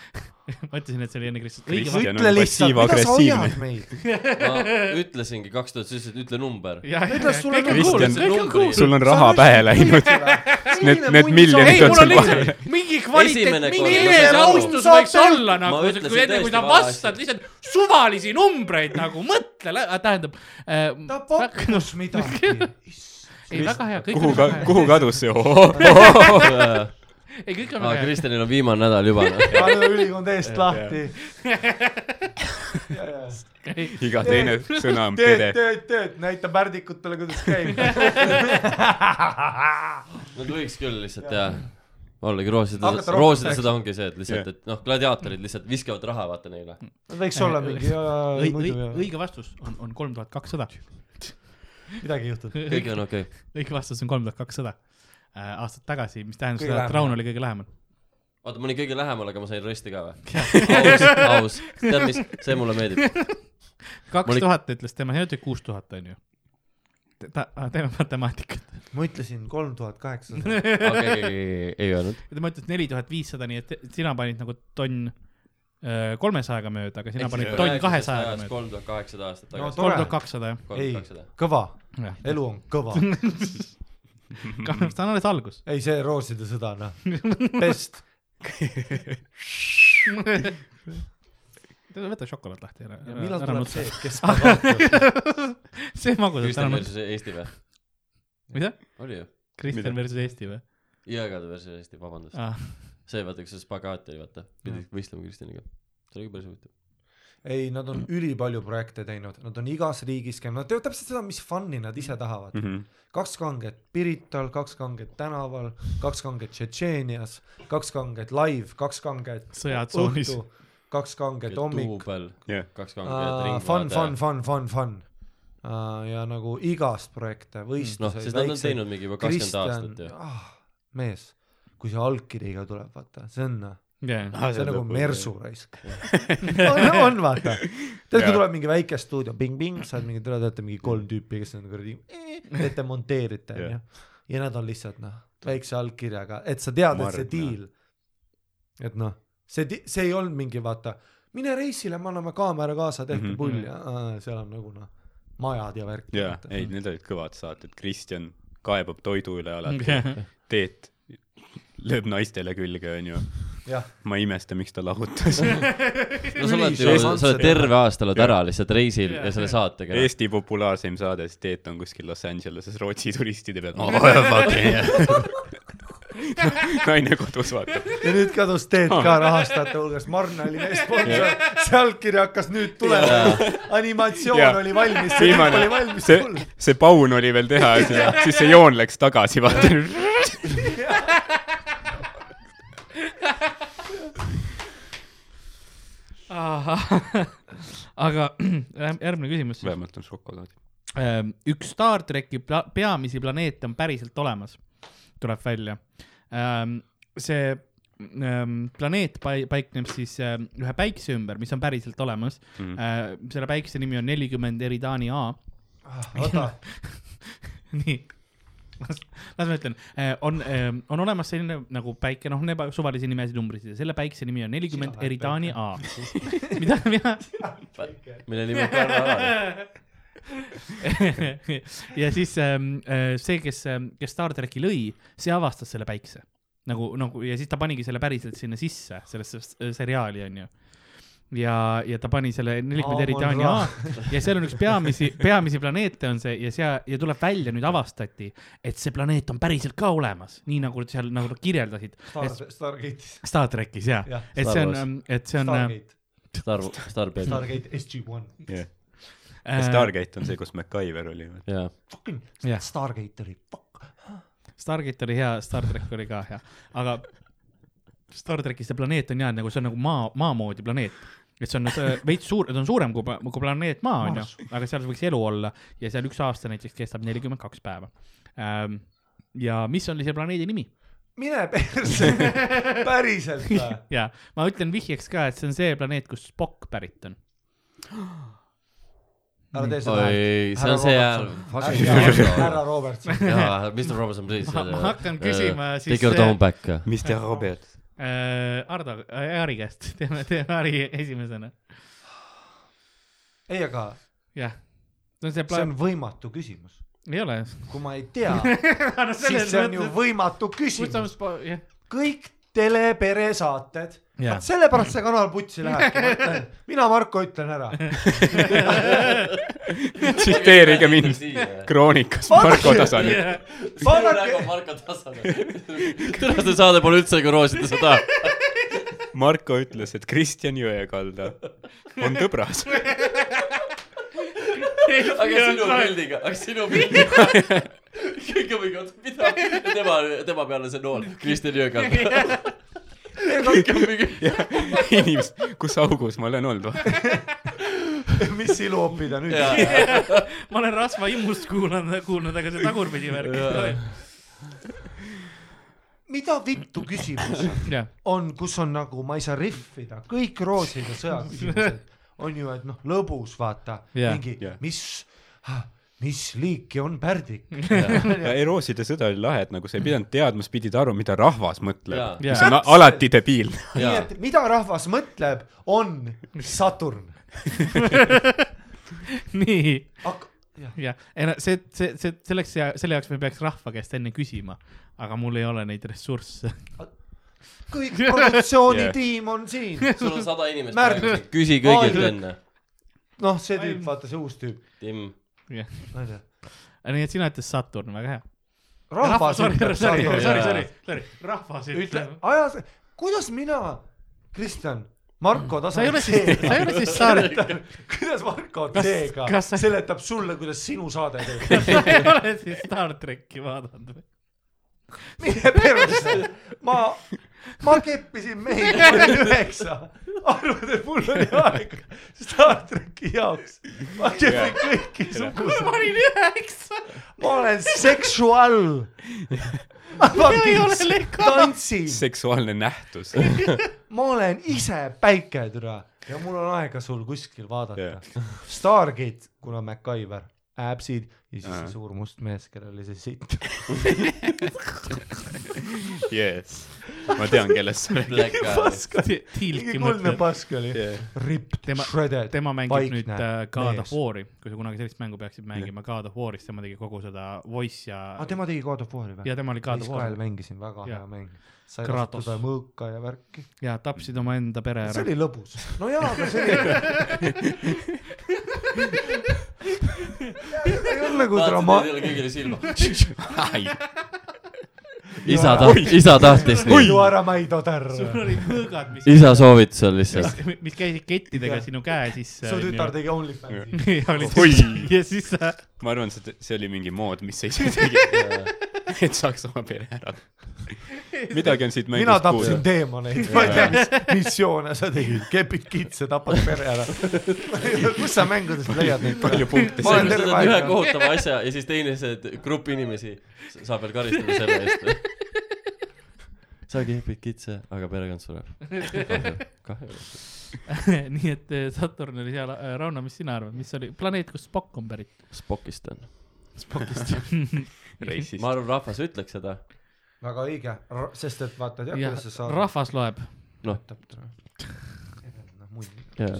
D: ma ütlesin , et see oli enne Kristust . õige
E: Kristjan
C: ütle
E: on
C: lihtsalt , mida sa
E: passiivagressiivne.
C: hoiad meid ?
B: ma ütlesingi kaks tuhat , sa ütlesid , ütle number .
D: jah ,
C: Ütles sulle
D: kõik on
E: Kristjan-
D: kuulnud , kõik on kuulnud .
E: sul on raha pähe läinud . Need- need miljonid
D: ei , mul
E: on
D: on
E: sul vahel.
D: lihtsalt mingi kvaliteet
B: Esimene , kord- ma
D: mingi
B: sain
D: inimene
B: aru.
D: austus
C: Saab
D: võiks
C: aru.
D: olla nagu
B: Ma , ütlesin
D: kui enne kui
B: tõesti
D: sa
B: vale
D: vastad
B: asja.
D: lihtsalt suvalisi numbreid nagu , mõtle , tähendab äh, .
C: ta pakkus midagi .
D: ei , väga hea , kõik
E: kuhu
D: on
E: ka
D: väga , hea .
E: kuhu kadus see ?
D: ei , kõik on
B: aa ,
D: väga hea .
B: Kristjanil on viimane nädal juba . noh.
C: pane ülikond eest lahti .
E: iga teine sõna on
C: tööd ,
E: pere .
C: tööd , tööd , näita pärdikutele , kuidas käib .
B: Nad võiks küll lihtsalt jah , ollagi roosidel
C: Hakata , rohkem
B: roosidel
C: rääkima.
B: seda ongi see , et lihtsalt , et noh , gladiaatorid lihtsalt viskavad raha , vaata neile .
C: võiks olla mingi , muidu
D: õige ,
C: jah.
D: õige vastus on , on kolm tuhat kakssada .
C: midagi ei juhtunud .
B: kõik on okei .
D: õige vastus on kolm tuhat kakssada äh, aastat tagasi , mis tähendab
C: Kõige
D: seda , et
C: lähemal.
D: Raun oli kõige lähemal .
B: oota , ma olin kõige lähemal , aga ma sain rösti ka või ? aus , aus . tead mis , see mulle meeldib .
D: kaks
B: olin-
D: tuhat ütles tema , ta ütles kuus tuhat onju . ta , teeme matemaatikat .
C: ma ütlesin kolm tuhat kaheksasada .
B: okei , ei öelnud .
D: ja tema ütles neli tuhat viissada , nii et te- sina panid nagu tonn öö, kolmesajaga mööda , aga sina panid tonn kahesajaga mööda .
B: kolm tuhat kaheksasada aastat
C: No
B: tagasi .
C: tore.
D: kolm tuhat kakssada
C: ei
B: kolm tuhat kakssada .,
C: kõva ,
D: jah .
C: elu on kõva .
D: see on alles algus .
C: ei , see rooside sõda , noh , best .
D: võta šokolaad lahti ära .
C: millal tuleb see , kes ma kaotan ?
D: see magusalt
B: Kristjan
D: ära mõtle .
B: versus Eesti või ?
D: mida ?
B: oli ju ?
E: Mida?
D: Kristjan versus Eesti või ? Ah,
B: Jõekäed versus Eesti , vabandust . see vaata , kus see spagaat oli , vaata . pidid võistlema Kristjaniga . see oli ka päris huvitav .
C: ei , nad on ülipalju projekte teinud , nad on igas riigis käinud , nad teevad täpselt seda , mis fun'i nad ise tahavad .
E: Mhm.
C: kaks kanget Pirital , kaks kanget tänaval , kaks kanget Tšetšeenias , kaks kanget live , kaks kanget
D: Sõjatsoonis.
C: õhtu, kaks kanget hommik .
B: duubel ,
E: jah ,
B: kaks
C: Uh,
B: kanget ,
C: fun ,
B: Mm.
C: fun ,. fun , fun , fun uh, ja nagu igast projekte ,
B: noh ,
C: võistluseid
B: sest nad on teinud mingi juba kakskümmend aastat ju .
C: ah, . mees , kui see allkiriga tuleb , vaata , see on , noh,
D: jaa ,
E: Ah,
C: see on nagu mersu raisk . on, on , vaata . tead , kui
E: Jaa.
C: tuleb mingi väike stuudio , ping-ping , saad mingi , te olete mingi kolm tüüpi , kes on kuradi , teete , monteerite ,
E: Jah.
C: onju . ja nad on lihtsalt noh , väikse allkirjaga , et sa tead , et see
E: Marginaal.
C: deal , et noh , see , see ei olnud mingi , vaata , mine reisile , me anname kaamera kaasa , tehke
E: Mhm.
C: pull ja aa, seal on nagu noh , majad ja värk .
E: jaa , ei , need olid kõvad saated , Kristjan kaebab toidu üle alati ,
D: jaa .
E: Teet lööb naistele külge , onju .
C: jah ,
E: ma ei imesta , miks ta lahutas .
B: no sa oled ju ,
C: Ülisuur-
B: sa oled terve aasta oled ära lihtsalt reisil ja selle saatega .
E: Eesti populaarseim saade , siis Teet on kuskil Los Angeleses Rootsi turistide peal oh, . fuck yeah . naine kodus vaatab .
C: ja nüüd kadus Teet ka rahastajate hulgast , Marn oli meie sponsor , see allkiri hakkas nüüd tulema ,
E: Jaa.
C: animatsioon oli valmis , see kõik oli
E: viimane ,
C: valmis
E: see
C: tulla .,
E: see paun oli veel teha , siis see joon läks tagasi , vaata .
D: aga järgmine küsimus siis .
E: vähemalt on šokolaad .
D: Ähm, üks Star tracki pla peamisi planeete on päriselt olemas , tuleb välja . see ähm, planeet pai- paikneb siis ähm, ühe päikse ümber , mis on päriselt olemas mm .
E: Mhm.
D: -hmm. selle päikse nimi on nelikümmend Eridani A .
C: Ah, oota ,
D: nii , las las ma ütlen , on , on olemas selline nagu päike , noh , neba- , suvalisi nimesid numbrisid ja selle päikse nimi on nelikümmend
C: lähed
D: Eridani A . mida mina
B: mille nimi on Karl Alar .
D: ja siis ähm, äh, see , kes , kes Star tracki lõi , see avastas selle päikse nagu , nagu ja siis ta panigi selle päriselt sinna sisse , sellesse s- seriaali äh, onju . ja , ja ta pani selle nelikümmend eri taani A ja seal on üks peamisi , peamisi planeete on see ja seal ja tuleb välja , nüüd avastati , et see planeet on päriselt ka olemas , nii nagu seal , nagu nad kirjeldasid
C: Star- Stargate'is ,
D: Star trackis ja, ja ,
C: Jah.
D: et see
B: Star Wars.
D: on , et see on . äh,
C: Stargate ,
B: Star , Starbaby .
C: Stargate SG-1 ,
D: äh.
E: yeah. . Stargate on see , kus MacGyver oli .
B: jaa .
C: fucking
D: Jah.
C: Stargate oli , fuck .
D: Stargate oli hea , Star track oli ka hea , aga Star trackis see planeet on jäänud nagu see on nagu maa , maa moodi planeet et see on nüüd äh, veits suur , ta on suurem kui , kui planeet Maa onju , aga seal võiks elu olla ja seal üks aasta näiteks kestab nelikümmend kaks päeva . ja mis oli selle planeedi nimi ?
C: mine perse , päriselt või ?
D: ja ma ütlen vihjeks ka , et see on see planeet , kus Spock pärit on .
C: ära tee seda
B: oi , see on see hääl .
C: hääl . härra Robertson ,
B: jaa , Mr Robinson , please .
D: Ma- ma hakkan küsima siis,
B: Take your
D: äh,
B: tone back .
E: mis te Robert ?
D: äh, Ardo äh, , Ari käest , teeme , teeme Ari esimesena ,
C: ei aga
D: jah . see on see
C: see
D: plaan
C: on , võimatu küsimus ,
D: ei ole .
C: kui ma ei tea , siis see on ju võimatu küsimus ,
D: jah ,
C: kõik telepere saated yeah. ,
D: Jaa.
C: sellepärast see kanal putsi lähebki , mina Marko ütlen ära ,
E: tsiteerige mind . kroonikas Marko tasandil .
C: vaadake ,
B: kuidas see saade pole üldse nagu roosida seda ?
E: Marko ütles , et Kristjan Jõekalda on tõbras .
B: aga sinu pildiga , aga sinu pildiga . kõik on mingi , oota , mida ? tema , tema peal on see nool , Kristjan Jõekal . kõik on mingi ,
E: inimesed , kus augus ma olen olnud ?
C: mis iluopi ta nüüd
B: jaa ,
C: yeah. ,
B: jaa ,
D: ma olen rasva immust kuulanud , kuulnud , aga see tagurpidi
B: Jaa.
D: värk .
C: mida vittu küsimus
D: jah ,
C: on , kus on nagu , ma ei saa riffida , kõik roosid ja sõjaküsimused on ju , et noh , lõbus vaata
D: Jah.
C: yeah. , mingi
E: Jah.
C: yeah. mis , mis liiki on pärdik ,
E: ja Erooside sõda oli lahe , et nagu sa ei pidanud teadma , sa pidid aru , mida rahvas
B: Jaa.
E: mõtleb .
D: Jaa.
E: mis on a- alati debiilne .
C: nii
B: jaa .
C: et mida rahvas mõtleb , on Saturn ,
D: nii ,
C: aga jah ,
D: jah , ei no see , see , see , selleks , selle jaoks me peaks rahva käest enne küsima , aga mul ei ole neid ressursse .
C: kõik
D: Jah.
C: produktsioonitiim on siin ,
B: sul on sada inimest
C: Märt-
B: praegu , küsi kõigilt
C: Aadrik.
B: enne .
C: noh , see tüüp , vaata see uus tüüp ,
B: Tim ,
C: onju .
D: nii et sina ütlesid Saturn , väga hea .
C: rahvas
D: sorry ,
C: ütleb
D: sorry ,
C: Saturn ,
D: sorry , sorry ,
B: Jaa.
D: sorry , sorry , rahvas
C: ütle
D: ütleb ,.
C: aja , kuidas mina , Kristjan , Marko
D: sa
C: tasandil
D: ei ole siis , sa ei ole siis Star ,
C: kuidas Marko
D: Kas-
C: teega
D: kas sa-
C: seletab sulle , kuidas sinu saade teeb ?
D: sa ei ole siis Star tracki vaadanud või ?
C: mine perse , ma , ma keppisin mehi , kui olin üheksa , arvad , et mul oli aega Star tracki jaoks , ma kepin kõiki sugusid ,
D: olin üheksa ,
C: ma olen seksuaal . ma
D: ei ole legal .
C: tantsin ,
E: seksuaalne nähtus .
C: ma olen ise päike türa ja mul on aega sul kuskil vaadata
E: Jah.
C: yeah. . Stargate , kuna MacGyver , äpsid ja siis
E: Ahah.
C: see suur must mees , kellel oli see sitt .
E: jess . ma tean , kellest sa räägid .
B: Black Guy .
C: mingi
D: Tilki
C: kuldne
D: mõtleb ,
C: pask oli
E: Jah.
C: ripped ,
D: Tema-
C: shredded ,
D: tema mängib
C: vaikne
D: nüüd äh, God of
C: mees.
D: War'i , kui sa kunagi sellist mängu peaksid mängima , God of War'is tema tegi kogu seda voice ja
C: aa , Ah, tema tegi God of War'i või ?
D: ja tema oli God of War
C: Iskael mängisin , väga
D: Jah.
C: hea mäng . sai
D: Kratos.
C: kasutada mõõka ja värki .
D: ja tapsid omaenda pere
C: see
D: ära .
C: oli lõbus . no jaa , aga see oli ei olnud nagu
B: vaatasid , et ei
C: dramaatiline .
B: ole kõigile silma .
C: isa
B: isa tahtis , isa tahtis
C: hoiu
B: nii .
C: ära , ma ei toder .
D: sul olid mõõgad , mis ,
B: isa soovitas seal lihtsalt .
D: mis, mis käisid kettidega
C: Jah.
D: sinu käe sisse .
C: su tütar tegi OnlyFansi .
D: tegi . ja
E: Oi.
D: olid , ja siis sa ,
E: ma arvan , see , see oli mingi mood , mis ei tegi , et saaks oma pere ära . midagi on siit
C: mina
E: mängust
C: tapsin
E: kuulda .
C: teemaneid , ma ei tea , mis missioone sa tegid , kepid kitse , tapad pere ära . kus sa mängudest leiad neid
E: palju ? punkte
C: Ma
B: sa
C: olen
E: seal .
B: ütled
C: terve aeg
B: ühe
C: olnud.
B: kohutava asja ja siis teine see , et grupp inimesi s- saab veel karistada selle eest . sa kehvid kitse , aga perekond sureb . kahju .
D: nii et eh, Saturn oli seal , Rauno , mis sina arvad , mis oli planeet , kust Spock on pärit ?
B: Spokistan .
D: Spockist .
E: reisist
B: ma . arvan , rahvas ütleks seda .
C: väga õige , sest et vaata , tead ,
D: jah
C: kuidas sa , saad .
D: rahvas loeb .
B: jaa .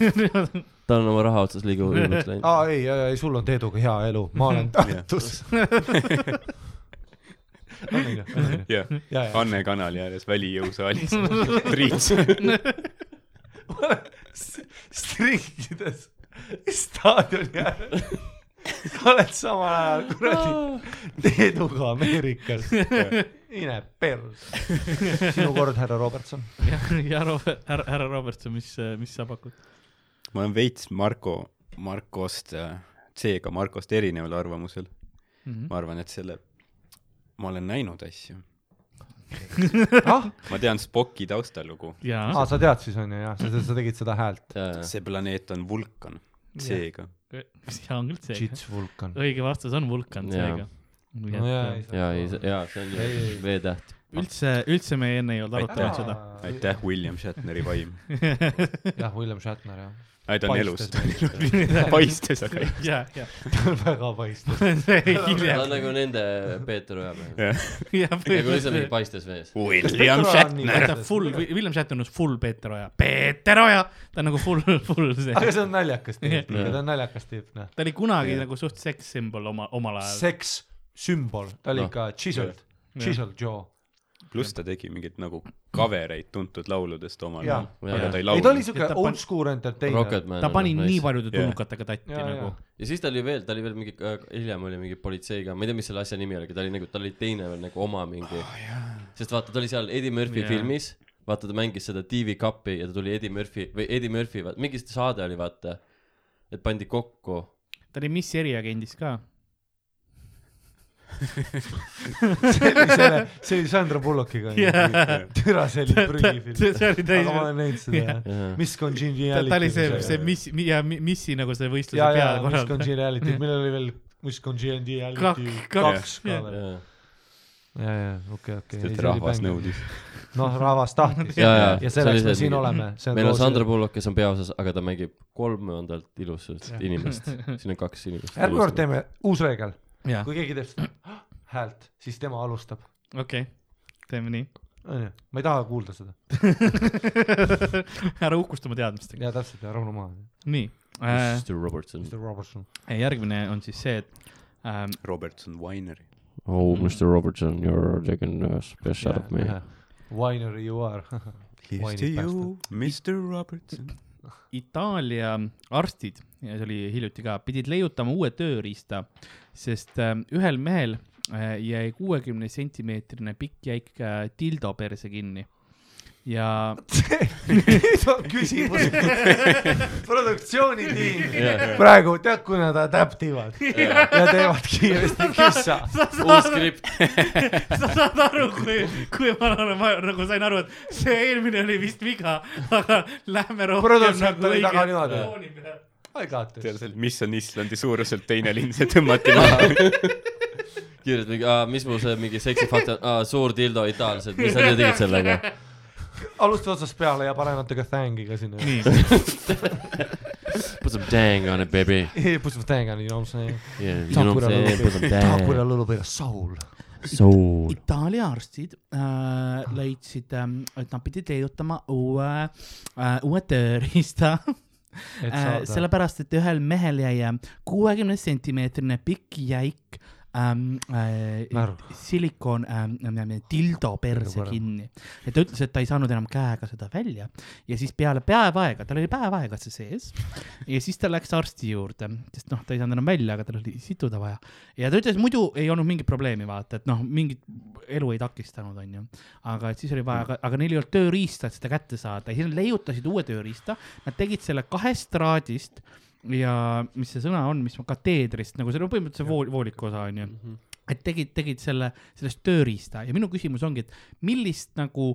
B: ta on oma raha otsas liiga hulluks läinud .
C: aa , ei , ei , ei , sul on Teeduga hea elu , ma olen Tartus .
E: jah ,
C: ja , ja ,
E: Anne kanali ääres välijõusaalis . Triits .
C: stringides staadioni ääres . oled samal ajal kuradi Leeduga Ameerikas . mine pers . sinu kord , härra Robertson .
D: ja , ja Robert , härra , härra Robertson , mis , mis sa pakud ?
E: ma olen veits Marko , Markost , C-ga Markost erineval arvamusel . ma arvan , et selle , ma olen näinud asju .
C: ah ,
E: ma tean Spocki taustalugu .
D: jaa
C: aa , Ah, sa tead siis onju jah , sa , sa tegid seda häält .
E: see planeet on vulkan , C-ga .
D: ja on küll see .
C: Jits Vulkan .
D: õige vastus on vulkan
B: Jaa.
D: seega .
C: no jaa , ei
B: ja , ei ,
C: saa .
B: ja see on
C: Ei, ei.
B: V-täht .
D: üldse , üldse me enne ei olnud arutanud seda .
E: aitäh , William Shatneri vaim .
C: jah , William Shatner jah .
E: ei , ta on elus . paistes , aga ei .
D: ja , ja
C: väga paistab .
D: see
B: ta on
D: hiljem .
B: nagu nende Peeter Ojamäe .
D: ja
B: nagu lihtsalt mingi paistes vees .
E: William Shatner .
D: ta full , William Shatner on full Peeter Oja , Peeter Oja , ta on nagu full , full
C: aga
D: see .
C: see on naljakas tüüp , ta on naljakas tüüp , noh .
D: ta oli kunagi nagu suht sekssümbol oma , omal ajal .
C: seks sümbol , ta oli
E: Noh,
C: ikka chiseled , chiseled jaw .
E: pluss ta tegi mingeid nagu covereid tuntud lauludest omal
C: Jaa.
E: ajal , aga ta
C: ei ,
E: ei
C: ta oli
E: laulnud .
C: siuke
D: Ja ta pan-
C: old school entertainer .
B: Rocketman .
D: ta pani nii . paljude
E: Jah.
D: tulnukatega tatti
C: Jaa,
D: nagu
C: jaa.
B: ja siis ta oli veel , ta oli veel mingi , hiljem oli mingi politseiga , ma ei tea , mis selle asja nimi oli , aga ta oli nagu , tal oli teine veel nagu oma mingi oh, . sest vaata , ta oli seal Eddie Murphy
D: Jaa.
B: yeah. filmis , vaata ta mängis seda TV Cupi ja ta tuli Eddie Murphy või Eddie Murphy , mingi saade oli vaata , et pandi kokku .
D: ta oli Miss eriagendis ka .
C: see oli Sandra Bullockiga . türa , see oli prügifilm .
D: see
C: aga
D: oli
C: ma
D: täis
C: olen näinud seda jah . Miss Congeniality .
D: ta oli see , see . Miss ja mi- Missi nagu see võistluse
C: ja , ja
D: peale
C: Miss
D: korraldatud .
C: Congeniality , millel oli veel Miss Congeniality
D: Kak- kaks,
C: kaks ka veel .
B: ja ,
C: ja , ja okei , okei .
E: et rahvas . nõudis .
C: noh , rahvas tahtis .
B: ja , ja .
C: ja selleks me siin . oleme .
B: meil on Sandra Bullock , kes on peaosas , aga ta mängib kolmandat ilusat inimest . siin on kaks inimest .
C: järgmine kord . teeme uus reegel ,
D: jah ,
C: kui keegi teeb seda häält , siis tema alustab ,
D: okei , teeme nii .
C: onju , ma ei taha kuulda seda .
D: ära uhkustama teadmistega .
C: ja täpselt ja rahune maha ,
D: nii ,
B: Mr Robertson .
C: Mr Robertson .
D: järgmine on siis see , et ähm,
E: Robertson Winery .
B: Oh , Mr Robertson , you are taking a special of me .
C: Winery you are .
E: Here's to you , Mr Robertson .
D: Itaalia arstid , see oli hiljuti ka , pidid leiutama uue tööriista , sest äh, ühel mehel äh, jäi kuuekümne sentimeetrine pikk jäik äh, dildo perse kinni ja
C: nüüd on küsimus produktsioonitiim praegu tead , kuna ta täptivad ja teevad kiiresti küssa .
B: uus skript ,
D: sa saad aru , kui , kui ma olen , ma nagu sain aru , et see eelmine oli vist viga , aga lähme nagu
C: Produtsent oli taga niimoodi.
D: peale .
C: I got this .
E: tead , mis on Islandi suuruselt teine linn , see tõmmati maha .
B: kirjutad mingi , mis mu see mingi seksifakt on , suur dildo itaallased , mis sa tegid sellega ?
C: alusta otsast peale ja pane natuke thang'iga sinna .
D: nii ,
B: Put some dang on it baby
C: Put some thang on it , you know what I m
B: yeah, . You know what I'm
C: saying
B: saying , put some .
C: Takura
B: dang .
C: lõlupeale soul .
B: Soul .
D: Itaalia arstid äh, leidsid ähm, , et nad pidid leiutama uue äh, , uue tööriista äh, , sellepärast , et ühel mehel jäi kuuekümne sentimeetrine pikk jäik ähm, äh,
C: Naru.
D: silikoon ähm, , dildo perse
C: parem.
D: kinni . ja ta ütles , et ta ei saanud enam käega seda välja ja siis peale päev aega , tal oli päev aega see sees ja siis ta läks arsti juurde , sest noh , ta ei saanud enam välja , aga tal oli situda vaja . ja ta ütles , muidu ei olnud mingit probleemi , vaata , et noh , mingit elu ei takistanud , onju . aga et siis oli vaja , aga , aga neil ei olnud tööriista , et seda kätte saada ja siis nad leiutasid uue tööriista , nad tegid selle kahest traadist ja mis see sõna on , mis ma kateedrist nagu see on põhimõtteliselt see vool, vooliku osa onju mm . -hmm. et tegid , tegid selle , sellest tööriista ja minu küsimus ongi , et millist nagu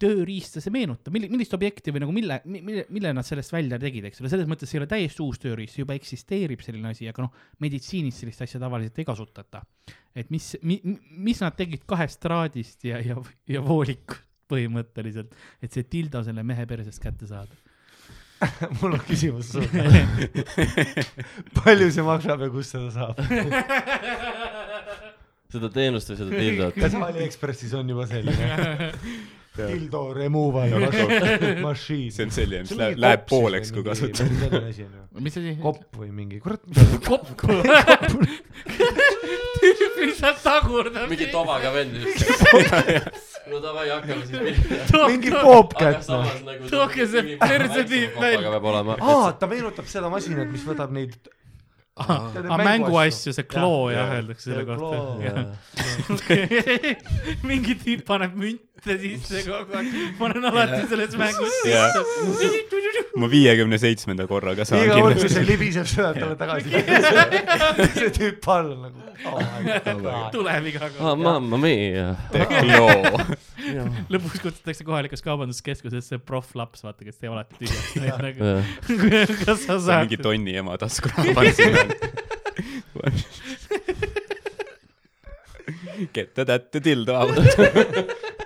D: tööriista see meenutab , milli- , millist objekti või nagu mille , mille , mille nad sellest välja tegid , eks ole , selles mõttes ei ole täiesti uus tööriist , juba eksisteerib selline asi , aga noh , meditsiinis sellist asja tavaliselt ei kasutata . et mis mi, , mis nad tegid kahest traadist ja , ja , ja voolikust põhimõtteliselt , et see tildo selle mehe persest kätte saada .
C: mul on küsimus sulle . palju see maksab ja kust seda saab ?
B: seda teenust või seda dildot ?
C: kas Aliekspressis on juba selline ? Dildo removal mas- machine .
E: see on selline , mis läheb , läheb pooleks , kui kasutad .
D: mis asi ?
C: noh? kopp või mingi , kurat ,
D: kopp . mis sa tagurdad ?
B: mingi tovaga vend . no davai , hakkame siis pihta .
C: mingi poop
B: aga
C: kätt , noh .
B: samas nagu .
D: Tooge see perse tiib välja.
B: peab olema .
C: aa , ta meenutab seda masinat , mis võtab neid .
D: aga mänguasju , see kloo jah , öeldakse selle kohta . mingi tiip paneb münte sisse kogu aeg , ma olen alati selles mängus
E: Jah.
D: sisse .
E: ma viiekümne seitsmenda korraga saan
C: iga kord , kui see
E: kindlasti .
C: libiseb , sööb talle tagasi . see tüüp all on nagu oh my god .
D: tuleb iga
B: aa ,
D: kord .
B: mamma mia .
E: loo .
D: lõpuks kutsutakse kohalikas kaubanduskeskusesse profflaps , vaata , kes teeb alati
C: Jah.
D: tühjaks . kas sa saad
E: mingi ? tonni ema tasku raha panin Get the that the dildo out .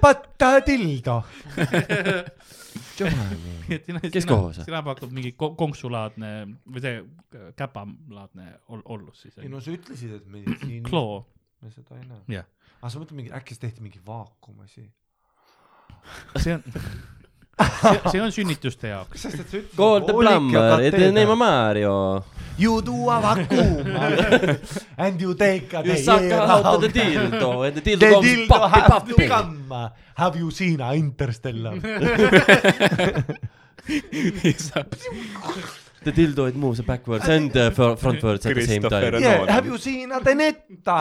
C: Patta tildo .
B: Kes kohas?
D: sina pakud mingi ko- konksulaadne või see äh, käpalaadne ol- ollus siis
C: ei . no sa ütlesid , et meditsiin .
D: kloo .
C: me seda ei näe .
D: Jah.
C: aga sa mõtled mingi , äkki siis tehti mingi vaakumasi ?
D: see on , see on sünnituste jaoks .
C: sest et sa ütlesid .
B: Call the plumber , et name on . Mario .
C: You do a vacuum and you take a
B: You suck out of the dildo and the dildo
C: The
B: comes
C: dildo
B: pappi
C: have to
B: pappi .
C: come . Have you seen a interstellar ?
B: The dildo it moves backwards and uh, fro- frontwards at the same
E: Christopher
B: time .
E: on-
C: Yeah,
E: Nolan.
C: have you seen a Teneta ?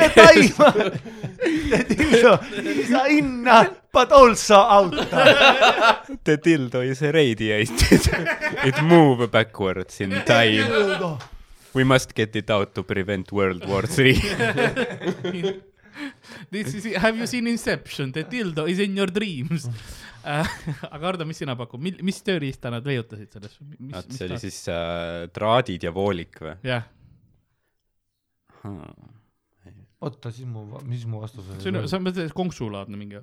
C: Tetaima . The dildo is a inna but also out .
E: The dildo is radiated . It move backwards in time . We must get it out to prevent World War Three .
D: This is , have you seen Inception , the dildo is in your dreams . aga Ardo , mis sina pakud , mil- , mis tööriista nad leiutasid selles ?
E: see oli siis äh, traadid ja voolik või ?
D: jah ,
C: oota , siis mu , mis mu vastus oli ?
D: see on , see on see on konksulaadne mingi ,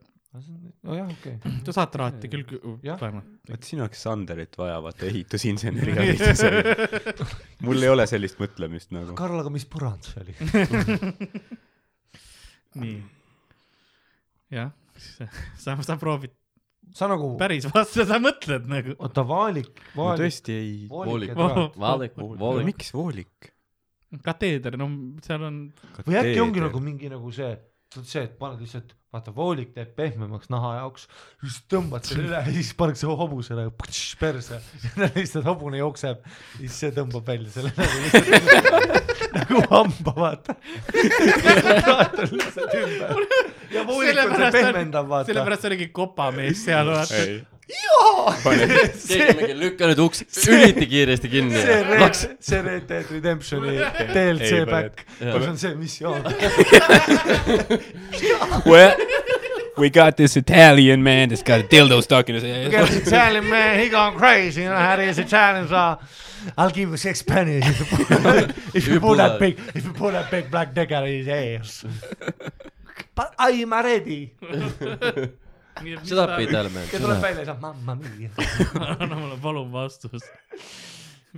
C: nojah , okei okay. .
D: sa saad traati küll kü-
C: Jah.
D: vähemalt .
E: vot sina oleks Sanderit vaja , vaata ehitusinseneriga lihtsalt selle . mul ei ole sellist mõtlemist nagu .
C: Karl , aga mis põrand see oli ?
D: nii . jah , sa , sa proovid
C: sa nagu ,
D: päris vastu , sa mõtled nagu .
C: oota , vaalik ,
E: ma
C: vaalik ,
E: tõesti ei .
C: voolik ja
B: Voolik.
C: traat .
B: voolik , voolik .
E: miks voolik ?
D: kateeder , no seal on ,
C: või äkki ongi nagu mingi nagu see , see , et paned lihtsalt , vaata voolik teeb pehmemaks naha jaoks , siis tõmbad selle üle ja siis paned selle hobusele põtš, perse . lihtsalt hobune jookseb , siis see tõmbab välja selle nagu lihtsalt nagu hamba , vaata . traat on lihtsalt ümber . ja voolik on see
D: Sellepärast on-
C: pehmendav , vaata .
D: sellepärast oligi kopamees seal , vaata .
B: keegi mingi lükka nüüd uks üliti kiiresti kinni .
C: see Red , see Red Dead Redemptioni DLC
E: Ei pane-
C: back , kus on see missioon .
E: Well, we got this Italian man that's got a dildo stuck in his
C: Because
E: ass.
C: the Italian man, he gone crazy. You know how these Italians are. I'll give you six pennies if you pull, if you pull that big, if you pull that big black dick out of his ass. But I am ready.
B: Shut up , Italman .
C: ja tuleb välja , siis on mamma mia .
D: anna mulle palun vastus .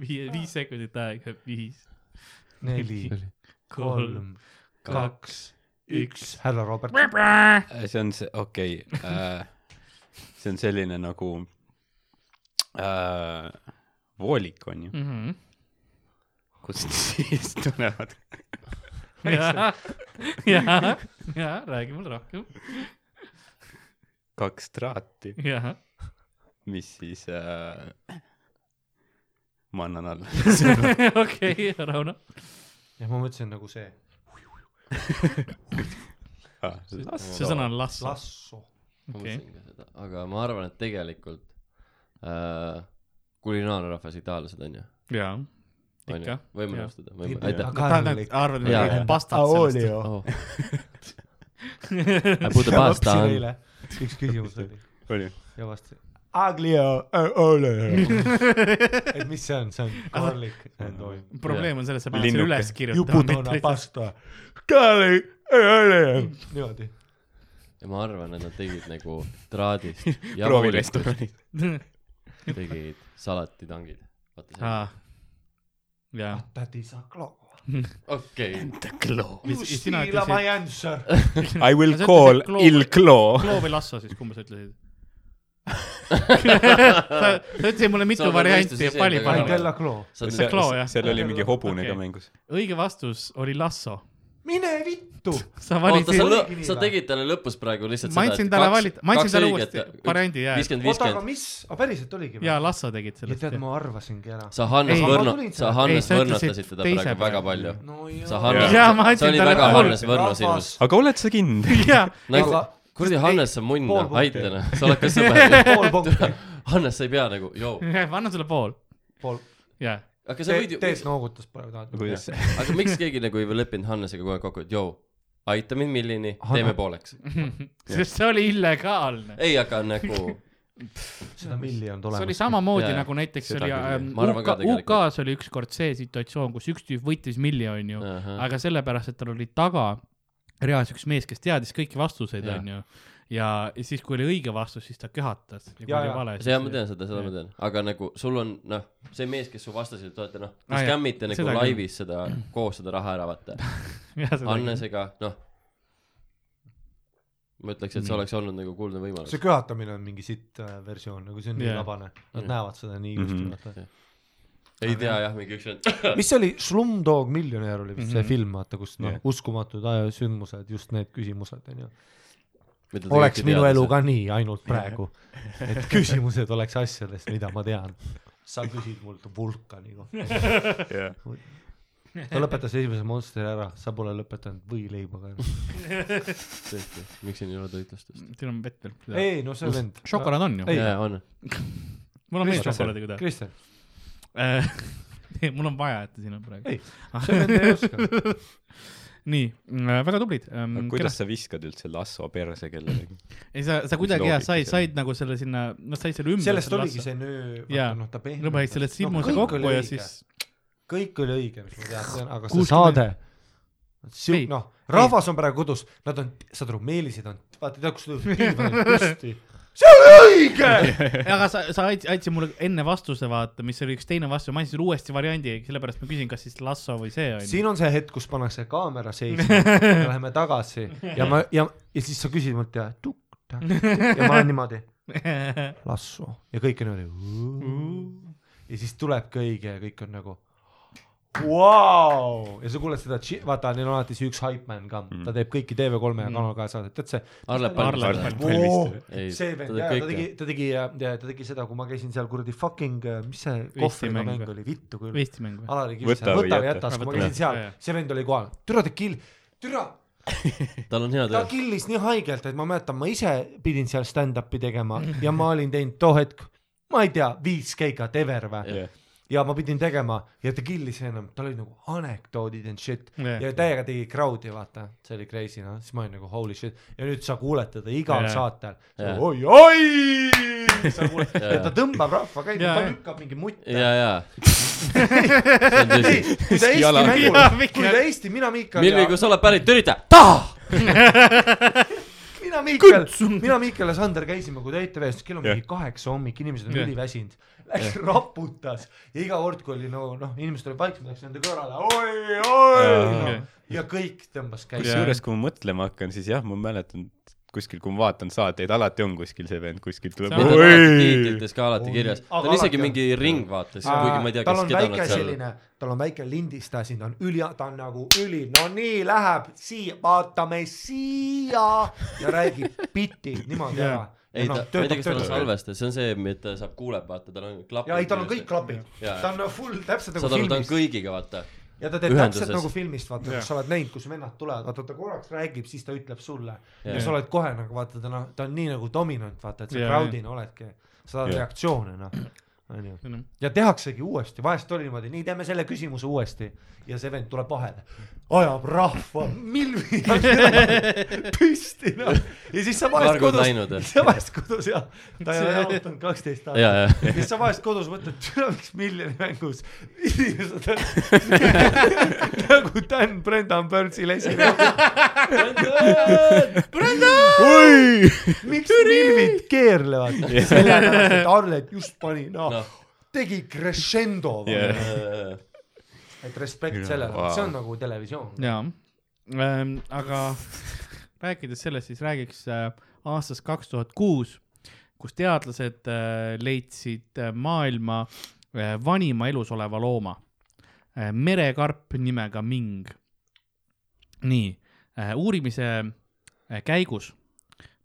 D: viie , viis sekundit aega , viis ,
C: neli ,
D: kolm ,
C: kolm , kaks , üks , härra Robert .
E: Äh, see on see , okei okay, äh, , see on selline nagu äh, voolik on ju ,
D: mm .
E: kust siis tulevad .
D: -hmm. ja , ja , ja räägi mulle rohkem ,
E: kaks traati ,
D: ja .
E: mis siis äh, , ma annan alla .
D: okei , Rauno .
C: ja ma mõtlesin nagu see
E: Ah,
D: see sõna on lasso .
C: lasso .
B: ma
D: okei ,
B: mõtlesin ka seda , aga ma arvan , et tegelikult äh, kulinaarrahvas itaallased on ju .
D: jaa , ikka .
B: võime
D: Jah.
B: nõustuda , võime , aitäh . Oh.
D: arvad , et
B: Jaa,
D: ma
B: jaa.
D: tegin pastat sellest ?
B: Puudu pasta on ,
C: üks küsimus oli
E: oli ,
C: ja vastasin . Aglio olio . et mis see on , see on garlic and oil .
D: probleem on selles , sa pead selle
E: Linnuke.
D: üles
C: juputuna
D: kirjutama .
C: pasta . garlic and oil . niimoodi .
B: ja ma arvan , et nad tegid nagu traadist ja
E: proovi
B: voolikust
E: restoranis .
B: tegid salatitangid . vaata
D: jaa ,
C: That is a clock .
B: see , okei ,
C: You
D: Mis- sina
C: steal
D: ütlesid-
C: my answer .
E: I will
D: Aga sa
E: call
D: ütlesid Clo-
E: Il Clo .
D: kloo või lasso siis , kumba sa ütlesid ? sa sa ütlesid mulle
B: Sa
D: mitu
B: pead
D: varianti
B: mõistuse
D: ja pali
B: seega
D: pali
B: ka
C: Mind . jälle clock .
B: sa
D: See-
B: oled
D: Clo, jah.
E: seal oli mingi hobune
D: Okei.
E: ka mängus .
D: õige vastus oli lasso .
C: mine vitt . vittu .
D: sa
B: oota , sa
D: valisid ,
B: lõ- , sa tegid talle lõpus praegu lihtsalt
D: Ma andsin talle valida- ma andsin talle uuesti variandi, jaa.
B: viiskümmend ,
C: oota , aga
B: viiskümmend .
C: mis , aga päriselt oligi
D: ja ? Lasso tegid
C: ja
D: sellest
C: tead ,. ma arvasingi ära .
B: sa Hannes
D: Ei, ma
B: Võrno
C: tulin ,
B: sa
C: selle-
B: Hannes
D: ei, sa ütlesid
B: Võrnastasid teda
D: teise
B: praegu väga
D: peale.
B: palju .
C: no
B: sa
C: jaa .
B: Hannes
D: Jaa, ma ,
B: see
D: andsin
B: oli
D: talle
B: väga
D: pool-
B: Hannes Võrno sinust .
E: aga oled sa kindel ?
D: jaa ,
B: nagu
C: Aga- ,
B: kuradi Hannes on munn ,
C: Pool punkti.
B: aita noh , sa oled ka sõber .
C: pool punkti ,
B: Hannes , sa ei pea nagu , joo .
D: ma annan sulle pool ,
C: pool .
D: jaa .
B: aga sa võid ju ,
C: Teet noogutas praegu tahad .
E: kuidas ?
B: aga miks keegi nagu ei leppinud Hannesega kogu aeg kokku , et joo , aita mind millini ,
C: Hanna-
B: teeme pooleks .
D: sest see oli illegaalne .
B: ei , aga nagu ,
C: seda milli ei olnud
D: see oli
C: olemas .
D: samamoodi
B: Jaa,
D: yeah, nagu näiteks
B: seda
D: oli
B: küll, jah.
D: ähm,
B: Ma arvan
D: UK
B: ka , tegelikult.
D: UK-s oli ükskord see situatsioon , kus üks tüüp võitis miljon ju ,
B: Ahah.
D: aga sellepärast , et tal oli taga reas üks mees , kes teadis kõiki vastuseid ,
B: Jaa.
D: onju . ja siis , kui oli õige vastus , siis ta köhatas . ja kui
C: Jaa,
D: oli
C: jaa.
D: vale ,
B: seda ma tean , seda , seda
D: Jah.
B: ma tean , aga nagu sul on noh , see mees , kes su vastasid , te olete noh , te
D: Ah, jah.
B: skämmite nagu
D: Seda küll.
B: laivis seda , koos seda raha ära vaata ,
D: siis .
B: Hannesega , noh . ma ütleks , et see oleks olnud nagu kuldne võimalus
C: see . köhatamine on mingi sitt äh, versioon , nagu see on nii
D: Jaa.
C: labane . Nad
B: Jah.
C: näevad seda nii
E: Mhm.
C: ilusti , vaata .
B: ei tea jah , mingi üks vend ,
C: mis see oli , Slumdog Millionaire oli vist mm -hmm.
D: Mhm.
C: see film , vaata , kus noh
E: Jah.
C: yeah. , uskumatud aja- sündmused , just need küsimused onju .
B: mida ta
C: oleks
B: kõike
C: minu
B: teadis,
C: elu
B: et-
C: ka nii , ainult praegu . et küsimused oleks asjadest , mida ma tean . sa küsid mult nagu. vulkani kohta . ta lõpetas esimese monstri ära , sa pole lõpetanud võileiba ka .
B: tõesti , miks siin ei ole toitlustust ?
D: siin on vett veel .
C: ei , no see vend .
D: šokolaad on ju
C: Ei. ?
B: jaa , on .
D: mul on mees
C: Kristjan.
D: šokolaadiga täna .
C: Kristjan ,
D: mul on vaja , et ta siin on praegu
C: Ei. . Ah.
D: Ah.
C: see vend ei oska .
D: nii , väga tublid .
E: kuidas sa viskad üldse lasso perse kellelegi ?
D: ei , sa , sa kuidagi
E: loogika
D: jah , said ,
E: seal?
D: said nagu selle sinna , noh , said selle ümber .
C: sellest oligi see nöö ,
D: Jaa.
C: vaata noh , ta pehmendas .
D: lõpetasid selle silmuse no, kokku ja siis .
C: kõik oli õige , mis ma teadsin , aga see
D: 60
C: saade ,
D: Ei,
C: noh , rahvas on praegu kodus , nad on , saad aru , meelised on , vaata tead , kus tuleb diivan püsti . see oli õige .
D: aga sa , sa andsid , andsid mulle enne vastuse , vaata , mis oli üks teine vastus , ma andsin sulle uuesti variandi , sellepärast ma küsin , kas siis Lasso või see on ju .
C: siin on see hetk , kus pannakse kaamera seisma , läheme tagasi ja ma ja , ja siis sa küsid mult ja tukk-takk ja ma olen niimoodi , lassu ja kõik on niimoodi . ja siis tulebki õige ja kõik on nagu . Wow! ja sa kuuled seda , vaata , neil on alati see üks hype man ka , ta teeb kõiki TV3 ja Kanal kahe saadet , tead see
B: Arle Mm. Palm .
D: Arle Palm.
C: Oo,
B: Ei,
C: see
B: ta
C: vend
B: teeb
C: jah , ta
B: kõike.
C: tegi , ta tegi , ta tegi seda , kui ma käisin seal kuradi fucking , mis see kohvriga
D: mäng
C: mäng
D: või?
C: oli , vittu küll .
D: Eesti mäng või ?
C: Alari
E: Võta
C: Kivisäär ,
E: või
C: võta või
E: jäta.
C: jäta ,
D: Ah,
C: kui ma
D: võta või
C: käisin seal
D: jäta, jah. ,
C: see vend oli kohal , türa ta kill , türa ,
B: tal on hea
C: ta
B: töö .
C: killis nii haigelt , et ma mäletan , ma ise pidin seal stand-up'i tegema ja ma olin teinud too hetk , ma ei tea , viis keikat ever või ja ma pidin tegema ja ta killis enam , tal olid nagu anekdoodid and shit
D: Jah.
C: ja täiega tegi crowd'i vaata , see oli crazy noh , siis ma olin nagu holy shit ja nüüd sa kuuled teda igal
D: Jah.
C: saatel ,
B: Jah.
C: oi-oi , sa kuuled ja ta tõmbab rahva käima ,
D: Jah,
C: ta
D: jah.
C: lükkab mingi mutte .
B: jaa , jaa . see on tõsi
C: ei , kui ta Eesti
E: Jala.
C: mängul
D: Jah, ,
C: kui ta Eesti , mina Miikal
B: Milvi ,
C: ja
B: kui sa oled pärit Türita , taha .
C: mina Miikal , mina Miikal ja Sander käisime , kui ta ETV-s , kell on
E: Jah.
C: mingi kaheksa hommik , inimesed on
D: Jah.
C: üliväsinud . Läks raputas ja iga kord , kui oli no noh , inimesed olid vaiksemad , läks nende kõrvale oi-oi no.
D: Jah.
C: ja kõik tõmbas käima .
E: kusjuures , kui ma mõtlema hakkan , siis jah , ma mäletan kuskil , kui ma vaatan saateid , alati on kuskil see vend kuskil tuleb .
D: See on
E: oi ,
B: tiitlites ka alati
C: Oi.
B: kirjas ,
C: Aga
B: ta on
C: alati
B: isegi
C: on.
B: mingi ringvaates ,
C: Aa,
B: kuigi ma ei tea ,
C: tal
B: kas
C: on
B: keda
C: väike
B: nad seal .
C: selline , tal on väike lindistaja siin , ta on üli , ta on nagu üli , no nii läheb siia , vaatame siia ja räägib biti niimoodi ära . noh,
B: ei , ta , ma ei tea , kas tal on salvestus , see on see , mida saab kuuleb , vaata , tal on klapid .
C: ja no ei , tal on kõik . klapid ,
B: Jaa.
C: ta on no full täpsaid nagu
B: saad aru , ta on
C: filmist
B: kõigiga , vaata .
C: ja ta teeb
B: ühenduses.
C: täpselt nagu filmist , vaata , kus sa oled näinud , kus vennad tulevad , vaata ta korraks räägib , siis ta ütleb sulle ja,
B: Jaa.
C: sa oled kohe nagu vaata , ta noh , ta on nii nagu dominant , vaata , et sa
D: Jaa,
C: crowd'ina oledki , saad
E: Jaa.
C: reaktsioone noh , onju ja tehaksegi uuesti , vahest oli niimoodi , nii teeme selle küsimuse uuesti ja see vend tuleb vahele , ajab rahva milvi püsti noh ja siis sa vahest
B: Vargud läinud, jah.
C: kodus , sa vahest kodus ja ta ei ole jalutanud kaksteist
B: ja ,
C: aastat
B: ja ,
C: ja siis sa vahest kodus mõtled , türa miks miljoni mängus inimesed on nagu Dan Brendan Burnsile esimene , miks milvid keerlevad sellepärast , et Arlet just pani noh no.
B: Noh. äh,
C: tegi crescendo yeah. ,
B: ja .
C: et respekt
E: Jaa,
C: sellele wow.
E: vau. ,
C: see on nagu televisioon .
D: jaa , aga rääkides sellest , siis räägiks äh, aastast kaks tuhat kuus , kus teadlased äh, leidsid äh, maailma äh, vanima elus oleva äh, looma , merekarp nimega ming . nii , äh, uurimise äh, käigus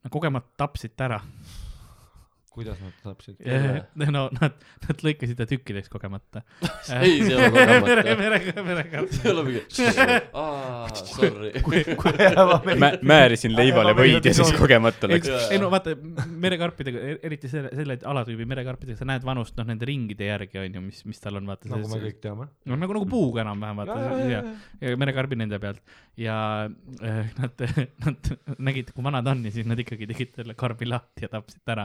D: nad kogemata tapsid ta ära .
C: kuidas nad tapsid ?
D: no nad , nad lõikasid ta tükkideks kogemata .
B: ei , see ei ole kogemata .
D: merega , merega .
B: see ei ole mingi , aa , sorry .
E: mä- , määrisin leivale võid ja siis kogemata läks .
B: Jaa.
D: ei no vaata , merekarpidega , eriti selle , selle alatüübi merekarpidega , sa näed vanust , noh , nende ringide järgi on ju , mis , mis tal on , vaata .
C: nagu me kõik teame .
D: no nagu , nagu puuga enam-vähem vaata , ja , ja merekarbi nende pealt ja äh, nad , nad nägid , kui vana ta on ja siis nad ikkagi tegid selle karbi lahti ja tapsid ta ära .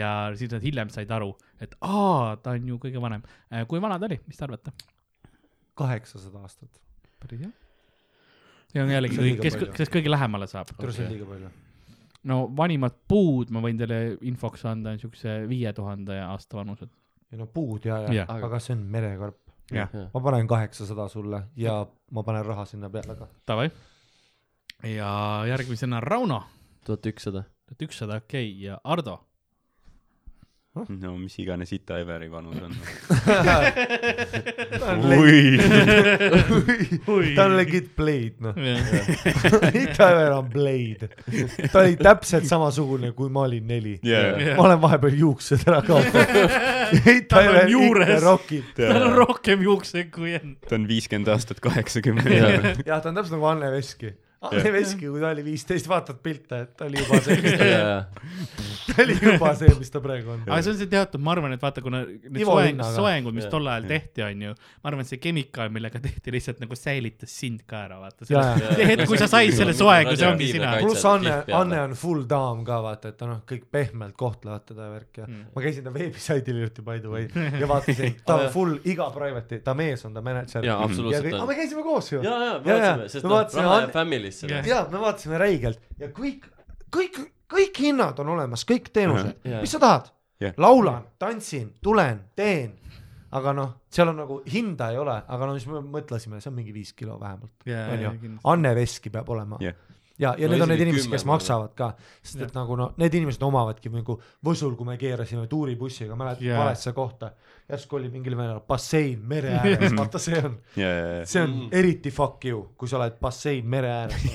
D: ja siis nad hiljem said aru , et aa , ta on ju kõige vanem . kui vana ta oli , mis te arvate ?
C: kaheksasada aastat .
D: päris hea . see on jällegi
C: See on , liiga
D: kes ,
C: palju.
D: kes kõige lähemale saab .
C: tule , see on liiga palju .
D: no vanimad puud , ma võin teile infoks anda , on siukse viie tuhande aasta vanused .
C: ei no puud ja , ja
D: Jah. ,
C: aga see on merekarp .
D: jah ,
C: ma panen kaheksasada sulle ja ma panen raha sinna peale ka .
D: davai . ja järgmisena Rauno ,
B: tuhat ükssada .
D: tuhat ükssada , okei okay. , ja Ardo
E: no mis iganes Ita Everi vanus on .
C: ta
E: oi ,
C: on legit Blade , noh .
D: jah ,
C: Itaver on Blade . ta oli täpselt samasugune , kui ma olin neli .
E: jaa ,
C: ma olen vahepeal juuksed ära kaotanud .
D: Tal on
C: Itaver ikka
D: juures.
C: rokib .
D: tal on rohkem juukseid kui enne .
E: ta on viiskümmend aastat kaheksakümmend .
C: jah , ta on täpselt nagu Anne Veski . Anne Veski , kui ta oli viisteist , vaatad pilte , et ta oli juba see , ta oli juba see , mis ta praegu on .
D: aga see on see teatud , ma arvan , et vaata , kuna need
C: Ivo
D: soeng ,
C: Linnaga.
D: soengud , mis
B: Jah.
D: tol ajal tehti , on ju , ma arvan , et see kemikaal , millega tehti , lihtsalt nagu säilitas sind ka ära , vaata .
C: Jaa, jaa.
D: see hetk , kui sa said selle soengu , see ongi sina .
C: pluss Anne , Anne on full daam ka vaata , et ta noh , kõik pehmelt kohtlevad teda ja värk ja mm. ma käisin ta veebisaidil hiljuti by the way ja vaatasin , ta on full iga private'i , ta mees on ta mänedžer .
B: Jaa, absoluutselt on.
C: aga me käisime koos ju .
B: ja , ja , me vaatasime , sest
C: me
B: noh , raha jääb
C: vaatasime ,
B: family'sse .
D: Jah.
C: ja me vaatasime räigelt ja kõik , kõik , kõik hinnad on olemas , kõik teenused
B: Jaa.
C: mis sa tahad
E: Jah.
C: laulan , tantsin , tulen , teen aga noh , seal on nagu hinda ei ole , aga no mis me mõtlesime , see on mingi viis kilo vähemalt . onju , Anne Veski peab olema
E: Jah.
C: ja , ja
B: No
C: no, need on need
B: isegi
C: inimesed ,
B: kümme
C: kes
B: ma arvan.
C: maksavad ka , sest et nagu noh , need inimesed omavadki nagu Võsul , kui me keerasime tuuribussiga , mäletad
D: Jaa.
C: yeah. valesse kohta , järsku oli mingil määral bassein mere ääres , vaata see on ,
E: jaa , jaa .
C: see
D: Mm.
C: on eriti fuck you , kui sa oled bassein mere ääres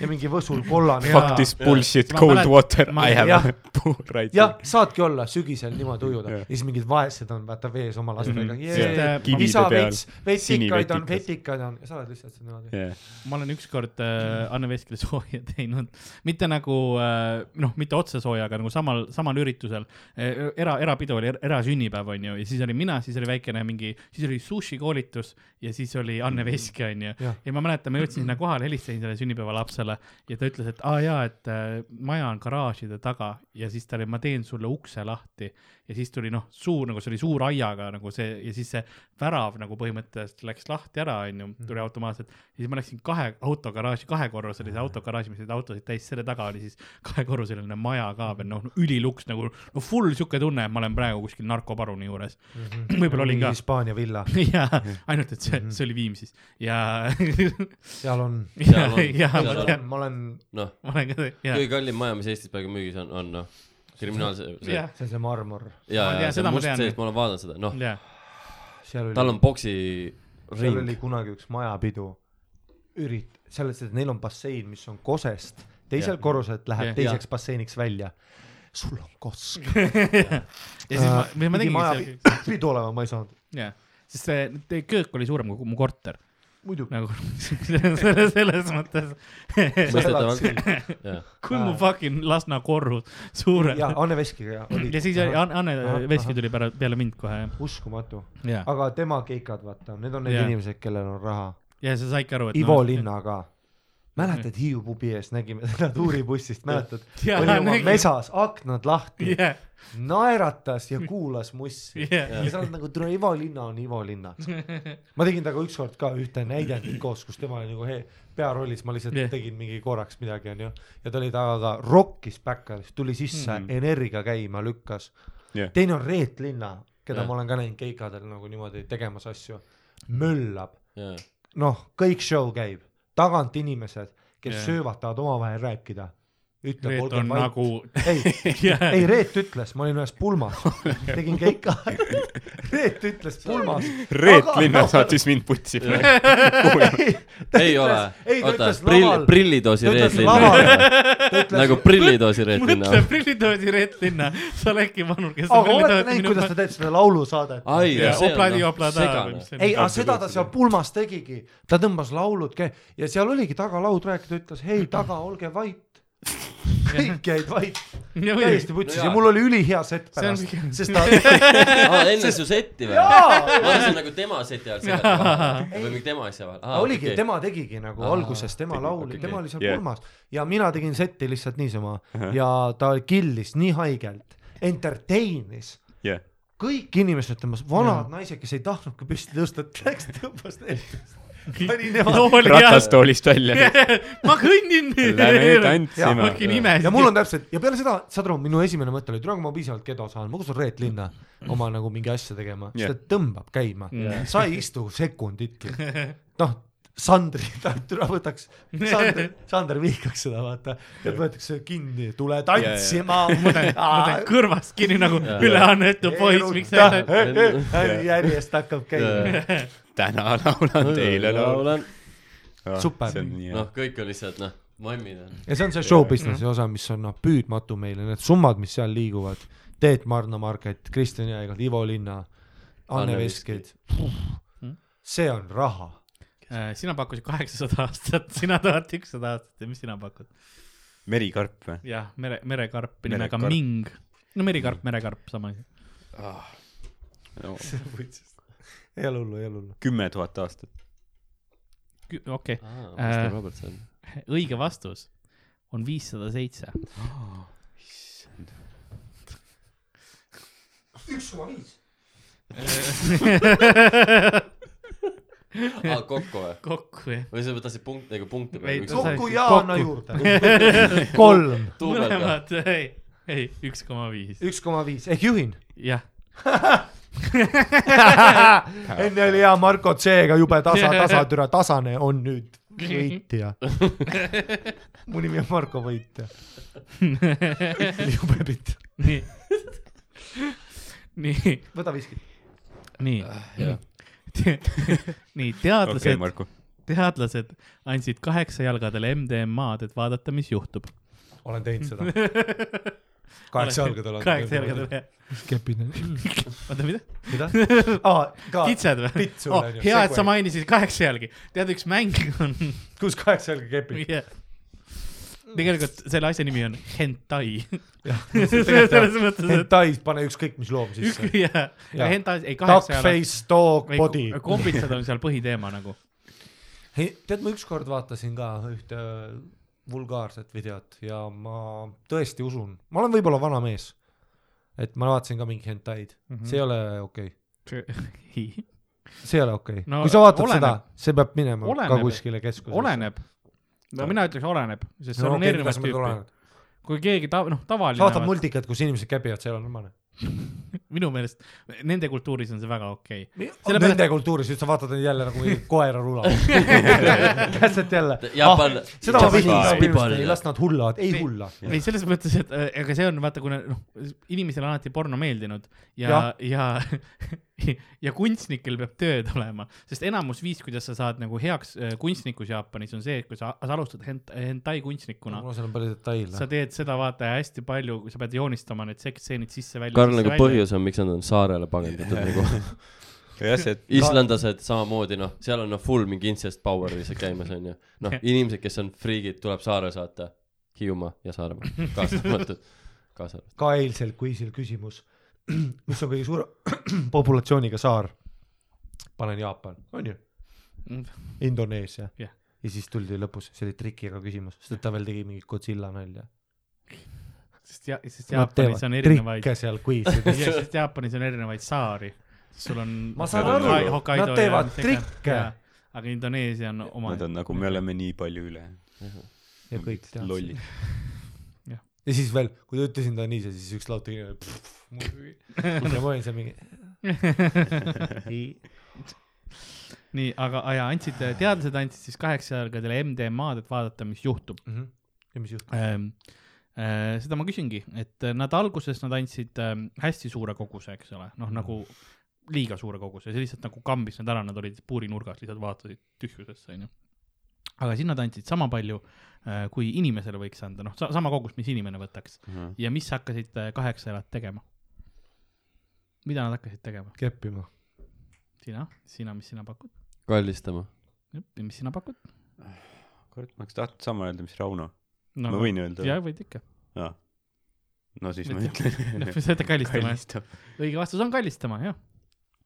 C: ja mingi Võsul kollane
D: Fuck
E: Fuck this bullshit
D: Ma
E: cold
D: mälet-
E: water ,
D: ma-
E: I
C: jah.
E: have poor right
C: jah , saadki olla sügisel niimoodi ujuda ja
E: Jah.
C: siis mingid vaesed on vaata vees oma lastega
E: Mhm.
D: Jah.
C: yeah. .
E: Kivide
C: isa
E: peal.
C: veits , vetikaid on ,
E: Sinivetikas.
C: vetikaid on , sa oled lihtsalt seal niimoodi .
E: now .
D: ma olen ükskord äh, Anne Veskile sooja teinud , mitte nagu äh, noh , mitte otse sooja , aga nagu samal , samal üritusel äh, . era , erapidu oli , erasünnipäev on ju , ja siis olin mina , siis oli väikene mingi , siis oli sushikoolitus ja siis oli Anne Veski on ju .
C: Jah.
D: ja ma mäletan , ma jõudsin sinna kohale , helistasin sellele sünnipäevalapsele ja ta ütles , et aa jaa , et äh, maja on garaažide taga ja siis ta oli , ma teen sulle ukse lahti . ja siis tuli noh , suur nagu see oli suur aiaga nagu see ja siis see värav nagu põhimõtteliselt läks lahti ära , onju , tuli automaatselt ja siis ma läksin kahe autogaraaži , kahekorruselise autogaraaži , mis neid autosid täis , selle taga oli siis kahekorruseline maja ka veel , noh , üliluks nagu , no full sihuke tunne , et ma olen praegu kuskil narkoparuni juures .
C: Mhm.
D: võib-olla olin ka .
C: Hispaania villa ,
D: ja ainult , et see , see oli Viimsis ja ,
C: Mhm. seal on
D: ja
B: Seal , on,
D: ja
B: seal
D: ma
B: on.
D: tean ,
C: ma olen ,
B: noh ,
D: ma olen ka , ja ,
B: kõige kallim maja , mis Eestis praegu müügis on , on noh , kriminaalse , see ja ,,
D: ja
C: see on see marmor ,
D: Ma tean,
B: ja see
D: seda ma
B: must
D: tean.
B: sees , ma olen vaadanud seda , noh ,
D: ja ,
C: seal
B: tal
C: oli ,
B: on boksi
C: seal oli
B: ring ,
C: kunagi üks majapidu , ürit- , selles mõttes , et neil on bassein , mis on kosest , teisel korrusel läheb
D: Jah.
C: teiseks basseiniks välja . sul on kosk . Ah,
D: ja siis ma , mis ma tegin ,
C: pidu olema ma ei saanud ,
D: ja , sest see teie köök oli suurem kui mu korter ,
C: muidugi .
D: nagu selles , selles mõttes ,
B: mõistetavalt , jah .
D: kui mu fucking Lasna korrus suurem
C: ja Anne Veskiga oli
D: ja siis oli Anne ,
C: Ahah,
D: Anne Veski
C: ahah.
D: tuli pära- peale mind kohe
C: uskumatu ,
D: ja , ja ,
C: aga tema keikad , vaata , need on need
D: Jah.
C: inimesed , kellel on raha
D: ja sa saidki aru , et .
C: Ivo no, . Linna ka . mäletad Hiiu pubi ees nägime teda tuuribussist , mäletad ?
D: Jaa,
C: oli oma
D: nägin.
C: mesas , aknad lahti
D: jah ,
C: naeratas ja kuulas mussi
D: Jah.
C: yeah. . ja sa oled nagu , tule Ivo Linna on Ivo Linna . ma tegin temaga ükskord ka ühte näidendit koos , kus tema oli nagu he- pearollis , ma lihtsalt
D: Jah.
C: yeah. tegin mingi korraks midagi , onju . ja ta oli taga , rokkis backeris , tuli sisse mm , -hmm. energia käima lükkas
E: Jah.
C: yeah. . teine on Reet Linna ,
B: Jah.
C: keda yeah. ma olen ka näinud keikadel nagu niimoodi tegemas asju . möllab ,
B: jaa ,
C: noh , kõik show käib , tagant inimesed , kes
D: Jah.
C: yeah. söövad , tahavad omavahel rääkida ütle .
D: Reet on nagu
C: ei ,
D: jää
C: ei Reet ütles , ma olin ühes pulmas , tegin keika . Reet ütles pulmas .
E: Reet Linna . saatis mind putsi .
B: ei ole
C: ei ,, ta
B: oota
C: ütles ,
B: prill ,
C: laval ,
B: prillidoosi
C: ta ütles
B: Reet
C: laval ,
B: Linna .
C: ta ütles
B: nagu prillidoosi noh. Reet Linna
D: mõtle . prillitoodi Reet Linna , sa oled äkki vanur , kes
C: aga olete näinud , kuidas ta teeb seda laulusaadet ?
B: ai ,
D: Ja
B: see on
D: opladi
B: noh,
D: oplada või
B: segane
D: mis . see on.
C: ei , aga seda ta seal pulmas tegigi , ta tõmbas laulud käi- ja seal oligi tagalaud rääkida , ütles hei taga , olge vait . kõik jäid vait ,
D: Ja muidugi.
C: täiesti putsis
B: No
C: ja
B: jaa.
C: mul oli ülihea sett
D: See on
C: pärast
D: pigem- ,
C: sest ta ,
B: aa , Ah, enne su setti või ? ma
C: jaa ,
B: arvasin nagu tema seti ajal segati vahele või mingi tema asja vahel .
C: oligi , tema tegigi nagu
B: Aa,
C: alguses , tema
E: tegi,
C: lauli ,
E: okei.
C: tema oli seal
E: Yeah.
C: pulmas ja mina tegin setti lihtsalt niisama ja ta killis nii haigelt , entertain'is
E: jah ,
C: kõik inimesed ütlemas , vanad naised , kes ei tahtnudki püsti tõusta , läks tõmbas neist . pani nemad
D: Nooli jalad.
E: ratastoolist välja .
D: ma kõnnin .
E: Lähme tantsima .
D: fucking ime .
C: ja mul on täpselt ja peale seda , saad aru , minu esimene mõte oli , et praegu ma piisavalt kedo saan , ma kutsun Reet Linna
D: Mm.
C: oma nagu mingi asja tegema ,
E: Jah.
C: sest ta tõmbab käima
D: Jah.
C: yeah. , sa ei istu sekunditki . noh , Sandri , türa võtaks , Sander , Sander vihkaks seda vaata , et võetakse kinni , tule tantsima .
D: kõrvast kinni nagu üle annetu poiss , miks sa
C: sa . järjest hakkab käima .
E: täna laulan teile laulu .
B: laulan .
C: Super.
E: see on nii hea
B: noh , kõik on lihtsalt noh , mammid on .
C: ja see on see show business'i osa , mis on noh , püüdmatu meile , need summad , mis seal liiguvad . Teet Marno Market , Kristjan Jäägel , Ivo Linna ,
B: Anne
C: Anne Veskid . Mhm. see on raha .
D: Äh, sina pakkusid kaheksasada aastat , sina tahad ükssada aastat ja mis sina pakud ?
E: merikarp või ?
D: jah , mere , merekarp nimega
E: Merekarp.
D: Ming . no merikarp , merekarp , sama asi .
E: no
C: ei ole hullu , ei ole hullu .
E: kümme tuhat aastat .
D: okei ,
C: Äh.
B: Kristjan Robertson .
D: õige vastus on viissada seitse .
C: üks koma viis .
B: aa , kokku või ?
D: kokku jah .
B: või sa tahtsid punkt , nagu punkte
D: Ei, ta sai-
B: peale .
C: kokku ja anna juurde . kolm ,
B: tuubelga .
D: mõlemad , ei , ei , üks koma viis ,
C: üks koma viis ehk juhin .
D: jah .
C: enne oli hea Marko C-ga jube tasa , tasa , türa , tasane on nüüd võitja . mu nimi on Marko Võitja . jube pitt .
D: nii , nii ,
C: võta viskit .
D: nii
B: jah. ,
D: nii
E: Ah, okei
D: teadlased
E: okay, , Marko .
D: teadlased andsid kaheksajalgadele MDMA-d , et vaadata , mis juhtub .
C: olen teinud seda . kaheksa jalgadel on .
D: kaheksajalgadele , jah .
C: kepid on .
D: oota , mida ?
C: mida ah, ? ka
D: kitsed või
C: Pits sul ?
D: Oh,
C: on ju,
D: hea , et
C: segway.
D: sa mainisid kaheksa jalgi . tead , üks mäng on
C: kus kaheksa jalga kepid ?
D: yeah. . tegelikult selle asja nimi on hentai . selles
C: jah .
D: mõttes , et
C: Hentais , pane ükskõik mis loom
D: üks
C: sisse .
D: ja, ja
C: Jah.
D: hentai , ei kaheksa jalad .
C: Duckface , dog , body .
D: kombitsad on seal põhiteema nagu .
C: tead , ma ükskord vaatasin ka ühte äh, vulgaarset videot ja ma tõesti usun , ma olen võib-olla vana mees , et ma vaatasin ka mingi hentaid mm ,
D: Mhm.
C: -hmm. see ei ole okei okay. , see ei ole okei okay.
D: No
C: no, . kui sa vaatad
D: oleneb.
C: oleneb. seda , see peab minema oleneb.
D: Oleneb.
C: ka kuskile keskusesse .
D: oleneb . no mina ütleks oleneb , sest seal
C: no,
D: no, on
C: okei,
D: okay,
C: kuidas ma
D: erinevat
C: nüüd
D: tüüpi
C: olen ?.
D: kui keegi ta- , noh ,
C: sa vaatad
D: tavaline ,
C: multikat , kus inimesed käpivad , see ei ole normaalne .
D: minu meelest nende kultuuris on see väga okei okay. .
C: Selle nende pärast... kultuuris , nüüd sa vaatad neid jälle nagu mingi koera rula . täpselt jälle .
B: Jaapan ah, ,
C: seda ma vihkan
E: Spitball.
C: inimestele , ei las nad hullavad , ei hulla .
D: ei , selles mõttes , et äh, ega see on vaata , kuna noh , inimesele on alati porno meeldinud ja
C: Jah. ,
D: ja ja kunstnikel peab tööd olema , sest enamus viis , kuidas sa saad nagu heaks äh, kunstnikus Jaapanis on see , et kui sa, sa alustad hent- , hentai kunstnikuna ,
C: mul seal on palju
D: sa
C: detaile .
D: teed seda vaata hästi palju , sa pead joonistama need seksseenid sisse-välja .
B: Karl nagu . põhjus on , miks nad on saarele pagendatud nagu .
E: jah , see ,
B: islandlased samamoodi noh , seal on noh full mingi incest power lihtsalt käimas onju . noh , inimesed , kes on friigid , tuleb saare saata . Hiiumaa ja Saaremaa , kaasa arvatud , kaasa arvatud .
C: ka eilsel kuisil küsimus , mis on kõige suurem populatsiooniga saar ? panen Jaapan , onju ,
D: Mm.
C: Indoneesia
D: Jah.
C: ja siis tuldi lõpus , see oli trikiga küsimus , sest et ta veel tegi mingit Godzilla nalja .
D: sest ja , sest Jaapanis on erinevaid ,
C: trikke seal kuisil .
D: sest Jaapanis on erinevaid saari , sul on .
C: Ma saan aru, nad teevad trikke.
D: aga Indoneesia on oma
E: nad on nagu , me oleme nii palju üle .
C: ja kõik teadsid .
E: lollid .
C: ja siis veel , kui ta ütlesin ta nii , siis üks laud tegi pff, muidugi ja ma olin seal mingi
D: nii , aga ja andsid , teadlased andsid siis kaheksa jalgadele MDMA-d , et vaadata , mis juhtub
C: mm . -hmm. Mhm. ja mis juhtus ?
D: ähm, . seda ma küsingi , et äh, nad alguses nad andsid ähm, hästi suure koguse , eks ole , noh nagu liiga suure koguse , see lihtsalt nagu kambis nad ära , nad olid puurinurgas , lihtsalt vaatasid tühjusesse , onju . aga siis nad andsid sama palju , kui inimesele võiks anda , noh , sama kogust , mis inimene võtaks
E: Mhm.
D: ja mis hakkasid äh, kaheksa elad tegema ? mida nad hakkasid tegema ?
C: keppima .
D: sina , sina , mis sina pakud ?
B: kallistama .
D: ja mis sina pakud ?
E: kurat , ma oleks tahtnud sama öelda , mis Rauno .
D: no,
E: ma võin öelda
D: jah Nagu
E: või ?,
D: võid ikka .
E: no siis ma ütlen .
D: sa ütled kallistama , jah ? õige vastus on kallistama , jah .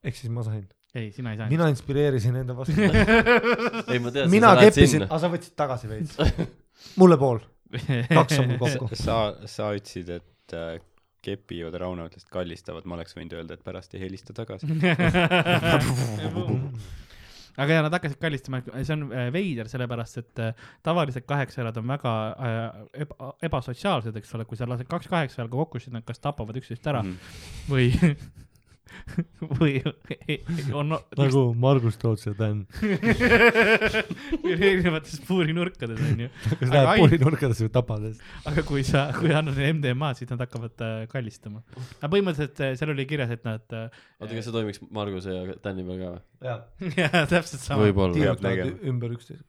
C: ehk siis ma sain .
D: ei , sina ei saa .
C: mina inspireerisin enda vastu .
B: ei , ma tean ,
C: mina
B: sa lähed
C: keppisin ,
B: sinna .
C: aga sa võtsid tagasi veits . mulle pool , kaks on mul kokku .
E: sa , sa ütlesid , et äh, kepivad , Rauno ütles , et kallistavad , ma oleks võinud öelda , et pärast ei helista tagasi .
D: aga ja nad hakkasid kallistama , see on äh, veider , sellepärast et äh, tavaliselt kaheksajalad on väga äh, eba, ebasotsiaalsed , eks ole , kui sa lased kaks kaheksajalaga kokku , siis nad kas tapavad üksteist ära
E: Mhm.
D: või või on
C: nagu Margus Toots ja Dan .
D: erinevates puurinurkades onju ,
C: kas
D: Aga
C: läheb
D: ai-
C: poolinurkadesse või tapades ?
D: aga kui sa , kui annad neile MDMA-d , siis nad hakkavad äh, kallistama . aga põhimõtteliselt äh, seal oli kirjas , et nad äh,
B: oota , kas see toimiks Marguse ja Tänni peal ka või ?
D: jah , täpselt sama ,
B: võib-olla .
E: nägema.
C: tiirutavad ümber üksteist .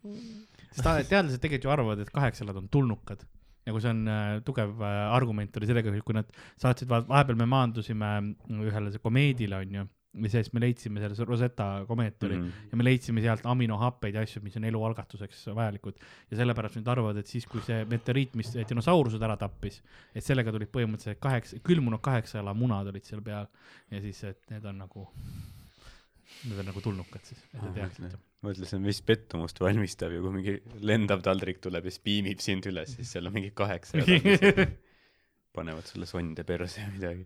D: sest ta- teadlased tegelikult ju arvavad , et kaheksalad on tulnukad . nagu see on äh, tugev äh, argument oli sellega , kui nad saatsid , vahepeal me maandusime mm, ühele see komeedile onju , ja siis me leidsime seal , see Rosetta komeet oli mm , -hmm. ja me leidsime sealt aminohappeid ja asju , mis on elu algatuseks vajalikud . ja sellepärast nüüd arvavad , et siis , kui see meteoriit , mis dinosaurused ära tappis , et sellega tulid põhimõtteliselt kaheksa , külmunud kaheksajala munad olid seal peal ja siis , et need on nagu , need on nagu tulnukad siis , et
E: Ah,
D: te teaksite .
E: ma ütlesin , mis pettumust valmistab ja kui mingi lendav taldrik tuleb ja siis piinib sind üles , siis seal on mingi kaheksa jalalist . panevad sulle sonde perse ja midagi .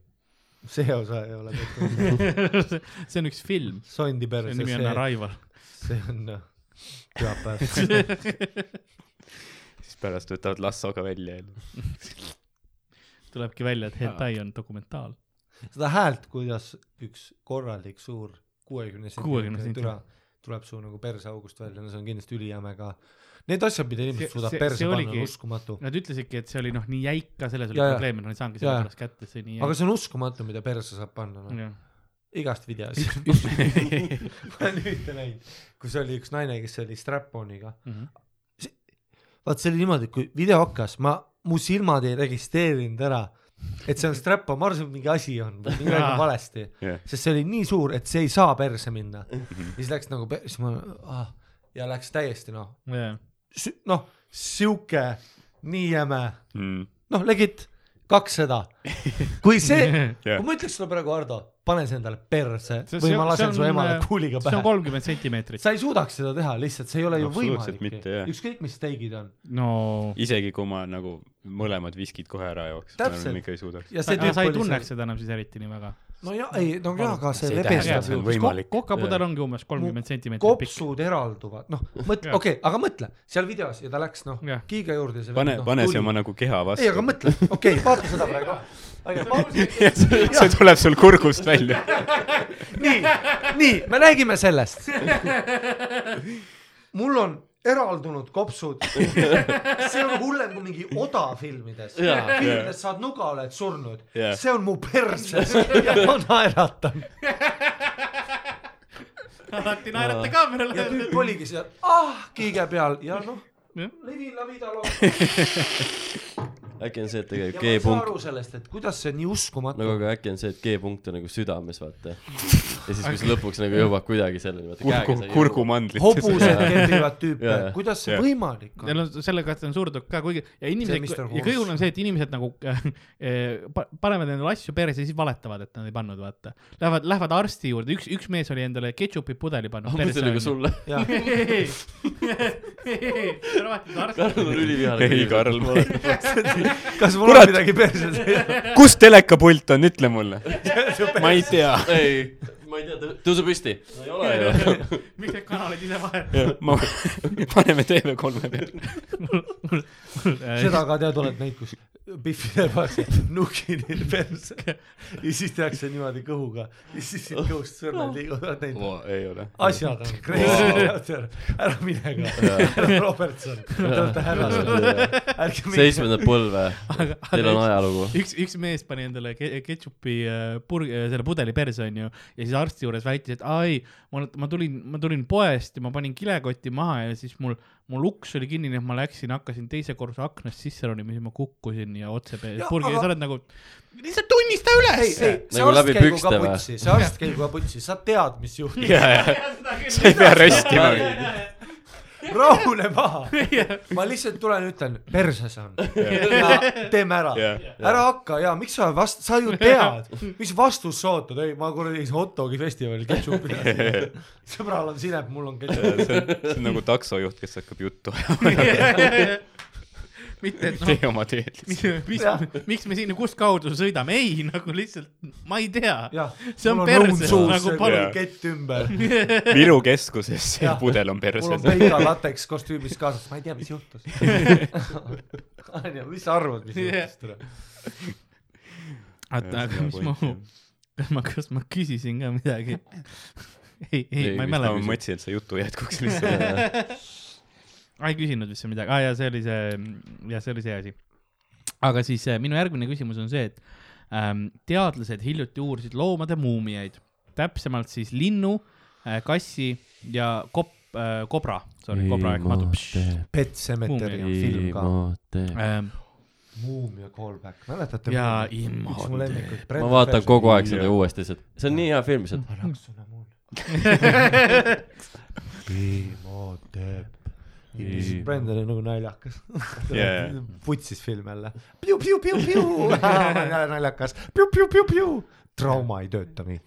C: see osa ei ole tehtud .
D: see on üks film ,
C: sondi perse ,
D: see nimi on
C: see ,
D: Arrival .
C: see on noh , pühapäev .
E: siis pärast võtavad lassoga välja jälle .
D: tulebki välja , et hentai on dokumentaal .
C: seda häält , kuidas üks korralik suur kuuekümne
D: 60
C: sentimeetri türa tuleb su nagu perseaugust välja , no see on kindlasti ülihäme ka . Need asjad , mida inimesed
D: See-
C: suudab
D: see-
C: perse
D: see
C: panna ,
D: oligi-
C: on uskumatu .
D: Nad ütlesidki , et see oli noh , nii jäik ka , selles oli
C: Jaa, jaa.
D: probleem , et nad ei saanudki
C: Jaa, jaa.
D: sellepärast kätte , see nii
C: aga see on uskumatu , mida perse saab panna , noh .
D: jäik .
C: igast videosi . ma olen ühte näinud , kus oli üks naine , kes oli strap-on'iga .
D: Mhm.
C: vaat see oli niimoodi , et kui video hakkas , ma , mu silmad ei registreerinud ära , et see on strap-on , ma arvasin , et mingi asi on või midagi on valesti .
E: jah ,
C: sest see oli nii suur , et see ei saa perse minna .
D: Mhm.
C: ja siis läks nagu , siis ma ah, , ja läks täiesti noh , noh , sihuke nii jäme ,
E: Mm,
C: noh , legit kakssada . kui see , kui ma ütleks sulle praegu , Ardo , pane see endale perse
D: See-
C: või
D: see-
C: ma lasen
D: see
C: su
D: on,
C: emale
D: äh,
C: kuuliga
D: see on
C: pähe .
D: kolmkümmend sentimeetrit .
C: sa ei suudaks seda teha , lihtsalt see ei ole ju
E: Absoluutselt
C: võimalik
E: mitte, jah. .
C: ükskõik , mis steigid on
D: no .
E: isegi kui ma nagu mõlemad viskid kohe ära jooks , ma
C: Täpselt.
E: arvan , ikka ei suudaks .
C: ja
D: sa
C: see
D: aga sa ei
C: oli
D: tunneks seda enam siis eriti nii väga .
C: seal- no ja ei , no ja , aga see
E: See ei tähenda, et
C: lebestab
E: see on
C: ju .
E: võimalik.
D: kokapudel ongi umbes kolmkümmend sentimeetrit pikk .
C: kopsud eralduvad , noh , mõtle ,
D: Jah.
C: okei , aga mõtle seal videos ja ta läks noh
D: Jah. ,
C: kiiga juurde .
E: pane , pane see oma . nagu keha
C: Noh, ei , aga
E: vastu .
C: mõtle , okei , vaata seda praegu .
E: see tuleb sul kurgust välja .
C: nii , nii , me räägime sellest . mul on eraldunud kopsud . see on hullem kui mingi oda filmides .
B: Jaa.
C: filmides saad nuga , oled surnud .
E: Jah.
C: see on mu perses ja ma naeratan .
D: alati naerate kaamerale
C: ja . tüüp oligi seal , ah , kiige peal ja noh , levin la vida looma .
B: äkki on see , et
C: ja
B: tegelikult
C: ma ei saa
B: G-punkt
C: aru sellest , et kuidas see nii uskumatu
B: nagu aga äkki on see , et G-punkt on nagu südames , vaata . ja siis , kui sa lõpuks nagu jõuad kuidagi selleni , vaata
E: kurgu , kurgumandlites .
C: hobused kepivad tüüpe
B: Jaa. ,
C: kuidas see
E: Jaa.
C: võimalik
D: ja
C: on ?
D: no selle kohta on surnud ka , kuigi ja inimesed ,
C: Mr.
D: ja
C: Horse.
D: kõige hullem on see , et inimesed nagu äh, äh, pa- panevad endale asju perse ja siis valetavad , et nad ei pannud , vaata . Lähevad , lähevad arsti juurde , üks , üks mees oli endale ketšupi pudeli pannud .
C: Ah,
B: ma mõtlen nagu . sulle . Karl on ülivihane .
E: Ei, Karl.
C: kas mul
E: Kurat!
C: on midagi perses ?
E: kus telekapult on , ütle mulle . ma ei tea .
B: ei , ma ei tea , tõuse püsti . no ei ole ju .
D: miks need kanalid ise
E: ma , paneme TV3-e peale .
D: vahetavad ?
C: seda ka tead , oled näinud , kus Biffile pannakse nuki neile perse ja siis tehakse niimoodi kõhuga ja siis siit kõhust sõrmed liiguvad neid .
E: ei ole .
C: asjad on crazy , ära mine ka , härra Robertson , te olete härrased , ärge minge .
B: seitsmendat põlve , teil on ajalugu .
D: üks , üks mees pani endale ke- ketšupi äh, purgi , selle pudeli perse onju ja siis arsti juures väitis , et ai , ma , ma tulin , ma tulin poest ja ma panin kilekoti maha ja siis mul , mul uks oli kinni , nii et ma läksin , hakkasin teise korruse aknast sisse ronima , siis ma kukkusin ja otse pe-
C: Jaa,
D: purgi ja
C: aga-
D: sa oled nagu , lihtsalt tunnista
C: ei ,
D: üles .
C: ei , see
B: Nagu
C: arst
B: läbi
C: käigu
B: pükste
C: ka
B: või?
C: putsi , see arst käigu ka putsi , sa tead , mis juhtus ,
E: sa ei pea röstima .
C: rahune maha . ma lihtsalt tulen ja ütlen , perses on . teeme ära
E: Jah. ,
C: ära hakka ja miks sa vast- , sa ju tead , mis vastust sa ootad , ei ma kuradi käisin hot dogi festivalil ketšupi peal . sõbral on sinep , mul on ketšup .
E: see on nagu taksojuht , kes hakkab juttu ajama .
D: mitte , et noh
E: tee oma teed lihtsalt .
D: mis , mis
C: Jah. ,
D: miks me sinna , kustkaudu sõidame , ei nagu lihtsalt , ma ei tea .
C: jah ,
D: See on
C: mul on
D: perses,
C: õun suus ,
D: nagu
C: see
E: palun.
C: kuradi kett ümber .
E: Viru keskuses see
C: Jah.
E: pudel on
C: mul on
E: perses .
C: peika lateks kostüümis kaasas , ma ei tea , mis juhtus . onju , mis sa arvad , mis
D: Jah.
C: juhtus täna ?
D: oota , aga mis mu , kas ma , kas ma küsisin ka midagi ? ei , ei, ei , ma ei
E: ma
D: mäleta .
E: mõtlesin , et see jutu jätkuks lihtsalt .
D: ma ei küsinud vist seal midagi , aa jaa , see oli see , jah , see oli see asi . aga siis äh, minu järgmine küsimus on see , et ähm, teadlased hiljuti uurisid loomade muumiaid , täpsemalt siis linnu äh, , kassi ja kop- äh, , kobra , sorry , kobra ehk madu .
C: Pet Sematary on film ka .
D: Ähm,
C: Muumia callback , mäletate ?
D: Jaa,
C: üks mu
D: Imhotep.
C: lemmikuid .
B: ma vaatan kogu aeg seda uuesti lihtsalt , see on nii hea film lihtsalt .
C: raksuna mul . Imhotep .
E: Imhotep.
C: Brändel on nagu naljakas
E: Jaa, jaa. .
C: putsis film jälle . piu-piu-piu-piu , naljakas , piu-piu-piu-piu . trauma ei tööta nii .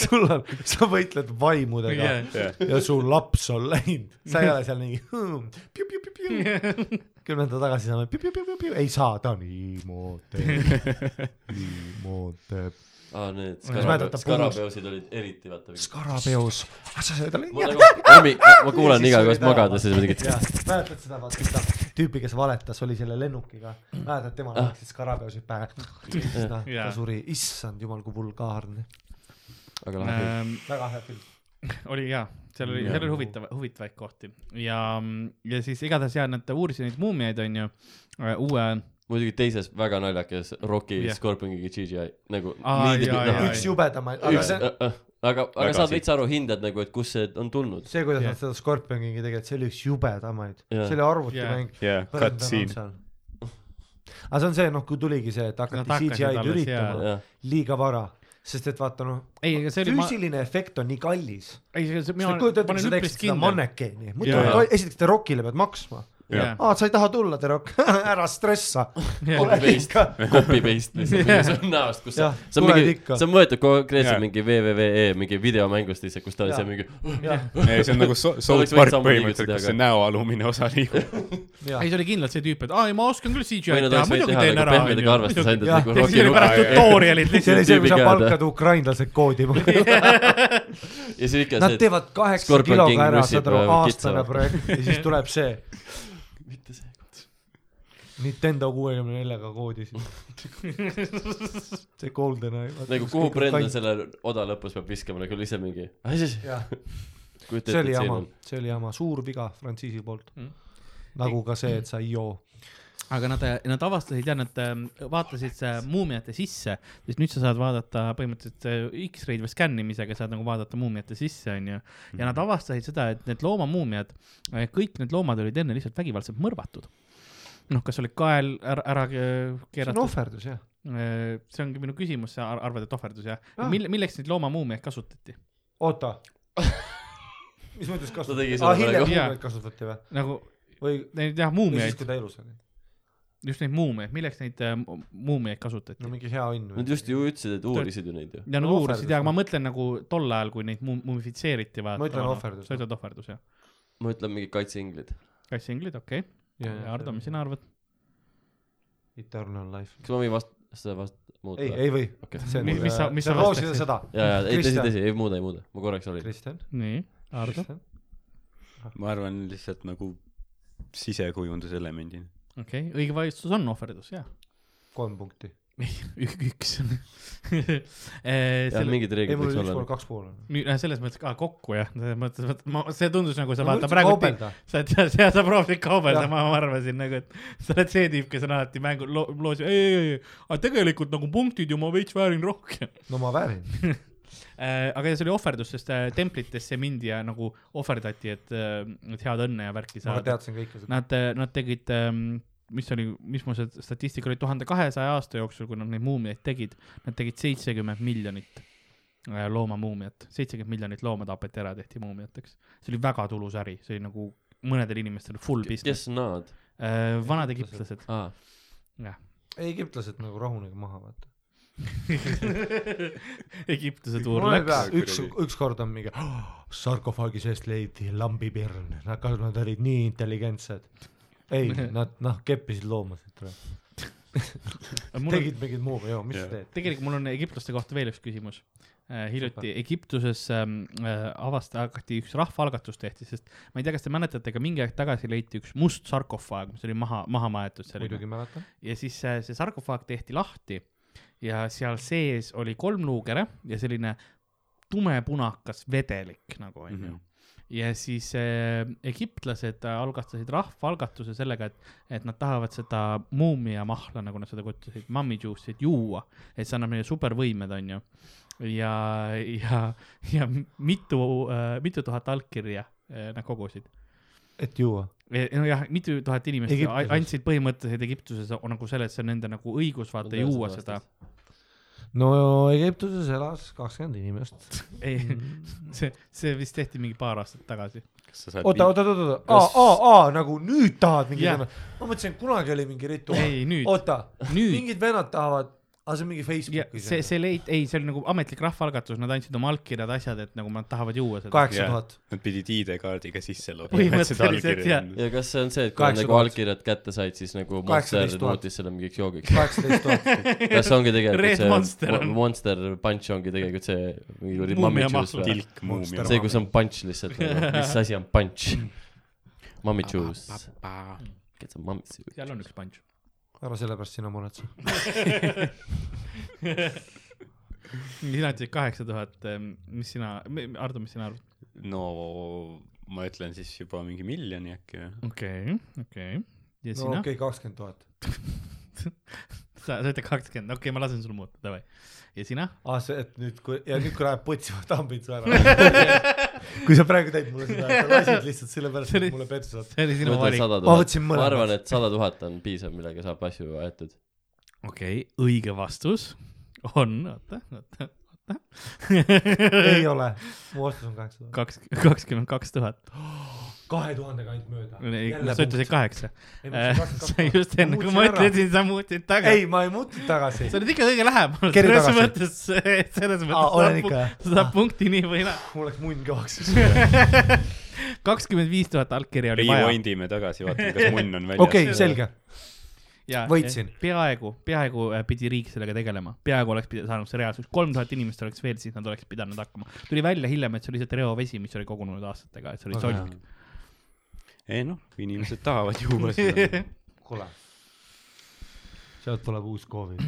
C: sul on , sa võitled vaimudega
D: Jaa.
C: ja su laps on läinud , sa ei ole seal nii hmm, piu-piu-piu-piu . kümme nädalat tagasi saame piu-piu-piu-piu , ei saa , ta on Imhotep , Imhotep .
B: aa , Ah, need
C: Ma ei mäleta,
B: skarab-
C: puhus-
B: skarabeosid olid eriti vaata .
C: Skarabeus , Ah, sa said talle .
B: ma nagu , hommi- , ma kuulan iga kord magades ja siis midagi .
C: mäletad seda , vaata seda tüüpi , kes valetas , oli selle lennukiga , mäletad , temal
B: Ah.
C: läksid skarabeusid pähe . siis noh , ta
D: Jaa.
C: suri , issand jumal , kui vulgaarne ,
B: aga lahe film .
D: ähm,
C: väga hea film .
D: oli jaa , seal oli , seal oli huvitav , huvitavaid kohti ja , ja siis igatahes jaa , nad uurisid neid muumiaid , onju , uue ,
B: muidugi teises väga naljakas Rocki
D: Jah.
B: yeah. Scorpioniga CGI nagu
D: Aa,
B: nii
D: jaa, jaa,
B: noh,
C: üks jubedamaid , aga
B: üks ,
C: see ,
B: aga , aga
E: Väga
B: saad
E: asi.
B: veits aru , hindad nagu , et kust see on tulnud .
C: see , kuidas
D: Jah.
C: nad seda Scorpioniga tegid , see oli üks jubedamaid ,
B: Jaa.
C: see oli arvutimäng .
E: jaa , cutscene .
C: aga see on see , noh , kui tuligi see , et
D: Nad
C: hakati
D: hakkasid
C: CGI-d
D: alles,
C: üritama
B: jah ,
C: liiga vara , sest et vaata noh ,
D: ei , aga see oli ma ,
C: füüsiline efekt on nii kallis
D: ei , see , see , mina
C: Sa kujutad ette ,
D: ma olen
C: sa
D: üpris
C: teeksid seda
D: kindel .
C: mannekeeni ,
D: Jaa,
C: muidu
B: jaa.
C: esiteks te rokile pead maksma .
E: Jah.
C: aa , sa ei taha tulla , Terok , ära stressa .
B: Ole- copy paste lihtsalt näost , kus sa
C: Jah, ,
B: see on
C: tuled
B: mingi ,
C: ikka.
B: see on võetud konkreetselt
E: Jah.
B: mingi WWE E, mingi videomängust lihtsalt , kus ta oli
C: Jah.
B: seal mingi , "Oh,
E: ei , see on nagu so- , South
B: võiks
E: Park
B: sammu
E: põhimõtteliselt ,
B: liigutada,
E: kus see
B: aga-
E: näoalumine osa liigub .
D: ei , see oli kindlalt see tüüp , et aa , ei ma oskan küll
B: või
D: CGI-d
B: nad
D: teha ,
B: oleks võinud
D: muidugi
B: teha
D: teen
B: nagu
D: ära .
B: pehmedega arvestades ainult , et
C: Jah.
B: nagu
D: ja siis
B: Rocki
D: oli
B: lugu
D: pärast
E: Rocki-
D: tutorial'id
C: see oli see ,
D: lihtsalt .
C: kui sa
B: tüübiga jääda.
C: palkad ukrainlased koodima .
B: ja siis ikka
C: Nad
B: see ,
C: teevad kaheksa
B: Scorpion King
C: kiloga ära ,
B: russib,
C: saad aru
B: äh, ,
C: aastane
B: kitsa.
C: projekt ja siis tuleb see
B: et mitte see .
C: Nintendo kuuekümne neljaga koodis . see GoldenEye .
B: nagu kuhu Brendan ? selle oda lõpus peab viskama nagu lihtsalt mingi , kujutad ette ,
C: see
B: et siin
C: oli jama
B: on ,.
C: see oli jama , suur viga frantsiisi poolt
D: Mm. .
C: nagu ka see , et sa ei joo .
D: aga nad , nad avastasid ja nad ähm, vaatasid äh, muumiate sisse , sest nüüd sa saad vaadata põhimõtteliselt äh, X-ray'd või skännimisega saad nagu vaadata muumiate sisse , onju . ja
B: Mhm.
D: nad avastasid seda , et need loomamuumiad , kõik need loomad olid enne lihtsalt vägivaldselt mõrvatud . noh , kas oli kael ära, ära äh,
C: see on
D: keeratud ,
C: ohverdus jah .
D: see ongi minu küsimus , sa ar- arvad , et ohverdus jah
C: Ah.
D: ah. ? mille , milleks neid loomamuumiaid kasutati ?
C: oota mis mõttes
B: Ta tegi
C: kasutati ?
B: seda
C: aa , hiljem
B: praegu.
D: Jaa.
C: muumiaid kasutati või ?
D: nagu
C: või ,
D: neid jah ,
C: või siis ,
D: muumiaid ,
C: kui ta elus oli ?
D: just neid muumiaid , milleks neid äh, mu- muumiaid kasutati
C: no ? mingi hea õnn
B: Nad
C: või ?
B: just ju ütlesid , et uurisid ju neid ju .
D: ja nad
C: No
D: uurisid
C: ohverdus,
D: ja , aga ma
C: noh.
D: mõtlen nagu tol ajal , kui neid mum- , mumifitseeriti vaata .
C: Ma ütlen ohverdus,
D: sa
C: noh.
D: ütled ohverdus jah .
B: ma ütlen mingi kaitseinglid .
D: kassinglid , okei okay. . Ardo , mis sina ? arvad ?
C: Eternal life .
B: kas ma võin vast- , seda vast- , muuta ?
C: ei , ei või .
B: Okei.
C: see on
D: Mis- , mis sa- mis
C: see
D: sa
C: on rooside
D: vastaksid?
C: sõda .
B: ja , ja , ei tõsi ,
C: Kristjan.
B: tõsi , ei muuda , ei muuda , ma korraks olin .
C: Kristjan .
D: nii , Ardo .
E: ma arvan lihtsalt nagu sisekujunduselemendi .
D: okei okay. , õige valitsus on ohverdus , jah .
C: kolm punkti .
D: üks .
B: jah ,
D: selle ,
B: mingid
C: ei ,
B: reeglid
C: mul
B: võiks
C: oli üks
B: olla
C: pool , kaks pool on .
D: selles mõttes ka kokku jah , selles mõttes , et ma , see tundus nagu sa
C: Ma
D: vaata
C: võtsin
D: praegu
C: kaubelda. ,
D: sa tead , sa, sa proovid kaubelda ,
C: Jah.
D: ma ma arvasin nagu , et sa oled see tüüp , kes on alati mängu lo- , loos , ei , ei , ei , aga tegelikult nagu punktid ju ma veits väärin rohkem .
C: no ma väärin .
D: Äh, aga see oli ohverdus , sest äh, templitesse mindi ja nagu ohverdati , et , et head õnne ja värki
C: ma
D: saada .
C: teadsin kõike seda .
D: Nad , nad tegid , mis oli , mis mu see statistika oli , tuhande kahesaja aasta jooksul , kui nad neid muumiaid tegid , nad tegid seitsekümmend miljonit äh, loomamuumiat , seitsekümmend miljonit looma tapeti ära , tehti muumiateks . see oli väga tulus äri , see oli nagu mõnedel inimestel full business .
B: kes nad ?
D: Äh, vanad egiptlased ,
B: aa ,
D: jah .
C: egiptlased nagu rahunege maha , vaata .
D: Egiptuse tuur
C: mul oli
D: läks .
C: pea ,
E: kuidagi.
C: üks , ükskord on mingi "Oh, sarkofaagi seest leiti lambipirn , nad , kas nad olid nii intelligentsed ? ei , nad noh , keppisid loomasid , tegid mingit muud , joo , mis sa
E: Jah.
C: teed ?
D: tegelikult mul on egiptlaste kohta veel üks küsimus . hiljuti Egiptuses ähm, äh, avast- , hakati üks rahvaalgatus tehti , sest ma ei tea , kas te mäletate , aga mingi aeg tagasi leiti üks must sarkofaag , mis oli maha , maha maetud selline .
C: muidugi mäletan .
D: ja siis äh, see sarkofaag tehti lahti ja seal sees oli kolm luugere ja selline tumepunakas vedelik nagu onju mm .
E: Mhm.
D: -hmm ja siis äh, egiptlased äh, algatasid rahvaalgatuse sellega , et , et nad tahavad seda muumiamahla , nagu nad seda kutsusid , mummy juice'it juua , et see annab neile supervõimed , onju . ja , ja , ja mitu äh, , mitu tuhat allkirja äh, nad kogusid .
C: et juua .
D: Eh, nojah , mitu tuhat inimest a-
C: Egiptuses.
D: andsid põhimõtteliselt Egiptuses on nagu selle , et see on nende nagu õigus vaata
B: Nende
D: juua
B: aastast.
D: seda .
C: no Egiptuses elas kakskümmend inimest .
D: see , see vist tehti mingi paar aastat tagasi .
E: kas sa saad
C: oota ,
E: oota,
C: oota , oota , oota , aa
E: Kas- ,
C: aa , aa , nagu nüüd tahad mingi
D: Jah.
C: teema , ma mõtlesin , et kunagi oli mingi rituaal .
D: ei , nüüd ,
C: oota ,
D: nüüd .
C: mingid vennad tahavad , aga see on mingi Facebookis
D: see , see leid , ei , see oli nagu ametlik rahvaalgatus , nad andsid oma allkirjad , asjad , et nagu nad tahavad juua seda .
C: kaheksa tuhat .
E: Nad pidid ID-kaardiga sisse loobima , et seda
D: Põhimõtteliselt,
E: allkirja
D: jah.
E: anda .
B: ja kas see on see , et kui nad
C: 8000.
B: nagu allkirjad kätte said , siis nagu Monster
C: 18 000.
B: muutis selle mingiks joogiks ?
C: kaheksateist tuhat .
B: kas see ongi
D: Red
B: tegelikult see
D: Monster on-
B: Mo- Monster Punch ongi tegelikult see mingi kuradi
D: Muumia
B: Mummy Juice
D: mahl.
B: või ?
E: tilk muumia
B: see , kus on punch lihtsalt , mis asi on punch ? Mummy Juice . Get some mummy juice .
D: seal on üks punch .
C: ära sellepärast sina muretse .
D: sina ütlesid kaheksa tuhat , mis sina , Ardo , mis sina arvad ?
E: no ma ütlen siis juba mingi miljoni äkki või ?
D: okei , okei .
C: no okei
D: ja sina ?
C: okay, , kakskümmend tuhat .
D: sa , sa ütled kakskümmend , okei , ma lasen sul muuta , davai . ja sina ?
C: aa , Ah, see , et nüüd , kui ja nüüd , kui läheb putsi , ma tambin su ära . kui sa praegu teed mulle seda , sa lasid lihtsalt sellepärast ,
D: See oli-
C: et mulle petsu saad .
D: see oli
B: ma
D: sinu
B: ütlen
D: valik .
B: sada
C: ma
B: tuhat .
C: võtsin
B: ma
C: mõlemad
B: arvan ,. et sada tuhat on piisav , millega saab asju aetud .
D: okei okay, , õige vastus on , oota , oota ,
C: ei
D: oota .
C: ole , mu vastus on kaheksa tuhat .
D: kaks , kakskümmend kaks tuhat ,
C: kahe tuhandega ainult mööda .
D: sa ütlesid kaheksa . sa
C: kaheksa
D: just enne , kui ma . ütlesin , sa muutsid tagasi .
C: ei , ma ei muutnud tagasi
D: sa . olid ikka kõige lähemal ,
C: Keri
D: selles
C: tagasi.
D: mõttes , selles
C: aa , olen
D: mõttes
C: ikka .
D: sa saad punkti nii või naa .
C: mul läks munn kõvaks .
D: kakskümmend viis tuhat allkirja oli vaja .
E: Rewind ime tagasi , vaatame , kas munn on väljas .
C: okei , selge .
D: Ja,
C: Võitsin.
D: eh, peaaegu , peaaegu eh, pidi riik sellega tegelema , peaaegu oleks pidi- saanud see reaalsus , kolm tuhat inimest oleks veel , siis nad oleks pidanud hakkama . tuli välja hiljem , et see oli lihtsalt reovesi , mis oli kogunenud aastatega , et see oli
C: Aga
D: solk .
E: ei noh , inimesed tahavad juua seda .
C: kuule , sealt tuleb uus Covid .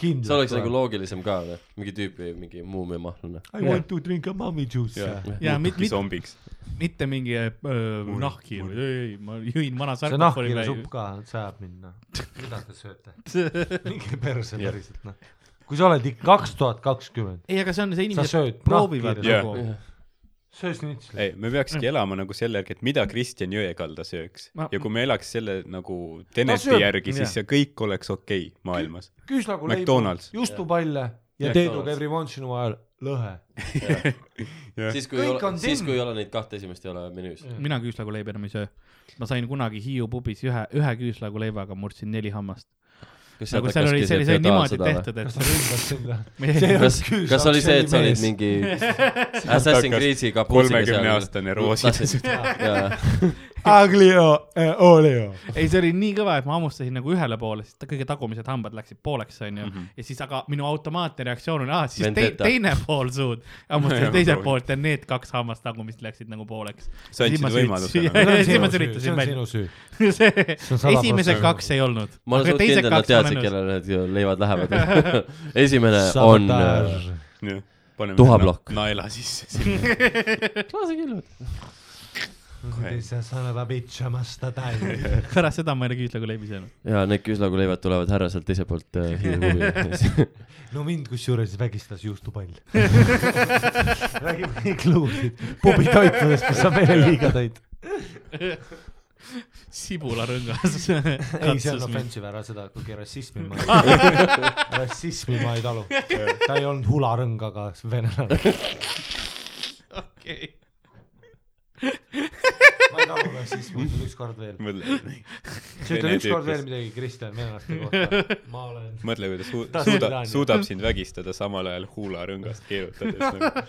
C: kindlalt .
B: see oleks nagu loogilisem ka või ? mingi tüüp , mingi muumia mahlane .
C: I want to drink a mommy juice .
D: ja mit,
E: muutubki
D: mit,
E: zombiks .
D: mitte mingi äh, nahkhiir , ei , ei , ma jõin vana
C: see
D: sarkofoni
C: nahkhiire
D: välja
C: supp . ka sajab mind , noh . mida te sööte ?
D: ei ,
C: minge perse päriselt , noh . kui sa oled ikka kaks tuhat kakskümmend ,
D: aga see on see
C: sa
D: inimesed
C: sööd
D: proovivad
C: nahkhiire ,
E: Jah.
D: nagu ,
C: söö snitsli .
E: ei , me peakski elama nagu selle järgi , et mida Kristjan Jõekalda sööks
D: Ma-
E: ja kui me elaks selle nagu
C: Ta
E: Teneti
C: sööb-
E: järgi , siis
D: jah.
E: see kõik oleks okei okay maailmas .
C: küüslauguleibu ,
E: McDonalds .
C: juustupalle ja
B: Jah.
C: teeduga every once in a while lõhe .
B: siis , kui ei
C: Kõik
B: ole
C: on ,
B: siis
C: tinn.
B: kui ei ole neid kahte esimest ei ole menüüs .
D: mina küüslauguleiba enam ei söö . ma sain kunagi Hiiu pubis ühe , ühe küüslauguleibaga murdsin neli hammast .
B: kas
D: nagu seal oli , see oli , see oli niimoodi
B: või ?
D: tehtud , et
C: kas sa ründad sinna ?
D: me
B: kas
C: Küll ,
B: kas
C: saab
B: oli see , et sa olid
C: sellimees.
B: mingi Assassin's
E: hakkas
B: Creed'i kapuutsiga seal ?
E: kolmekümneaastane rooside .
B: jaa ,
C: Aglio eh, olio .
D: ei , see oli nii kõva , et ma hammustasin nagu ühele poole , siis ta kõige tagumised hambad läksid pooleks , onju . ja siis , aga minu automaatne reaktsioon oli , aa , siis te,
B: Mhm. Vendetta.
D: teine pool suud . hammustasin teiselt poolt ja need kaks hammast tagumist läksid nagu pooleks .
E: Sa andsid võimaluse
C: see
E: nagu.
C: on
D: siis ma
C: sinu süü , see
D: süritasin
C: on
D: välja .
C: sinu süü .
D: see ,
C: on sada
D: esimesed
C: protsenti.
D: kaks ei olnud .
B: ma olen suht kindel , nad teadsid , kellele need leivad lähevad . esimene on äh,
C: sabotaaž .
E: paneme
B: Tuhaplokk.
E: na- naela sisse sinna .
C: sa saad vitsamasta täis .
D: pärast seda ma ei ole küüslaga leibi söönud .
B: ja need küüslaugu leivad tulevad härra sealt teiselt poolt äh, Hiiumaa .
C: no mind kusjuures vägistas juustupall . räägib kõik lugusid pubitoitudest , mis sa meile liiga tõid .
D: sibularõngas .
C: ei , see on
D: ei ,
C: offensive , ära seda , kuigi rassismi ma ei talu . rassismi ma ei talu . ta ei olnud hularõng , aga venelane .
D: okei .
C: ma ei talu rassismi , ütle ükskord veel .
E: mõtle ,
C: sa ütle
E: Vene
C: ükskord veel
E: tüüp, kes-
C: midagi Kristjan venelaste kohta . ma olen .
E: mõtle , kuidas su-
C: Ta
E: suuda
C: sõdan ju. ,
E: suudab sind vägistada samal ajal huularõngast keerutades nagu. .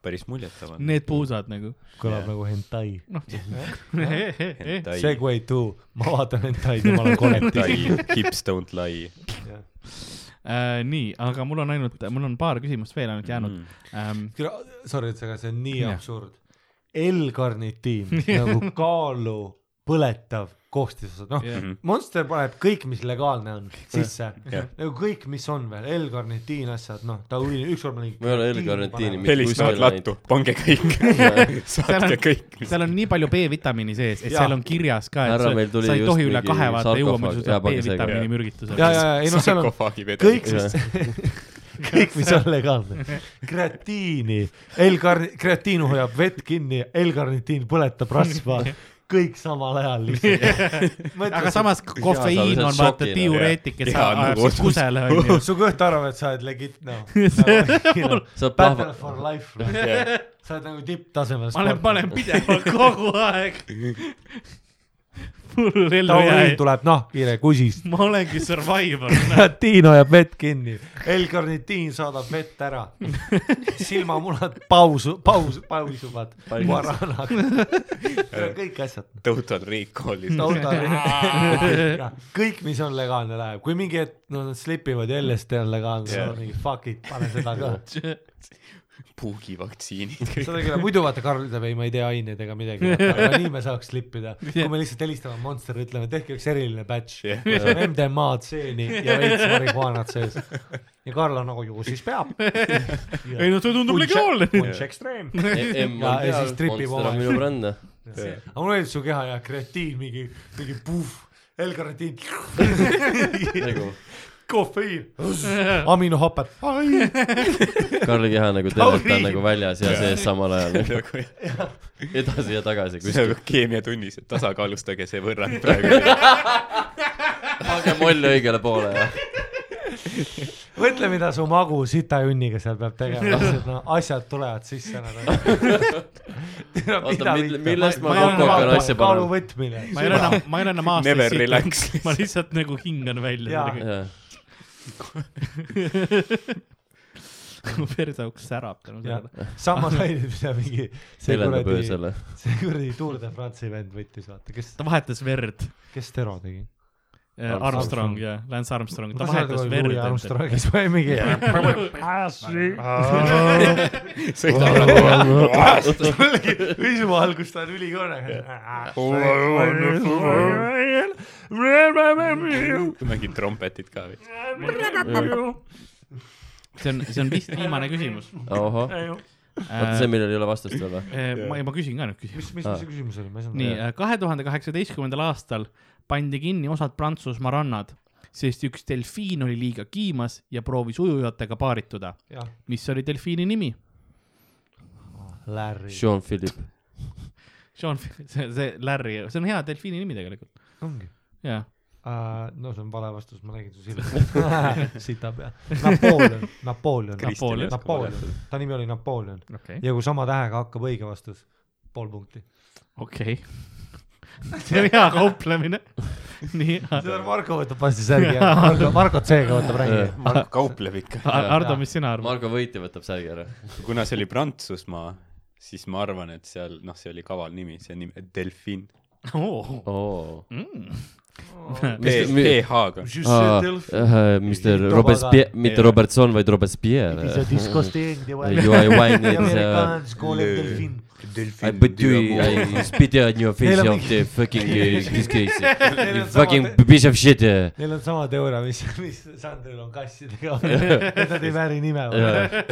E: päris muljetav on .
D: Need puusad nagu .
C: kõlab nagu hentai .
D: Eh?
E: Tai ,
C: Segway to , ma vaatan hentaid ja ma olen kollektiiv .
E: tai , hips don't lie .
D: Äh, nii , aga mul on ainult , mul on paar küsimust veel ainult
E: Mm.
D: jäänud .
B: Mm.
D: Ähm,
C: Sorry , et see , aga see on nii
D: Jah.
C: absurd . L-karnitiin nagu kaalu põletav koostisosad , noh
D: Jah.
E: Mhm.
C: Monster paneb kõik , mis legaalne on , sisse .
E: Jah.
C: nagu kõik , mis on veel , L-karnitiin , asjad , noh , ta uri- , ükskord ma olin .
B: Ma ei ole L-karnitiini mitte-
E: helistavad
B: Kuskil ainult.
E: lattu , pange kõik , saatke kõik .
D: seal on nii palju B-vitamiini sees , et
C: Jaa.
D: seal on kirjas ka , et
B: Härra,
D: sa,
B: meil tuli
D: sa ei tohi
B: just
D: üle
B: mingi
D: kahe vaata jõua ,
B: sarkofaag-
D: muidu sa saad
B: jaa, pange see ka,
D: B-vitamiini
E: jah.
D: mürgituse .
C: ja , ja , ja ei noh , seal on
E: sarkofaagi
C: kõik ,
E: vedelik .
C: mis , kõik , mis on legaalne . kreatiini , L-karni- , kreatiin hoiab vett kinni , L-karnitiin põletab rasva , kõik samal ajal lihtsalt .
D: aga samas
B: Jaa,
D: kofeiin
B: sa
D: on
B: oled
D: vaata
B: šokil,
D: diureetik , et
E: jah.
D: sa
E: Jaa,
D: ajad
E: nagu
D: sind kusele , onju .
C: su kõht arvab , et sa oled legit noh .
B: saab
C: Battle
B: plahva ,
C: for life , sa oled nagu tipptasemel .
D: ma olen , ma olen pidevalt kogu aeg full ellu
C: tauriin
D: jäänud .
C: tuleb nahkhiire kusist .
D: ma olengi survivor .
C: kreatiin hoiab vett kinni , L-karnitiin saadab vett ära . silmamunad pausu , paus , pausuvad , varanad , kõik asjad .
E: total recall'is .
C: tauda , kõik , mis on legaalne , läheb , kui mingi hetk , no nad slipivad ja LSD on legaalne
E: Jah.
C: yeah. , mingi fuck it , pane seda ka .
E: puugivaktsiinid , kõik .
C: seda küll , muidu vaata , Karl ütleb , ei , ma ei tea aineid ega midagi , aga nii me saaks slippida , kui me lihtsalt helistame Monsterile , ütleme , tehke üks eriline batch
E: Jah.
C: yeah. , kus on MDMA-d seeni ja veits marihuanat sees . ja Karl on nagu , ju siis peab .
D: ei no see tundub nagu legaalne .
C: punš ekstreem .
B: E M
C: Ja-
B: on
C: ja siis
B: peal ,
C: tripib
B: Monster on
C: omaks.
B: minu bränd .
C: aga mul meeldib su keha ja kreatiin , mingi , mingi puhv , L-karantiin ,
B: nagu
C: kofeiin , aminohapet , ai
B: Karli keha nagu tervelt ta on
C: Tauriin.
B: nagu väljas ja sees samal ajal ,
E: nagu
B: edasi ja tagasi kuskil
E: nagu . keemiatunnis , et tasakaalustage see võrrand praegu .
B: pange moll õigele poole ja
C: mõtle , mida su magu sitajunniga seal peab tegema , sest no asjad tulevad sisse . nagu.
B: oota , millest ma
D: Ma ei ole
B: kokku hakkan asja
C: kaalu
B: panema ?
C: võtmine .
D: ma ei ole enam , ma ei ole enam aastaid
E: Never
D: Ah, siit-
E: relax.
D: ma lihtsalt nagu hingan välja
C: Jaa.
D: midagi . mu perseauks särab tänu sellele .
C: sama naine , mida mingi see
B: seljandab
C: kuradi ,
B: öösel .
C: see kuradi Tour de France'i vend võttis , vaata , kes ,
D: ta vahetas verd .
C: kes Tero tegi .
D: Armstrong, Armstrong ja Lance Armstrong , ta vahetas verd .
C: Armstrong , kes või mingi . visuaal , kus ta on ülikõrge .
E: mängib trompetit ka või ?
D: see on , see on vist viimane küsimus .
B: ohoh , oota see , millel ei ole vastust veel või ?
D: Äh, ma , ma küsin ka nüüd küsimuse .
C: mis , mis
B: Ah.
C: see küsimus oli , ma ei saanud
D: nii ,
B: äh.
D: kahe tuhande kaheksateistkümnendal aastal pandi kinni osad Prantsusmaa rannad , sest üks delfiin oli liiga kiimas ja proovis ujujatega paarituda .
C: aru .
D: mis oli delfiini nimi ?
C: Larry .
B: Jean-Philippe ,
D: Sean , see , see Larry , see on hea delfiini nimi tegelikult .
C: ongi
D: jaa ,
C: uh, . no see on vale vastus , ma nägin su silma . sita pea . Napoleon , Napoleon ,
D: Napoleon.
C: Napoleon , ta nimi oli Napoleon
D: okei okay. ,
C: ja kui sama tähega hakkab õige vastus , pool punkti .
D: okei okay. . see on hea kauplemine . nii ,
C: seda Marko võtab varsti särgi ära , Marko , Marko C-ga võtab rängi .
E: Marko kaupleb ikka .
D: Ardo , mis sina arvad ?
B: Margo võitja võtab särgi ära .
E: kuna see oli Prantsusmaa , siis ma arvan , et seal , noh , see oli kaval nimi , see nimi , delfin ,
D: oo ,
B: oo .
E: PH-ga .
B: Ah. Mr Robespierre , mitte Robertson , vaid Robespierre . You are whining the I put you , I spit on your face
C: Neil on
B: of the fucking uh, this case . You
C: on
B: fucking
C: sama-
B: piece of shit uh. .
C: Neil on sama teooria , mis , mis Sandril on kassidega . Nad ei vääri nime .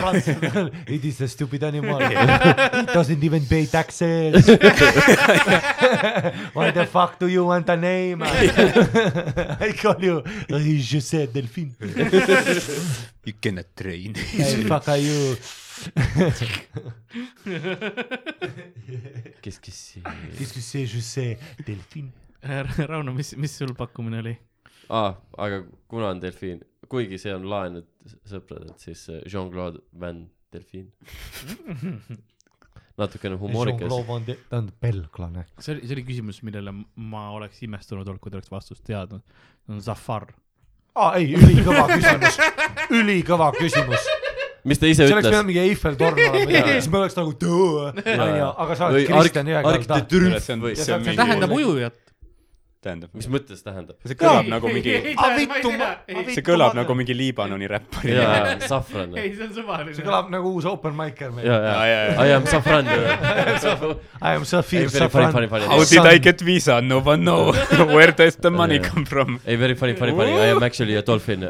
C: It is a stupid animal . It doesn't even pay taxes . Why the fuck do you want a name ? I call you , je sais delfin .
E: You cannot train .
C: Fuck are you ?
B: kes , kes see ?
C: Qu'est-ce que c'est , je sais delfin .
D: Rauno , mis , mis sul pakkumine oli ?
B: aa , Ah, aga kuna on delfiin , kuigi see on laen , et sõpradelt , siis uh, Jean-Claude Van Delfin . natukene humoorikas .
C: ta on belglane .
D: see oli , see oli küsimus , millele ma oleks imestunud olnud , kui ta oleks vastust teadnud . see on Zafar .
C: aa ei , ülikõva küsimus , ülikõva küsimus
B: mis ta ise
C: see oleks
B: ütles
C: pidanud ? mingi Eiffel torn olema , siis me oleks nagu tõu , onju , aga sa oled Kristjan noh. Jõekalda .
E: see on
D: see
E: mingi-
D: tähendab ujujat .
E: tähendab ,
B: mis mõttes tähendab ?
E: see kõlab nagu mingi ,
C: aa vittu ,
E: see kõlab nagu mingi Liibanoni räppar .
B: jaa , safran .
D: ei , see on
C: see
D: suvaline .
C: kõlab nagu uus open mic'er meil .
B: jaa ,
E: Jaa, jaa,
B: jaa ,
E: jaa.
B: I am safran .
C: I am Safir
B: Ei, very funny,
C: Safran .
B: funny, funny.
E: How did I get visa ? No one know . Where does the money
B: Yeah.
E: come from ?
B: ei , very funny , funny , funny , I am actually a dolphin .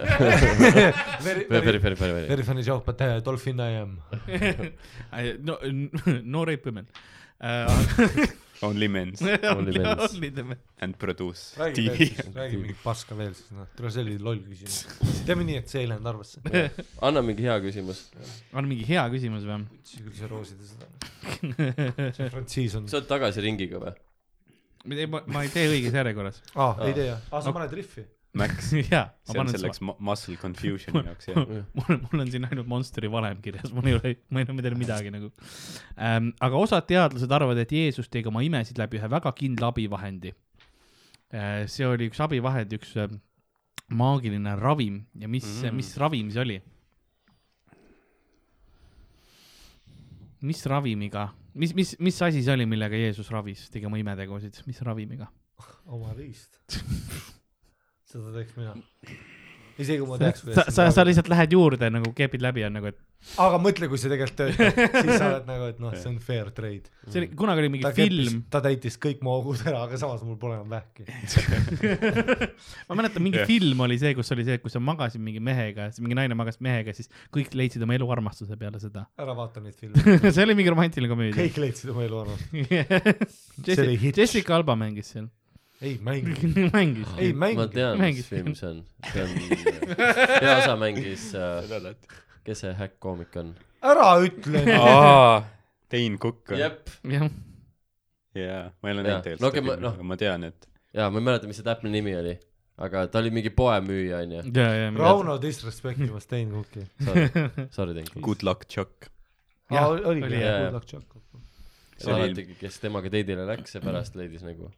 B: Very
C: Very , very ,
B: funny , funny , funny .
C: very funny joke , but uh, dolphin I am .
D: no , no Äh, rape women .
E: Only mens
B: Only males.
D: only the men .
E: and produce
C: räägi
E: TV .
C: mingit paska veel siis , noh , tule see oli loll küsimus . teeme nii , et see ei läinud arvesse .
B: anna mingi hea küsimus .
D: on mingi hea küsimus või ?
C: siis küll sa roosid seda . see frantsiis on ,
B: sa oled tagasi ringiga või ?
D: ei , ma , ma ei tee õiges järjekorras .
C: aa , Ah, ei tea jah , aa sa paned rifi .
E: Max ,
D: jaa , ma
E: see on
D: panen selle
E: selleks mu- muscle confusion'i jaoks jah .
D: mul , mul on siin ainult Monsteri valem kirjas , mul ei ole , ma ei ole midagi , midagi nagu ähm, . aga osad teadlased arvavad , et Jeesus tegi oma imesid läbi ühe väga kindla abivahendi äh, . see oli üks abivahend , üks äh, maagiline ravim ja mis mm. , mis ravim see oli ? mis ravimiga , mis , mis , mis asi see oli , millega Jeesus ravis , tegi oma imetegusid , mis ravimiga ?
C: oma riist . seda teeks mina . isegi kui ma teaks .
D: sa , sa , sa lihtsalt lähed juurde nagu keepid läbi ja nagu , et
C: aga mõtle , kui see tegelikult töötab , siis sa oled nagu , et noh , see on fair trade .
D: see oli , kunagi oli mingi
C: ta
D: film
C: keppis ,, ta täitis kõik mu augud ära , aga samas mul pole enam vähki .
D: ma mäletan , mingi
E: Jah.
D: film oli see , kus oli see , kus sa magasid mingi mehega , mingi naine magas mehega , siis kõik leidsid oma eluarmastuse peale seda .
C: ära vaata neid filme ,
D: see oli mingi romantiline komöödia .
C: kõik leidsid oma elu arvamust . See oli
D: Jessica,
C: Hitch.
D: Jessica Alba mängis seal ,
C: ei mängi ,
D: mängis .
C: ei
B: ma
C: mängi .
B: tean , mis
D: Mängis.
B: film see on . see on , peaosa mängis äh, , kes see häkk-koomik on ?
C: ära ütle .
E: aa , Tein Kukk on .
B: jep ,
D: jah ,
E: jaa , ma ei ole
B: Jaa.
E: näinud
B: No okei, ma-
E: tegelikult ,
B: noh.
E: aga ma tean , et
B: jaa , ma ei mäleta , mis see täpne nimi oli , aga ta oli mingi poemüüja , onju .
D: ja , ja .
C: Rauno disrespektimas Sten Kuki .
B: Sorry , Tenko .
E: good luck Chuck .
D: Jah,
C: oligi
D: oli,
B: jah.
C: jah , Good Luck Chuck .
B: see oli alati , kes temaga teidile läks ja pärast leidis nagu .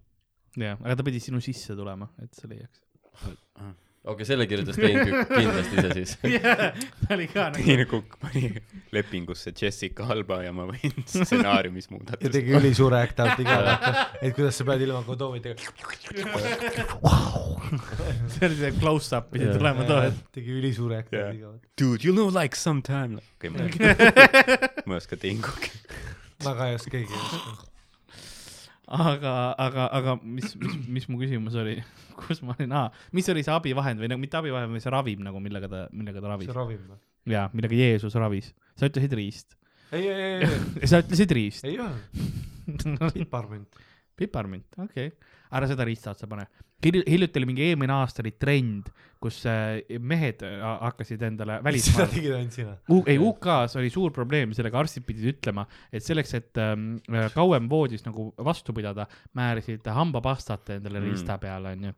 D: jah , aga ta pidi sinu sisse tulema , et sa leiaks .
B: okei , selle kirjutas Sten Kükk kindlasti ise siis .
D: ta oli ka nagu ,
E: Tein Kukk pani lepingusse Jessica Alba ja ma võin stsenaariumis
C: ja
E: muudatust .
C: tegi ülisuure act out'i ka , vaata , et kuidas sa pead ilma kondoomitega .
D: see oli see close-up pidi tulema too hetk .
C: tegi ülisuure act
E: Jah.
C: out'i ka , vaata .
E: Dude , you look like sometime . okei , ma ei ma ei oska Tein Kukki .
C: väga ei oska keegi ei oska .
D: aga , aga , aga mis , mis , mis mu küsimus oli , kus ma olin , aa , mis oli see abivahend või nagu mitte abivahend , vaid see ravim nagu , millega ta , millega ta ravis
C: see ? ravim noh. või ?
D: jaa , millega Jeesus ravis . sa ütlesid riist .
C: ei , ei , ei , ei ,
D: sa ütlesid riist .
C: ei öelnud , piparmünd .
D: piparmint , okei okay. . ära seda riista otsa pane . hiljuti oli mingi eelmine aasta oli trend , kus äh, mehed äh, hakkasid endale
C: seda
D: välismaal .
C: tegid ainult sina .
D: U- , ei UK-s oli suur probleem sellega , arstid pidid ütlema , et selleks , et ähm, äh, kauem voodis nagu vastu pidada , määrisid hambapastat endale mm.
E: Mm.
D: riista peale , onju .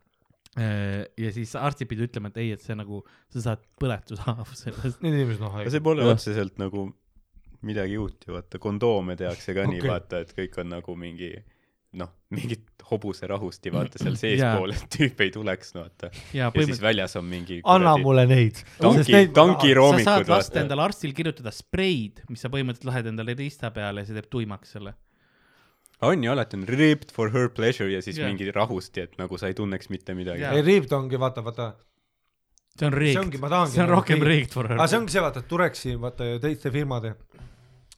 D: ja siis arstid pidid ütlema , et ei , et see nagu , sa saad põletushaavu sellest .
C: Need inimesed noh, on haiged
E: aga . see pole
B: Jah.
E: otseselt nagu midagi uut ju , vaata kondoome tehakse ka okay. nii ,
C: Okei.
E: vaata , et kõik on nagu mingi noh , mingit hobuserahusti vaata seal seespool
D: Jaa.
E: yeah. , et tüüp ei tuleks , no vaata .
D: ja
E: ja
D: põhimõtteliselt
E: siis . väljas on mingi
C: anna mulle neid .
E: tanki ,
D: sa
E: tankiroomikud
D: saad lasta
E: vaata .
D: endale arstil kirjutada spreid , mis sa põhimõtteliselt lahed endale riista peale ja see teeb tuimaks selle .
E: on ju alati on ripped for her pleasure ja siis
D: Jah.
E: yeah. mingi rahusti , et nagu sa ei tunneks mitte midagi
D: Jah.
E: yeah. .
C: ei , Riivd ongi , vaata , vaata ,
D: see on
C: see ongi ,
D: riik ,
C: ma tahangi .
D: see on rohkem riik for
C: aga see
D: her .
C: ongi see , vaata , et Tureksi , vaata ju teiste firmade ,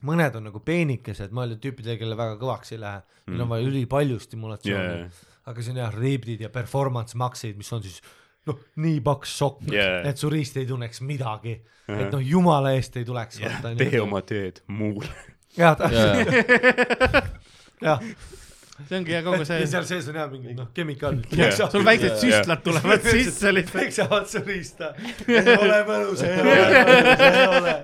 C: mõned on nagu peenikesed , mõeldud tüüpidele , kellele väga kõvaks ei lähe , neil
E: Mm.
C: on vaja ülipalju stimulatsiooni
E: Yeah.
C: yeah. . aga siin jah , riibdid ja performance makseid , mis on siis noh , nii paks sokk
E: Yeah.
C: yeah. , et su riist ei tunneks midagi , et noh , jumala eest ei tuleks yeah. , vaata
E: tee . oma tööd muul .
C: jah , täpselt , jah ,
D: see ongi jah , kogu
C: ja
D: see
C: seal , sees on jah mingid noh , kemikaalid
E: Jah.
C: yeah. .
D: sul väiksed
B: Jah.
D: süstlad tulevad sisse lihtsalt ,
C: peksavad su riista , ei ole mõnus , ei ole mõnus , ei ole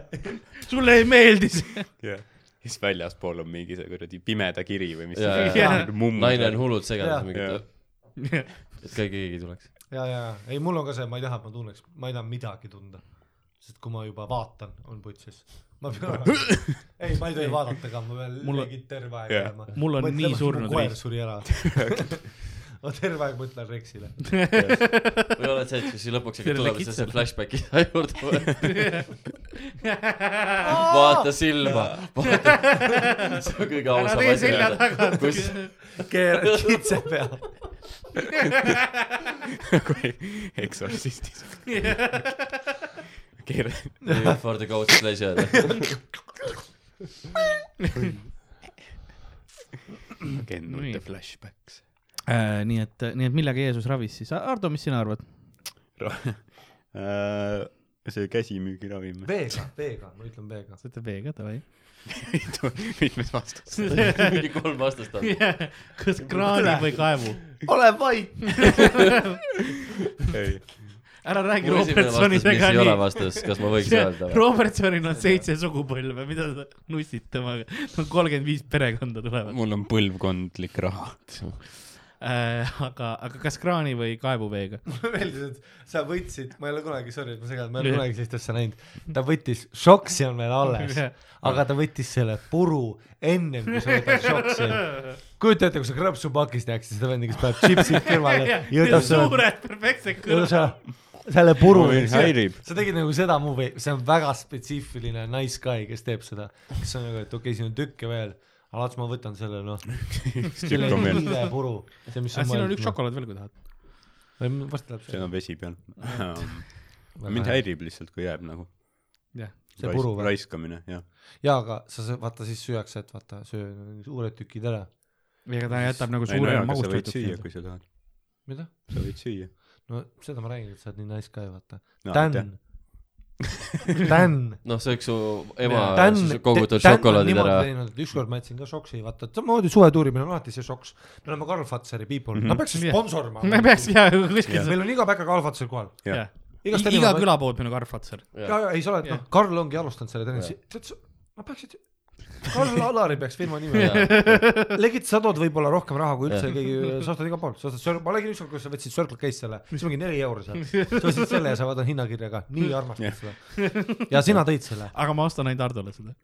D: sulle ei meeldi see .
E: ja siis väljaspool on mingi see kuradi pimeda kiri või mis
B: Jaa,
E: yeah.
D: jaa.
E: yeah. mummu
B: naine on hullult segadus
C: Jaa.
E: Jah.
B: mingit , et ka keegi ei tuleks .
C: ja , ja , ei , mul on ka see , ma ei taha , et ma tunneks , ma ei taha midagi tunda . sest kui ma juba vaatan , on putsis . ma pean , ei , ma ei tohi vaadata ka , ma pean
D: Mul on-
C: mingi terve aeg
E: Jah.
C: jääma .
D: Mul on nii surnud
C: koer
D: riist.
C: suri ära . ma terve aeg mõtlen Rexile .
B: või oled see , et kui siis lõpuks ikka
D: Selle
B: tuleb see ,
D: kitsale.
B: see flashback isa juurde . vaata silma , vaata . see on kõige
D: ära tee selja
B: ausam asi .
D: taga ,
B: kus ,
C: keera kitse peale .
E: eksorsistis . keera ,
B: for the goat's pleasure .
E: kennud
D: Nii.
E: ja flashbacks .
D: Äh, nii et , nii et millega Jeesus ravis siis , Ardo , mis sina arvad ?
E: Äh, see käsimüügiravim .
C: veega , veega , ma ütlen veega .
D: sa ütled veega , davai .
E: mitmes vastus ?
B: mingi kolm vastast on .
D: kas kraani või kaevu ?
C: ole vait .
E: ei ,
D: ära räägi
B: mu esimene vastus , mis
D: Robertsonidega
B: ei ole
D: nii .
B: vastus , kas ma võiks öelda või ?
D: Robertsonil on seitse sugupõlve , mida sa nussid temaga , no kolmkümmend viis perekonda tulevad .
E: mul on põlvkondlik raha .
D: Äh, aga , aga kas kraani või kaevu veega ?
C: mulle meeldis , et sa võtsid , ma ei ole kunagi , sorry , et ma segan , ma ei ole kunagi sellist asja näinud . ta võttis , šoksi on veel alles , aga ta võttis selle puru ennem kui sa võtad šoksi kujuta ette , kui sa krõpsupakist näeksid seda vendi , kes paneb tšipsid kõrvale ja võtab selle ,
D: suured perfektsed
C: võtab
D: kõrvad .
C: selle , selle puru
E: Oi, . häirib.
C: sa tegid nagu seda move'i , see on väga spetsiifiline nice guy , kes teeb seda , kes on nagu , et okei okay, , siin on tükke veel , aga las ma võtan selle noh ,
E: üks
C: selle
E: tükk on veel ,
C: hiire puru , see , mis
D: aga
C: on
D: Äh, siin on üks . šokolaad veel , kui tahad .
C: varsti läheb
E: seal
C: see .
E: on vesi peal . mind . häirib lihtsalt , kui jääb nagu .
D: jah ,
C: See puru või?
E: raiskamine , jah .
C: jaa , aga sa , sa vaata siis süüakse , et vaata , söö need suured tükid ära .
D: ega ta jätab nagu
E: ei no
D: suure
E: jaa , aga sa võid süüa ,
D: magustatud .
E: kui sa tahad .
C: mida ?
E: sa võid süüa .
C: no seda ma räägin , et sa oled nii nice guy , vaata .
E: No,
C: Dan
E: aitäh. ,
C: Dan
B: noh , see üks su ema
C: Tän-
B: su- kogutud
C: tän- tän-
B: šokolaadid
C: niimoodi
B: ära .
C: teinud, et ükskord ma jätsin ka šoksi , vaata , et samamoodi suvetuurimine on alati see šoks . me oleme Karl Fazeri people mm , -hmm. no peaks
D: Jah.
C: siis sponsorima .
D: me peaks ja kuskil .
C: meil on iga päev ka Karl Fazer kohal .
E: jah ,
C: Igast
D: iga
C: erinevad-
D: küla poolt meil on karfatser .
C: ja , ja ei , sa oled ,
D: Jah.
C: noh , Karl ongi alustanud selle tennise , tead sa , ma peaksin , Karl Alari peaks firma nimi olema . Legit , sa tood võib-olla rohkem raha kui üldse keegi , äh, sa ostad igalt poolt , sa ostad Circle , ma nägin ükskord , kuidas sa võtsid Circle K-s selle , see mingi neli euri seal . sa ostsid selle ja sa vaatad hinnakirjaga , nii armastad seda . ja sina tõid selle .
D: aga ma ostan ainult Hardole seda .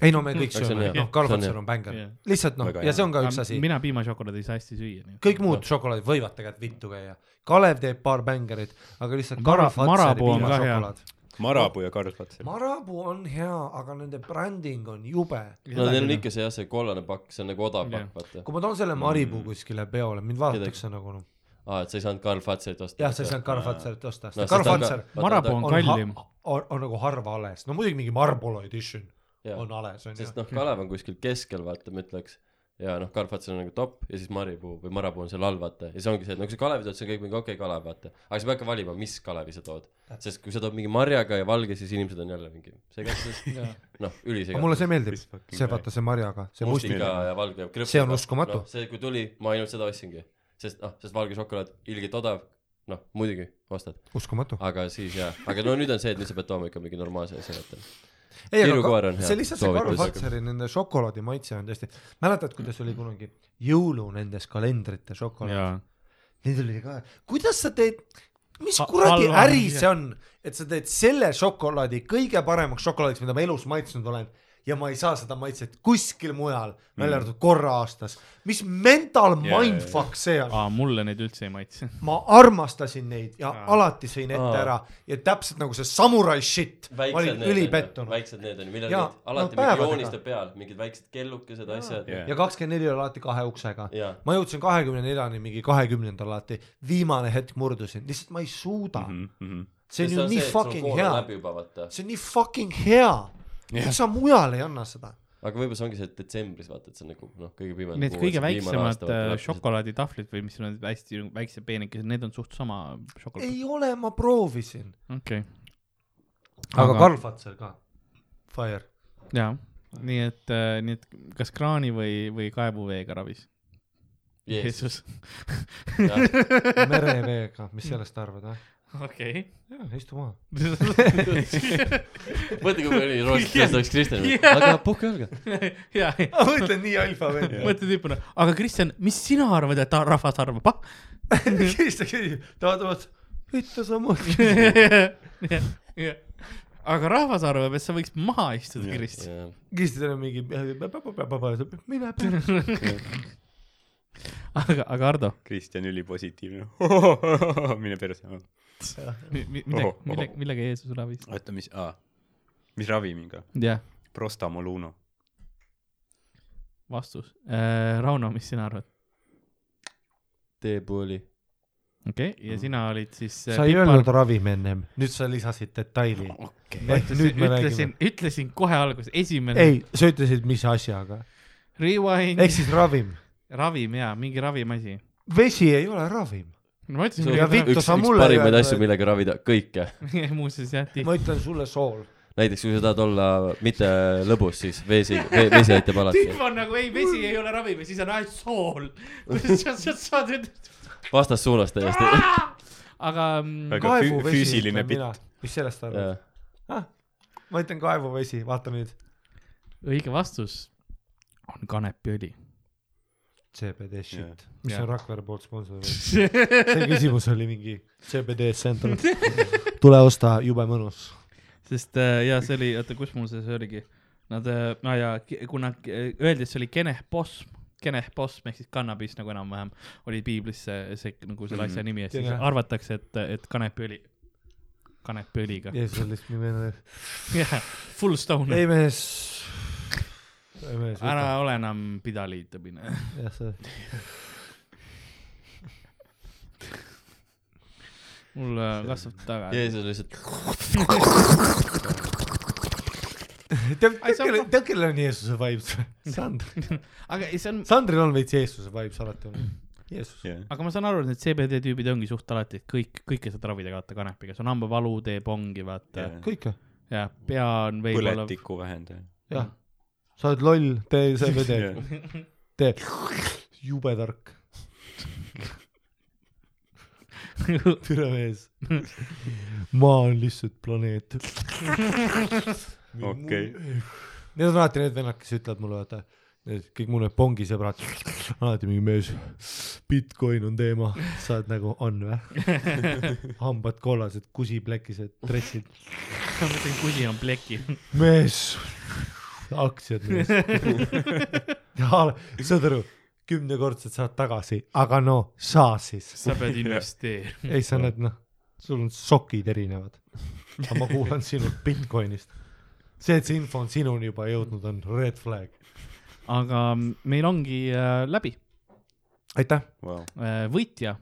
C: ei no me kõik
B: Aga see on
C: sööme ,
B: hea.
C: noh , Karl
B: See on
C: Fazer
B: hea.
C: on bängar
D: Jah. .
C: lihtsalt noh
E: Väga ,
C: ja
E: hea.
C: see on ka üks asi .
D: mina piimašokolaadi ei saa hästi süüa .
C: kõik muud šokolaadid võivad tegelikult vittu käia . Kalev teeb paar bängerit , aga lihtsalt
D: Mara-
C: Kara Fatseri
D: Marabou on ka hea.
C: piimašokolaad .
E: Marabou ja Karl Fazer .
C: Marabou on hea , aga nende bränding on jube .
B: no neil on ikka see jah , see kollane pakk , see on nagu odav
D: Jah.
B: pakk , vaata .
C: kui ma toon selle
B: Mm.
C: Maribou kuskile peole , mind vaadatakse nagu noh ,
B: aa , et sa ei saanud Karl Fatserit osta .
C: jah , sa ei saanud Kara Fatserit osta ,
B: No,
C: sest Kara
B: sest on ka-
C: Fatser
B: vaata,
D: Marabou
B: ta-
D: on
C: on
D: kallim .
C: ha- on, on nagu harva ales , no muidugi mingi Marlboro edition
B: jah.
C: on ales on
B: sest
C: ju .
B: noh , Kalev on kuskil keskel , vaata , ma ütleks . ja noh , Karpatsen on nagu top ja siis Maripuu või Marapuu on seal all , vaata . ja see ongi see , et no kui sa Kalevi tood , siis on kõik mingi okei okay, Kalev , vaata . aga sa pead ka valima , mis Kalevi sa tood . sest kui sa tood mingi marjaga ja valge , siis inimesed on jälle mingi segaduses . noh ,
C: aga mulle
B: ülisegaduses .
C: see meeldib ,
E: fucking
C: see vaata see marjaga , see mustik ,
B: mustiga ja valge .
C: See on uskumatu.
B: no, . see , kui tuli , ma ainult seda ostsingi . sest noh , sest valge šokolaad , ilgelt odav . noh , muidugi , ostad .
C: uskumatu .
B: aga siis jah , aga no nüüd on see , et nüüd sa pead tooma ikka mingi normaalse asja , vaata .
C: ei ,
B: Virukoer
C: aga
B: on
C: ka-
B: hea
C: see lihtsalt see Karl
B: soovitus.
C: Fazeri nende šokolaadi maitse on tõesti , mäletad , kuidas oli kunagi jõulu nendes kalendrite šokolaad , need olid ka , kuidas sa teed , mis
D: Ha-
C: kuradi
D: halva-
C: äri see on , et sa teed selle šokolaadi kõige paremaks šokolaadiks , mida ma elus maitsnud olen ja ma ei saa seda maitset kuskil mujal mm. , välja arvatud korra aastas . mis mental
E: Jaa,
C: yeah, mindfuck see on ?
D: aa , mulle neid üldse ei maitse .
C: ma armastasin neid ja
D: Aa.
C: alati sõin ette
B: Aa.
C: ära ja täpselt nagu see samurai shit , ma
B: väiksed
C: olin
B: need on ,
C: ülipettunud
B: väiksed need on ju , millel
C: Jaa,
B: neid alati
C: no
B: no, mingi
C: päevadega.
B: jooniste peal , mingid väiksed kellukesed , asjad .
E: Jaa.
C: ja kakskümmend neli oli alati kahe uksega .
B: jaa ,
C: ma jõudsin kahekümne neljani , mingi kahekümnendal alati , viimane hetk murdusin , lihtsalt ma ei suuda mm . -hmm. see on ju nii fucking hea ,
B: läbi juba vaata ,
C: see on nii fucking hea yeah. , sa mujal ei anna seda .
B: aga võib-olla see ongi see et detsembris vaata , et see on nagu noh , kõige pimedam .
D: Need kõige väiksemad äh, . šokolaaditahvlid või mis on need hästi väikse peenikesed , need on suht sama šokolaad .
C: ei ole , ma proovisin .
D: okei ,
C: aga
D: Aga-
C: Karl Fazer ka , Fire .
D: jaa . nii et , nii et kas kraani või , või kaevuveega ravis ?
B: Jeesus ,
D: Jeesus .
C: mereveega , mis sellest arvad , jah ?
D: okei .
C: jaa , istu maha .
B: mõtle , kui palju roostes oleks Kristjan , aga puhka jalga .
D: jaa ,
C: ma mõtlen nii alfa välja .
D: mõtle tüüpina , aga Kristjan , mis sina arvad , et ta- rahvas arvab , ah ?
C: siis ta küsib , ta vaatab , et mitte sa mõtled .
D: Jah, jah. aga rahvas arvab , et sa võiks maha istuda , Krist .
C: siis tal on mingi , mine pärast .
D: aga , aga Ardo ,
E: Kristjan ülipositiivne . mine perse .
D: millega , millega , millega Jeesus ravis ?
E: oota , mis , aa , mis ravimiga ?
D: jah ,
E: Prostamoluno .
D: vastus . Rauno , mis sina arvad ?
B: teepooli .
D: okei okay, , ja sina olid siis . äh,
C: sa ei öelnud ravim ennem , nüüd sa lisasid detaili . ehk nüüd me
D: ütlesin
C: räägime .,
D: ütlesin kohe alguses , esimene .
C: ei , sa ütlesid , mis asjaga ,
D: Rewind
C: ehk
D: Eks... ,
C: siis ravim .
D: ravim ja mingi ravimasi .
C: vesi ei ole ravim .
D: no ma ütlesin
B: See on
D: mingi
C: Ja
D: ravi... ,
C: vittu,
B: üks ,
C: sa
B: üks
C: mulle
B: parimaid
C: ei
B: asju ,
C: öelnud.
B: millega ravida kõike .
D: muuseas jah , tihti .
C: ma ütlen sulle sool .
B: näiteks kui sa tahad olla mitte lõbus , siis vesi , vesi aitab alati
D: tüüp . on nagu ei , vesi ei ole ravim ja siis on ainult sool . sa sa- saad nüüd .
B: vastassuunas täiesti .
D: aga
E: Väga-
D: mm,
E: fü- füüsiline
C: pitt . mis sellest arvad ? ma ütlen kaevuvesi , vaata nüüd .
D: õige vastus on kanepiõli .
C: CBD shit ,
E: Jah.
C: mis
D: Jah.
C: on Rakvere poolt sponsor . see küsimus oli mingi CBD center . tule osta , jube mõnus .
D: sest äh, ja see oli , oota , kus mul see see oligi , nad , äh, no ja ki- kuna ki- öeldi , et see oli kenehposm , kenehposm ehk siis kannabis nagu enam-vähem oli piiblis see , see nagu selle
C: Mhm.
D: asja nimi ja siis
C: Kene-
D: arvatakse , et , et kanepiõli , kanepiõliga
C: ja siis on lihtsalt nii vene .
D: yeah. , full stone ,
C: ei mees . ei mees ,
D: ära . ole enam pidaliitumine .
C: jah , see .
D: mul äh, kasvab taga yeah. .
B: Jeesus lihtsalt ,
D: Ai, see on-
C: tõkkele , tõkkele on Jeesuse vibes . Sandril ,
D: aga ei, see on ,
C: Sandril on veits Jeesuse vibes alati olnud . Jeesus .
D: aga ma saan aru , et need CBD tüübid ongi suht alati , et kõik , kõike saad ravida kaata kanepiga , see on hambavalu , teeb ongi , vaata yeah. ,
C: kõike ,
D: ja pea on võib-olla .
E: põletiku vähendaja .
C: jah . sa oled loll , tee CBD ,
E: jah ,
C: tee . jube tark , türa mees . maa on lihtsalt planeet .
E: okei .
C: Need on alati need vennad , kes ütlevad mulle , vaata , need kõik mu need pongi sõbrad , alati mingi mees , Bitcoin on teema , sa oled nagu , on vä ? hambad kollased , kusiplekised , dressid ,
D: ma mõtlen , kusi on pleki .
C: mees , aktsiad mees . saad aru , kümnekordselt saad tagasi , aga no saa siis ,
D: sa pead investeerima .
C: ei sa näed noh , sul on sokid erinevad , aga ma kuulan sinult Bitcoinist see , et see info on sinuni juba jõudnud , on red flag .
D: aga meil ongi äh, läbi
C: aitäh .
D: äh, võitja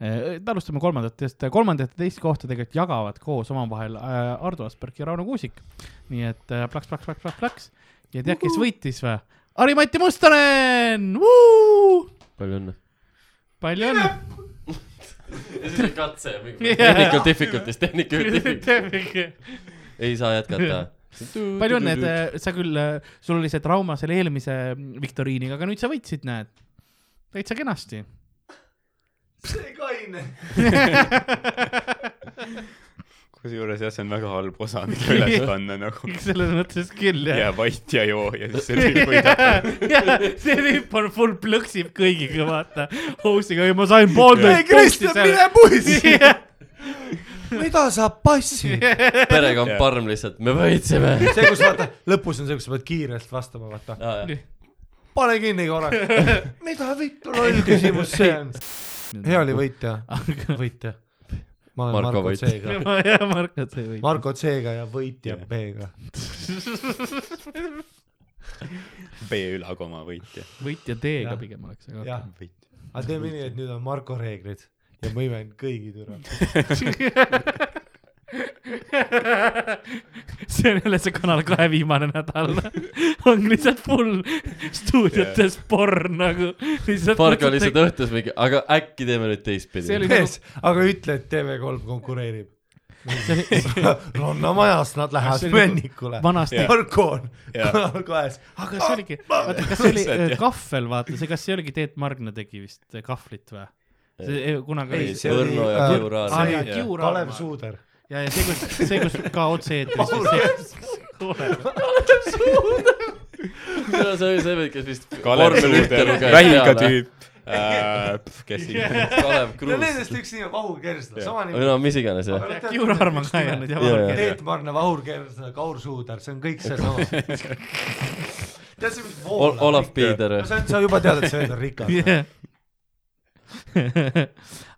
D: äh, . alustame kolmandatest , kolmandat ja teist kohta tegelikult jagavad koos omavahel äh, Ardo Asperg ja Rauno Kuusik . nii et äh, plaks , plaks , plaks , plaks , plaks ja tead , kes võitis või ? Harri-Mati Mustonen .
B: palju õnne .
D: palju õnne .
B: ja siis oli katse ja mingi
D: Jaa.
B: tehnika difficulties , tehnika difficulties . ei saa jätkata .
D: palju õnne , et äh, sa küll , sul oli see trauma selle eelmise äh, viktoriiniga , aga nüüd sa võitsid , näed . täitsa kenasti .
C: see kaine
E: kusjuures jah , see on väga halb osa , mida üles panna nagu .
D: selles mõttes küll jah
E: jää vait ja joo ja siis see tüüp võidab .
D: see tüüp on full plõksib kõigiga , vaata . House'iga , ei ma sain poolteist
C: Kristjan , mine puisi . mida sa passi ?
B: perekond Parm lihtsalt , me võitsime .
C: see , kus vaata , lõpus on see , kus sa pead kiirelt vastama , vaata . pane kinni korraks . mida vittu loll küsimus see on ? hea oli . võitja , võitja . ma olen
B: Marko
C: Marko
B: Võit.
C: C-ga ,
D: ma ei tea , Marko , sa ei või .
C: Marko C-ga ja võitja B-ga .
E: B-ülakoma võitja .
D: võitja D-ga
C: Jah.
D: pigem oleks , aga
C: jah , aga teeme nii , et nüüd on Marko reeglid ja ma imen kõigi türa .
D: see on jälle see Kanal kahe viimane nädal . on lihtsalt full stuudiotes porn nagu .
B: Marko lihtsalt . õhtus mingi , aga äkki teeme nüüd teistpidi
D: See . oli-
C: mees , aga ütle , et TV3 konkureerib . rannamajas nad
D: See
C: lähevad
D: oli-
C: männikule .
D: vanasti yeah. ,
C: Marko on
E: Jah.
C: Kanal kahes .
D: aga see oligi , vaata , kas see oli
E: Lihtsalt,
D: äh, kahvel , vaata see , kas see oligi Teet Margna tegi vist äh, kahvlit või ? see eh, kunagi
B: Ei,
D: oli
B: see- Võrno ja Kiur Aarma.
C: Aarma
D: See- . Kiur
C: Kalev
D: Aarma.
C: Suuder .
D: ja , ja see , kus , see , kus ka otse-eetris .
B: see on see , see vend , kes vist
E: Kalev
B: vormel ühte
E: Suuder ,
B: luges .
E: vähiga . tüüp äh, . kes iganes .
B: Kalev
C: no
B: Kruus .
C: nendest üks nimi on Vahur Kersna , sama
B: või
C: nimi .
B: no mis iganes jah .
D: Kiur Arma ka ei olnud ja
B: Jaa.
D: Valge .
C: Teet Marne , Vahur Kersna , Kaur Suuder , see on kõik seesama . tead sa , mis vool
B: Olav . Piider
C: no . sa , sa juba tead , et see vend on rikas .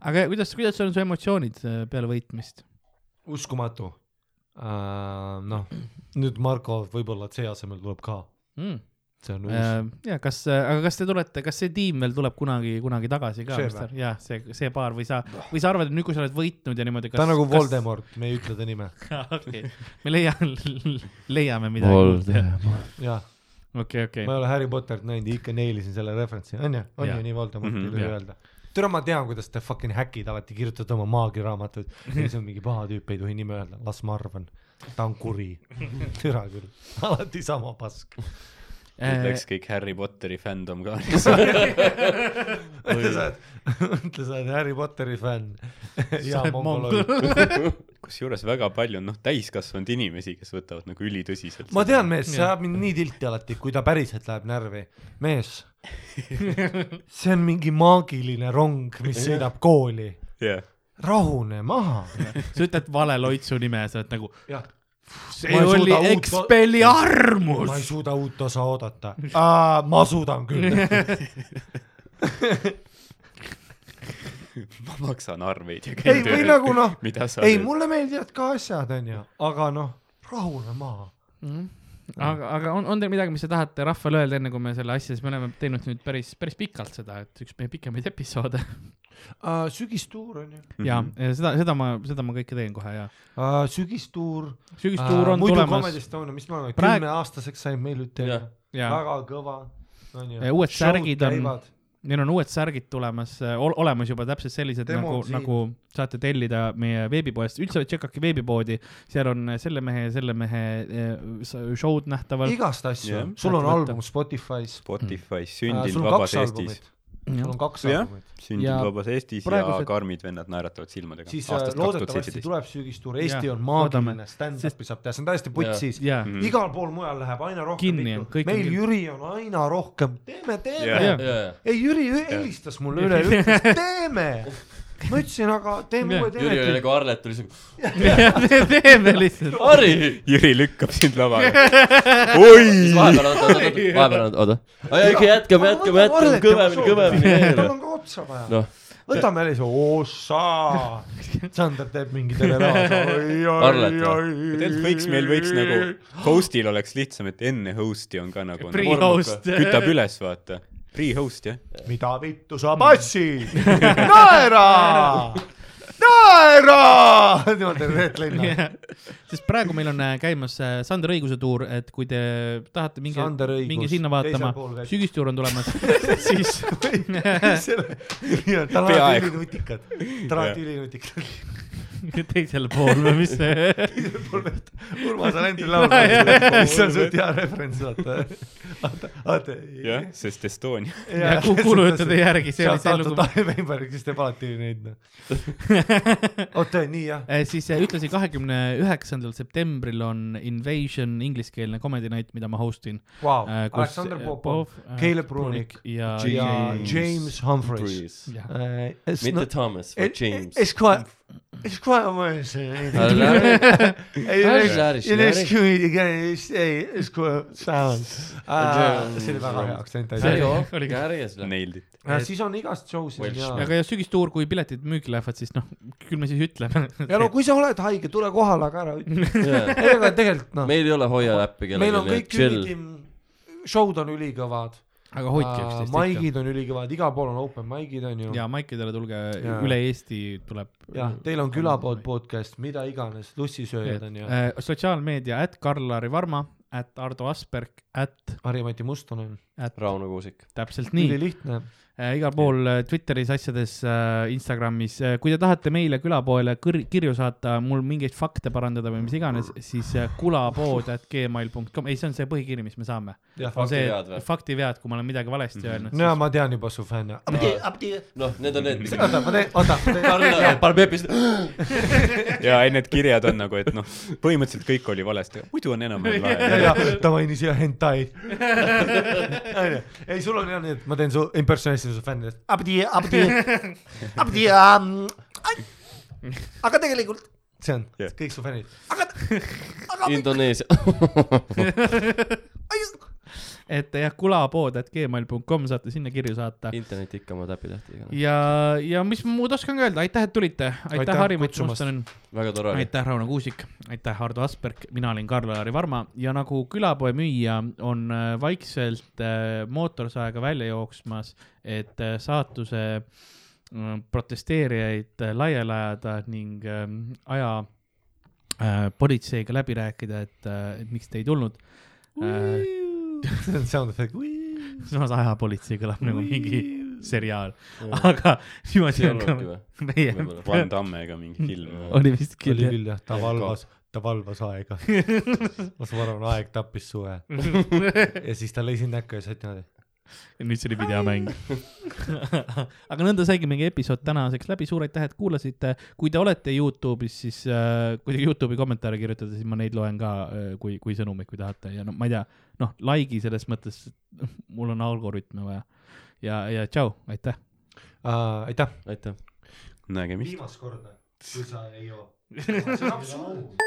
D: aga kuidas , kuidas on su emotsioonid äh, peale võitmist ?
C: uskumatu uh, . noh , nüüd Marko võib-olla C asemel tuleb ka ,
D: Mm.
C: see on uus uh, .
D: ja kas , aga kas te tulete , kas see tiim veel tuleb kunagi , kunagi tagasi ka
C: See ?
D: jah , see , see paar või sa , või sa arvad , et nüüd , kui sa oled võitnud ja niimoodi .
C: ta on nagu Voldemort kas... , me ei ütle ta nime .
D: okei , me leiame , leiame midagi .
B: Voldemort .
C: jah ,
D: okei , okei
C: ma . ei ole Harry Potterit näinud , ikka neilisin selle referentsi , onju , on
D: Jah.
C: ju nii Voldemorti
E: Mhm,
C: ei tohi
D: jah.
C: öelda . türa , ma tean , kuidas te fucking häkid alati kirjutate oma maagiraamatuid . ei , see on mingi paha tüüp , ei tohi nime öelda , las ma arvan , ta on kuri . türa küll , alati sama pask .
D: Äh,
C: Äh,
E: nüüd läks kõik Harry Potteri fändom ka .
C: ütle , sa oled , ütle , sa oled Harry Potteri fänn ja mongoloid .
E: kusjuures väga palju on noh , täiskasvanud inimesi , kes võtavad nagu ülitõsiselt .
C: ma tean , mees , see
D: Jah.
C: ajab mind nii tilti alati , kui ta päriselt läheb närvi . mees , see on mingi maagiline rong , mis sõidab kooli .
E: jah ,
C: rahune maha .
D: sa ütled vale loitsu nime , sa oled nagu ,
C: jah , Ma
D: see
C: ei suuda
D: oli
C: uut- ma ei
D: Expelliarmus .
C: suuda uut osa oodata . ma suudan küll .
E: ma maksan arveid ja
C: ei , või nagu noh ,
E: mida sa
C: ei , mulle meeldivad ka asjad , onju , aga noh , rahune maha .
D: aga , aga on , on teil midagi , mis te tahate rahvale öelda , enne kui me selle asja , siis me oleme teinud nüüd päris , päris pikalt seda , et üks meie pikemaid episoode
C: sügistuur onju ,
D: ja ja seda , seda ma , seda ma kõike teen kohe ja .
C: sügistuur .
D: sügistuur on tulemas ,
C: muidu komedist on , mis me oleme
D: Praegu-
C: kümneaastaseks sain meil nüüd teha
B: Jah. .
D: ja
C: väga kõva .
D: Ja uued särgid on- neil on uued särgid tulemas , olemas juba täpselt sellised
C: Demo
D: nagu
C: on , siin.
D: nagu saate tellida meie veebipoest , üldse tšekake veebipoodi , seal on äh, selle mehe ja selle mehe eh, s- show'd nähtavalt .
C: igast asju
E: Jah.
C: yeah. , sul on
D: Saate
C: album Spotify's ,
E: Spotify sündinud
C: sul on
E: vabas
C: kaks
E: Eestis
C: albumit ,, sul on kaks
E: Jah.
C: albumit ,
E: sündinud
D: Ja
E: vabas Eestis ja
D: praegused-
E: Karmid vennad naeratavad silmadega
C: siis äh,
E: aastast kaks tuhat
C: loodetavasti
E: seitseteist .
C: tuleb sügistuur , Eesti
D: Jah,
C: on
D: loodame.
C: maagiline , stand-up'i saab teha , see on täiesti putsis
D: jaa ,
E: Mhm.
C: igal pool mujal läheb aina rohkem
D: Kinni on,
C: pidu.
D: kõik on
C: meil
D: kinni.
C: Jüri on aina rohkem , teeme , teeme
E: Jah.
C: yeah. .
B: jajah .
C: ei , Jüri helistas mulle üle , ütles teeme . ma ütlesin , aga teeme
D: Jah.
C: uue
B: Jüri oli
C: teleki .
B: nagu Arlet oli siuke ,
D: teeme lihtsalt .
B: Harri .
E: Jüri lükkab sind lavale . oi ,
B: vahepeal , oota , oota , oota , vahepeal , oota , oota . ei , okei , jätkame , jätkame , jätkame , kõvemini ,
C: tal
B: kõvemini .
C: on ka otsa vaja
B: Noh. .
C: võtame jälle see ossa . Sander teeb mingi televisiooni
B: Arlet või? .
E: tegelikult võiks , meil võiks nagu , host'il oleks lihtsam , et enne host'i on ka nagu .
D: Pre-host.
E: kütab üles , vaata . Pre-host jah .
C: mida vittu sa passid , naera , naera . niimoodi Reet Linna .
D: sest praegu meil on äh, käimas äh, Sander Õiguse tuur , et kui te tahate minge
C: Sander , Õigus,
D: minge sinna
C: teisel
D: vaatama
C: pool , vett.
D: sügistuur on tulemas , siis
C: tal on alati
E: Peaaegu.
C: ülinutikad , tal on alati ülinutikad .
D: teisel pool või mis see ,
C: Urmas Alendri laul , mis on suht hea referents , vaata . vaata , vaata .
E: jah , sest Estonia .
D: Ja ku- kuulujuttude järgi, see oli see
C: lugu .
D: lugu.
C: Taavi Veinberg , kes teeb alati neid noh . oota , nii jah ?
D: siis äh, ühtlasi kahekümne üheksandal septembril on Invasion ingliskeelne comedy night , mida ma host in .
C: Vau ,
D: Äh, kus-
C: Oh, Aleksander
D: äh,
C: Popov ,
D: äh,
C: Caleb Brunik
D: ja
C: ja
D: ja-
C: James Humphreys . Äh,
D: jah.
B: mitte Thomas , vaid James .
C: Esquire ,
F: It's quite a worse.
B: All right. Irish,
F: You
B: Irish.
F: next comedian again, you say it's quite sound.
C: see oli väga hea aktsent
B: Harri
C: asi .
B: Ohv oli ka järjes .
E: Nailed it .
C: siis on igast show sid
B: Welsh.
C: ja ,
D: aga ja sügistuur , kui piletid müüki lähevad , siis noh , küll me siis ütleme .
C: ja no kui sa oled haige , tule kohale , aga ära ütle .
B: meil
C: ei , aga tegelikult noh ,
B: ei ole Hoia äppi
C: meil on
B: kellelgi ,
C: kõik
B: chill .
C: ülitim , show'd on ülikõvad ,
D: aga hoidke üksteist
C: Ah,
D: ikka .
C: maigid on ülikõvad , igal pool on open mic'id on ju .
D: ja maikidele tulge
C: Jaa. ,
D: üle Eesti tuleb .
C: jah , teil on külapood . podcast , mida iganes , lussisööjad on ju .
D: Äh, sotsiaalmeedia , at Karl-Lari Varma , at Ardo Asperg , at ,
C: Harri-Mati Mustonen ,
D: at
B: Rauno Kuusik .
D: täpselt nii .
C: ülilihtne .
D: Äh, igal pool äh, Twitteris , asjades , Instagramis , kui te tahate meile külapoele kõr- , kirju saata , mul mingeid fakte parandada või mis iganes , siis äh, kulapood.gmail.com , ei , see on see põhikiri , mis me saame .
C: jah ,
D: on see
B: Faktivead või?
D: faktivead , kui ma olen midagi valesti öelnud
C: no ja ma tean juba su fänne .
B: noh , need on need , mis
C: oota , ma teen , oota , ma teen .
B: Karl paneb epist .
E: ja ei , need kirjad on nagu , et noh , põhimõtteliselt kõik oli valesti , muidu on enam-vähem
C: ja ,
E: lahe .
C: ja ta mainis ja hentai . ei , sul on jah nii , et ma teen su impersonation su fännidest .
F: Abdi , Abdi , Abdi ,
C: aga tegelikult . see on
E: Jah.
C: yeah. kõik su fännid .
B: Indoneesia .
D: siis . et äh, jah , kulapood.gmail.com saate sinna kirju saata .
B: internet ikka oma täpitähti igatahes .
D: ja , ja mis ma muud oskan öelda , aitäh , et tulite ,
C: Aitäh
D: aitäh , Harri-Mats
C: kutsumast.
D: Mustonen .
B: väga tore oli .
D: aitäh , Rauno Kuusik , aitäh , Ardo Asperg , mina olin Karl-Lari Varma ja nagu külapoe müüja on äh, vaikselt äh, mootorsaega välja jooksmas , et äh, saatuse mm, protesteerijaid äh, laiali ajada ning äh, aja äh, politseiga läbi rääkida , et äh, et miks te ei tulnud äh, .
C: see on sound effect .
D: samas aja politsei kõlab nagu mingi seriaal , aga niimoodi
B: ei
D: on
B: olnudki või ?
D: ka meie ,
B: võib-olla .
E: Van Dammega mingi film .
D: oli vist küll
C: oli
D: jah .
C: küll jah , ta valvas , ta valvas aega . ma saan aru , aeg tappis suve . ja siis ta lõi sind näkku ja sa olid niimoodi .
D: ja nüüd see oli videomäng . aga nõnda saigi meie episood tänaseks läbi , suur aitäh , et kuulasite . kui te olete Youtube'is , siis äh, kui te Youtube'i kommentaare kirjutate , siis ma neid loen ka äh, kui , kui sõnumeid , kui tahate ja no ma ei tea , noh , like'i selles mõttes , noh , mul on algoritme vaja . ja , ja tšau , aitäh .
C: aitäh .
B: aitäh .
E: nägemist .
C: viimast korda , kui sa ei joo . see on absurd .